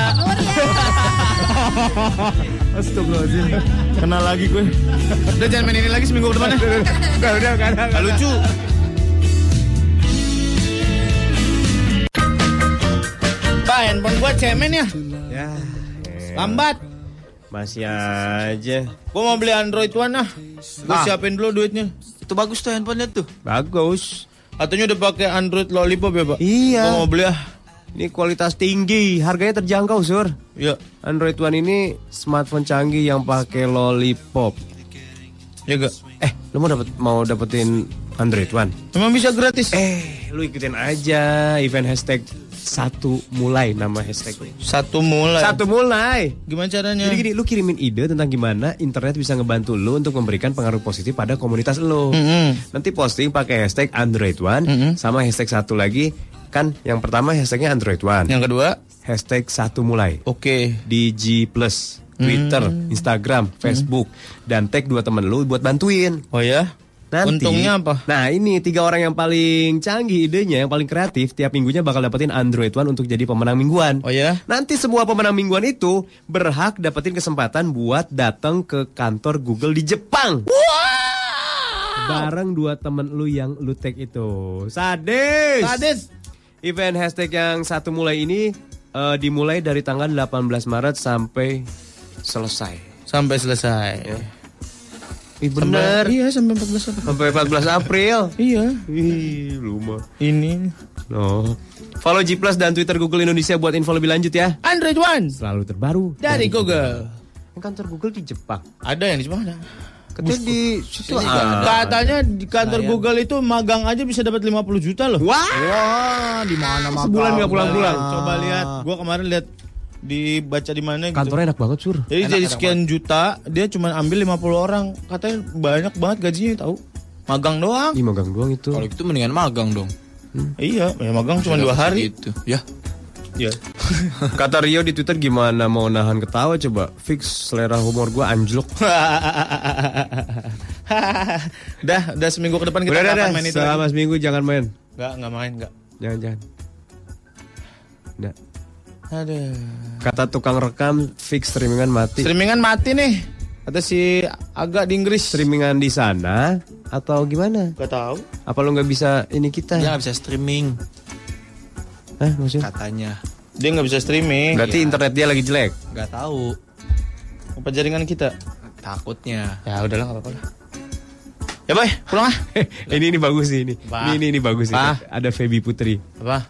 Astagfirullahaladzim Kena lagi gue Udah jangan main ini lagi seminggu depan ya Udah udah Gak lucu Pak handphone gue cemen ya Ya Lambat
Masih aja.
Gue mau beli Android One ah Gue
Ah.
siapin dulu duitnya Itu bagus tuh handphonenya tuh Bagus Katanya udah pakai Android Lollipop ya pak
Iya.
Oh,
Gue mau beli ah
Ini kualitas tinggi, harganya terjangkau, Sur.
Iya.
Android One ini smartphone canggih yang pakai lollipop.
Ya gak?
Eh, lu mau dapat mau dapetin Android One?
Emang bisa gratis?
Eh, lu ikutin aja event hashtag satu mulai nama hashtag
Satu mulai
Satu mulai
Gimana caranya?
Jadi gini, lu kirimin ide tentang gimana internet bisa ngebantu lu untuk memberikan pengaruh positif pada komunitas lu. Nanti posting pakai hashtag Android One sama hashtag satu lagi kan yang pertama hashtagnya Android One.
Yang kedua
hashtag satu mulai.
Oke.
Di G Plus, Twitter, Instagram, Facebook dan tag dua temen lu buat bantuin.
Oh ya?
Nanti,
Untungnya apa?
Nah ini tiga orang yang paling canggih idenya, yang paling kreatif tiap minggunya bakal dapetin Android One untuk jadi pemenang mingguan.
Oh ya?
Nanti semua pemenang mingguan itu berhak dapetin kesempatan buat datang ke kantor Google di Jepang. Bareng dua temen lu yang lu tag itu. Sadis.
Sadis.
Event hashtag yang satu mulai ini eh, dimulai dari tanggal 18 Maret sampai selesai.
Sampai selesai
Ih, bener.
Sampai- Iya sampai 14 apa?
Sampai 14 April.
Iya
Ih, lu mah.
Ini
No. Follow G Plus dan Twitter Google Indonesia buat info lebih lanjut ya.
Android One
Selalu terbaru.
dari Google.
Yang kantor Google di Jepang.
Ada yang di mana?
Katanya di situ ada.
Katanya di kantor Google itu magang aja bisa dapat 50 juta loh.
Wah.
di mana
Sebulan nggak pulang-pulang.
Coba lihat. Gua kemarin lihat dibaca di mana gitu.
Kantornya enak banget, Sur.
Jadi dari sekian juta dia cuma ambil 50 orang. Katanya banyak banget gajinya tahu. Magang doang.
Di magang doang itu.
Kalau gitu mendingan magang dong.
Iya, ya magang cuma dua hari.
Gitu. Ya.
Iya.
Kata Rio di Twitter gimana mau nahan ketawa coba. Fix selera humor gua anjlok.
Dah, udah seminggu ke depan kita
udah, udah,
nggak akan
udah.
main itu.
Selama
lagi.
seminggu jangan main.
Nggak, nggak main, nggak.
Jangan, jangan. Nggak.
Ada.
Kata tukang rekam fix streamingan mati.
Streamingan mati nih.
Atau si agak di Inggris streamingan di sana atau gimana?
Gak tahu.
Apa lo nggak bisa ini kita?
Dia nggak bisa streaming.
Hah, maksudnya?
Katanya.
Dia nggak bisa streaming.
Berarti
Iya.
internet dia lagi jelek.
Gak tahu.
Apa jaringan kita?
Takutnya.
Ya udahlah nggak apa-apa. lah.
Ya boy, pulang ah.
ini ini bagus sih ini.
Apa?
Ini ini, ini bagus sih.
Apa?
Ada Feby Putri.
Apa?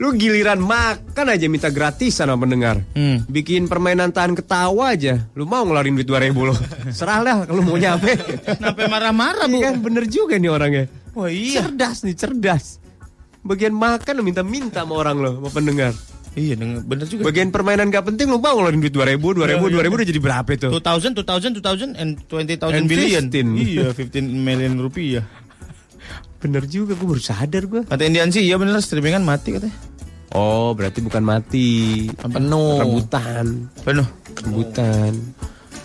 Lu giliran makan aja minta gratisan sama pendengar.
Hmm.
Bikin permainan tahan ketawa aja. Lu mau ngelarin duit 2000 lo. Serahlah kalau mau nyampe.
Kenapa marah-marah, Bu?
Iya kan bener juga nih orangnya.
Wah, iya.
Cerdas nih, cerdas. Bagian makan lu minta-minta sama orang lo, sama pendengar.
Iya, bener juga.
Bagian permainan gak penting lu mau ngeluarin duit 2000, 2000, 2000 udah jadi berapa itu?
2000, 2000, 2000 and 20,000
And
billion.
15.
Iya, 15 million rupiah.
Bener juga, gue baru sadar gue.
Kata Indian sih, iya bener streamingan mati katanya.
Oh, berarti bukan mati.
Penuh.
Rebutan.
Penuh.
Rebutan.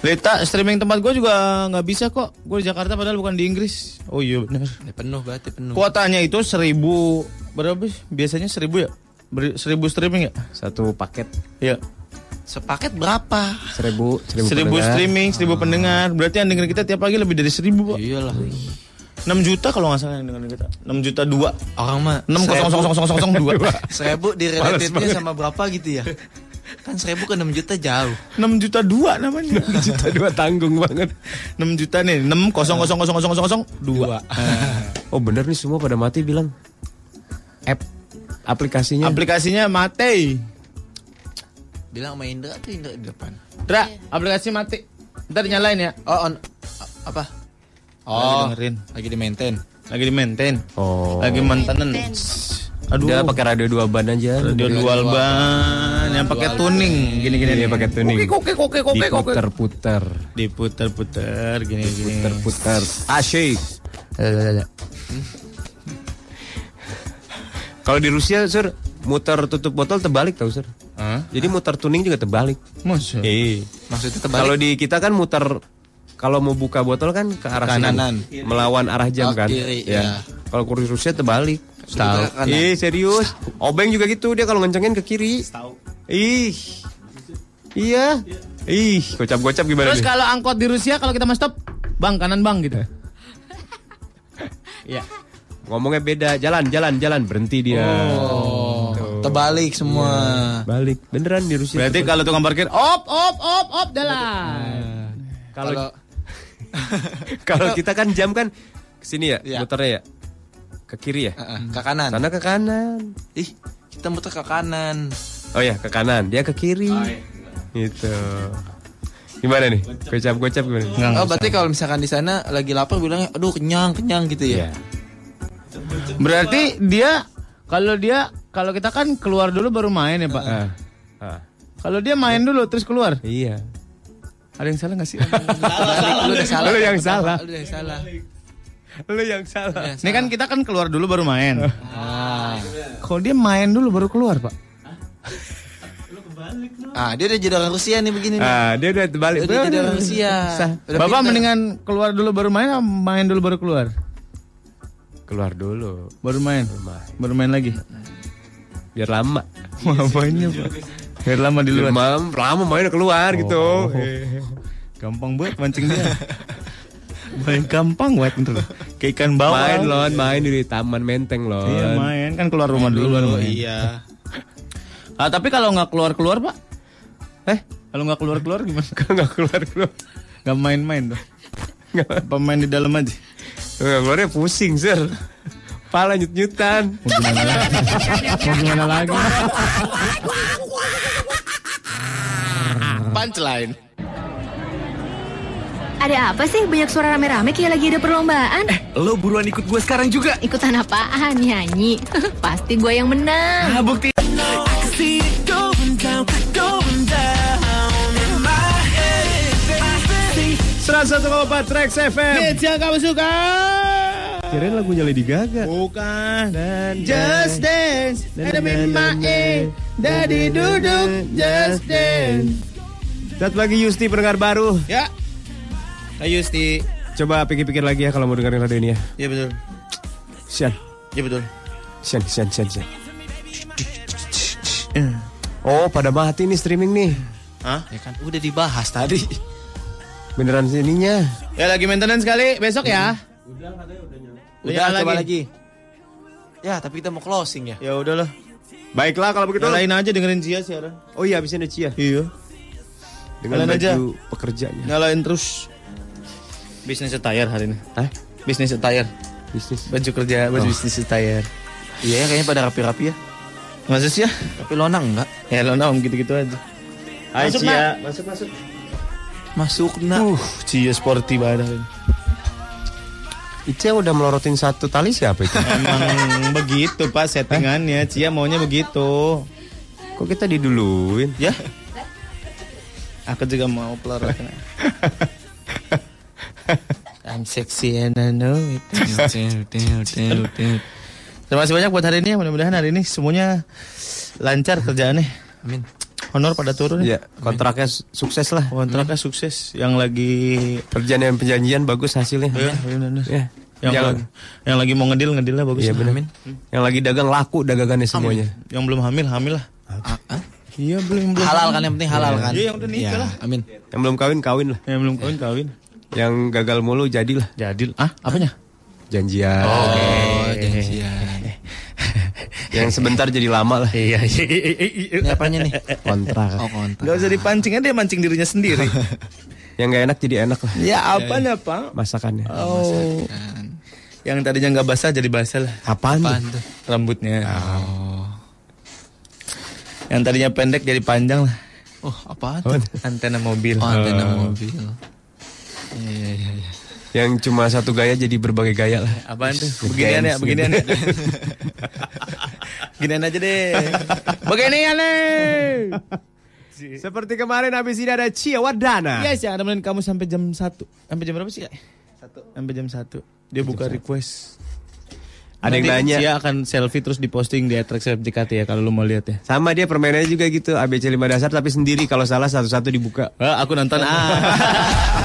Leta streaming tempat gue juga nggak bisa kok. Gue di Jakarta padahal bukan di Inggris. Oh iya bener.
Ya, penuh berarti penuh.
Kuotanya itu seribu berapa sih? Biasanya seribu ya? Beri- seribu streaming ya?
Satu paket.
Iya.
Sepaket berapa?
Seribu, seribu,
Seribu
pendengar.
streaming, seribu pendengar. Berarti yang dengerin kita tiap pagi lebih dari seribu, Pak.
Iyalah.
6 juta kalau nggak salah yang dengerin kita. 6 juta dua.
Orang mah
Enam kosong kosong kosong kosong dua. Males
Seribu direlatifnya
banget.
sama berapa gitu ya? Kan seribu ke enam juta jauh.
6 juta dua namanya.
6 juta dua tanggung banget.
6 juta nih, 6 kosong kosong kosong kosong kosong dua.
Oh bener nih semua pada mati bilang. App aplikasinya.
Aplikasinya mati.
Bilang sama Indra tuh Indra di depan.
Dra, aplikasi mati. Ntar nyalain ya.
Oh, on- a- apa?
Oh,
Oh,
dengerin.
lagi di maintain.
Lagi di maintain.
oh.
Lagi mantenan. Aduh.
Udah pakai radio dua ban aja.
radio dual ban yang pakai tuning gini-gini
Iya, pakai tuning.
Oke oke oke oke.
Diputer-puter,
Diputer-puter gini-gini.
puter-puter. Asyik. Kalau di Rusia, Sur, muter tutup botol terbalik tau, Sur.
Hah?
Jadi muter tuning juga terbalik.
Masa?
Eh.
Maksudnya terbalik.
Kalau di kita kan muter kalau mau buka botol kan ke arah sini.
Kanan.
melawan arah jam
Oh,
kan.
kiri, ya.
Kalau kursi Rusia terbalik.
Tahu. Ke kanan.
Ih, serius. Obeng juga gitu dia kalau ngencengin ke kiri. Ih. Iya. Ih, gocap-gocap gimana
Terus
nih?
kalau angkot di Rusia kalau kita mau stop, bang kanan bang gitu.
Ngomongnya beda, jalan, jalan, jalan, berhenti dia. Gitu. Iya,
Oh, terbalik semua.
Balik. Beneran di Rusia.
Berarti kalau tukang parkir, oh,
Op op op op dalam.
kalau kalau kita kan jam kan ke sini ya,
Iya.
muternya ya. Ke kiri ya?
Heeh, ke kanan.
Sana ke kanan.
Ih, kita muter ke kanan.
Oh ya ke kanan, dia ke kiri. Gitu. Gimana nih? Gocap gocap gimana?
Oh, berarti kalau misalkan di sana lagi lapar bilangnya aduh kenyang, kenyang gitu
Iya.
ya.
Berarti dia kalau dia kalau kita kan keluar dulu baru main ya, Pak.
Ah, ah,
Kalau dia main dulu terus keluar.
iya.
Ada yang salah gak sih?
Lu udah salah.
Lu yang salah.
Lu udah salah.
Lu yang salah.
Ini kan kita kan keluar dulu baru main.
Ah.
Kalau dia main dulu baru keluar, Pak.
ah, dia udah jadi orang Rusia nih begini nih.
Ah, dia udah terbalik.
Udah jadi orang Rusia. Udah
Bapak
pinter.
mendingan keluar dulu baru main apa main dulu baru keluar?
Keluar dulu,
Baru main. Baru main lagi.
biar lama.
Iya
Ngapainnya, Pak? Biar lama di
Biar
luar.
malam, lama mainnya keluar gitu.
Oh.
Gampang banget mancing dia. Main gampang banget bener.
kayak ikan bawal.
Main lon, main di taman menteng lon.
Iya, main kan keluar rumah dulu baru main.
Iya.
Ah, tapi kalau nggak keluar-keluar, Pak?
Eh,
Kalau nggak keluar-keluar gimana?
nggak keluar keluar.
Nggak main-main dong. Apa main di dalam aja?
Nggak keluarnya pusing sir. Pala nyut nyutan.
Mau gimana lagi? Mau gimana lagi?
Punchline.
Ada apa sih banyak suara rame-rame kayak lagi ada perlombaan?
Eh, Lo buruan ikut gue sekarang juga.
Ikutan apaan nyanyi? Pasti gue yang menang.
bukti.
Serasa sama Pak Trax FM.
Pizza kamu suka?
Kirain lagunya Lady Gaga.
Bukan. Just dance. Ada mimae. Dari duduk. Just dance.
Satu lagi Yusti pendengar baru.
Ya. Ayo Yusti.
Coba pikir-pikir lagi ya kalau mau dengerin radio ini ya.
Iya betul.
Sian,
Iya betul.
sian, sian, sian, sian. Oh, pada mati nih streaming nih.
Hah?
Ya kan udah dibahas tadi. Beneran sininya.
Ya lagi maintenance kali besok ya.
Udah,
Udah,
coba
lagi.
lagi. Ya, tapi kita mau closing ya.
Ya udahlah.
Baiklah kalau begitu.
Nyalain aja dengerin Cia siaran.
Oh iya, abisin Cia.
Iya.
Dengan
Kalian
baju
aja.
pekerjanya.
Nyalain terus. Bisnis attire hari ini.
Hah?
Bisnis attire.
Bisnis.
Baju kerja, baju
Oh.
bisnis attire.
Iya, ya, kayaknya pada rapi-rapi ya.
Maksud sih ya?
Tapi lonang enggak?
Ya lo om gitu-gitu aja. Hai
Masuk,
Cia.
Nak.
Masuk masuk.
Masuk nah. Uh,
Cia sporty banget.
Ice udah melorotin satu tali siapa itu?
Emang begitu pak settingannya Cia maunya begitu
Kok kita diduluin?
Ya Aku juga mau pelorotan I'm sexy and I know it Terima kasih banyak buat hari ini Mudah-mudahan hari ini semuanya lancar kerjaannya Amin Honor pada turun
Ya, kontraknya su- sukses lah.
Kontraknya sukses. Yang lagi
kerjaan yang perjanjian bagus hasilnya.
Iya, benar-benar.
Ya.
Yang,
Yang-
lagi, yang lagi mau ngedil ngedilnya bagus.
Iya, benar. Yang lagi dagang laku dagangannya semuanya.
Yang belum hamil hamil lah. Iya belum belum.
Ah, Halal kan, yang penting halal
Iya.
kan.
Iya yang udah nikah
Iya,
lah.
Amin.
Yang belum kawin kawin lah.
Yang belum kawin kawin.
Yang gagal mulu jadilah.
Jadil. Ah, apanya? Oh,
Janjian.
janjian.
Yang sebentar jadi lama lah.
Iya.
Ini apanya nih?
Kontrak.
Oh, kontrak.
Gak usah dipancing aja dia mancing dirinya sendiri.
Yang nggak enak jadi enak lah.
ya apa nih pak?
Masakannya.
Ya,
Oh. Yang tadinya nggak basah jadi basah lah
Apaan? tuh?
rambutnya.
Oh.
Yang tadinya pendek jadi panjang lah.
Oh, apaan
Apaan?
tuh?
Antena mobil.
Oh, antena
Oh.
mobil. Iya, iya, iya, iya.
Yang cuma satu gaya jadi berbagai gaya lah.
Apaan tuh? Beginian ya, beginian ya. Ginian aja deh. Beginian nih.
Seperti kemarin habis ini ada Cia Wardana.
Yes ya, nemenin kamu sampai jam 1. Sampai jam berapa sih, Kak? Satu. Sampai jam 1. Dia buka request.
Ada yang
Nanti
nanya.
Cia akan selfie terus diposting di @rexfjkt ya kalau lu mau lihat ya.
Sama dia permainannya juga gitu ABC 5 dasar tapi sendiri kalau salah satu-satu dibuka.
Ah, aku nonton ah.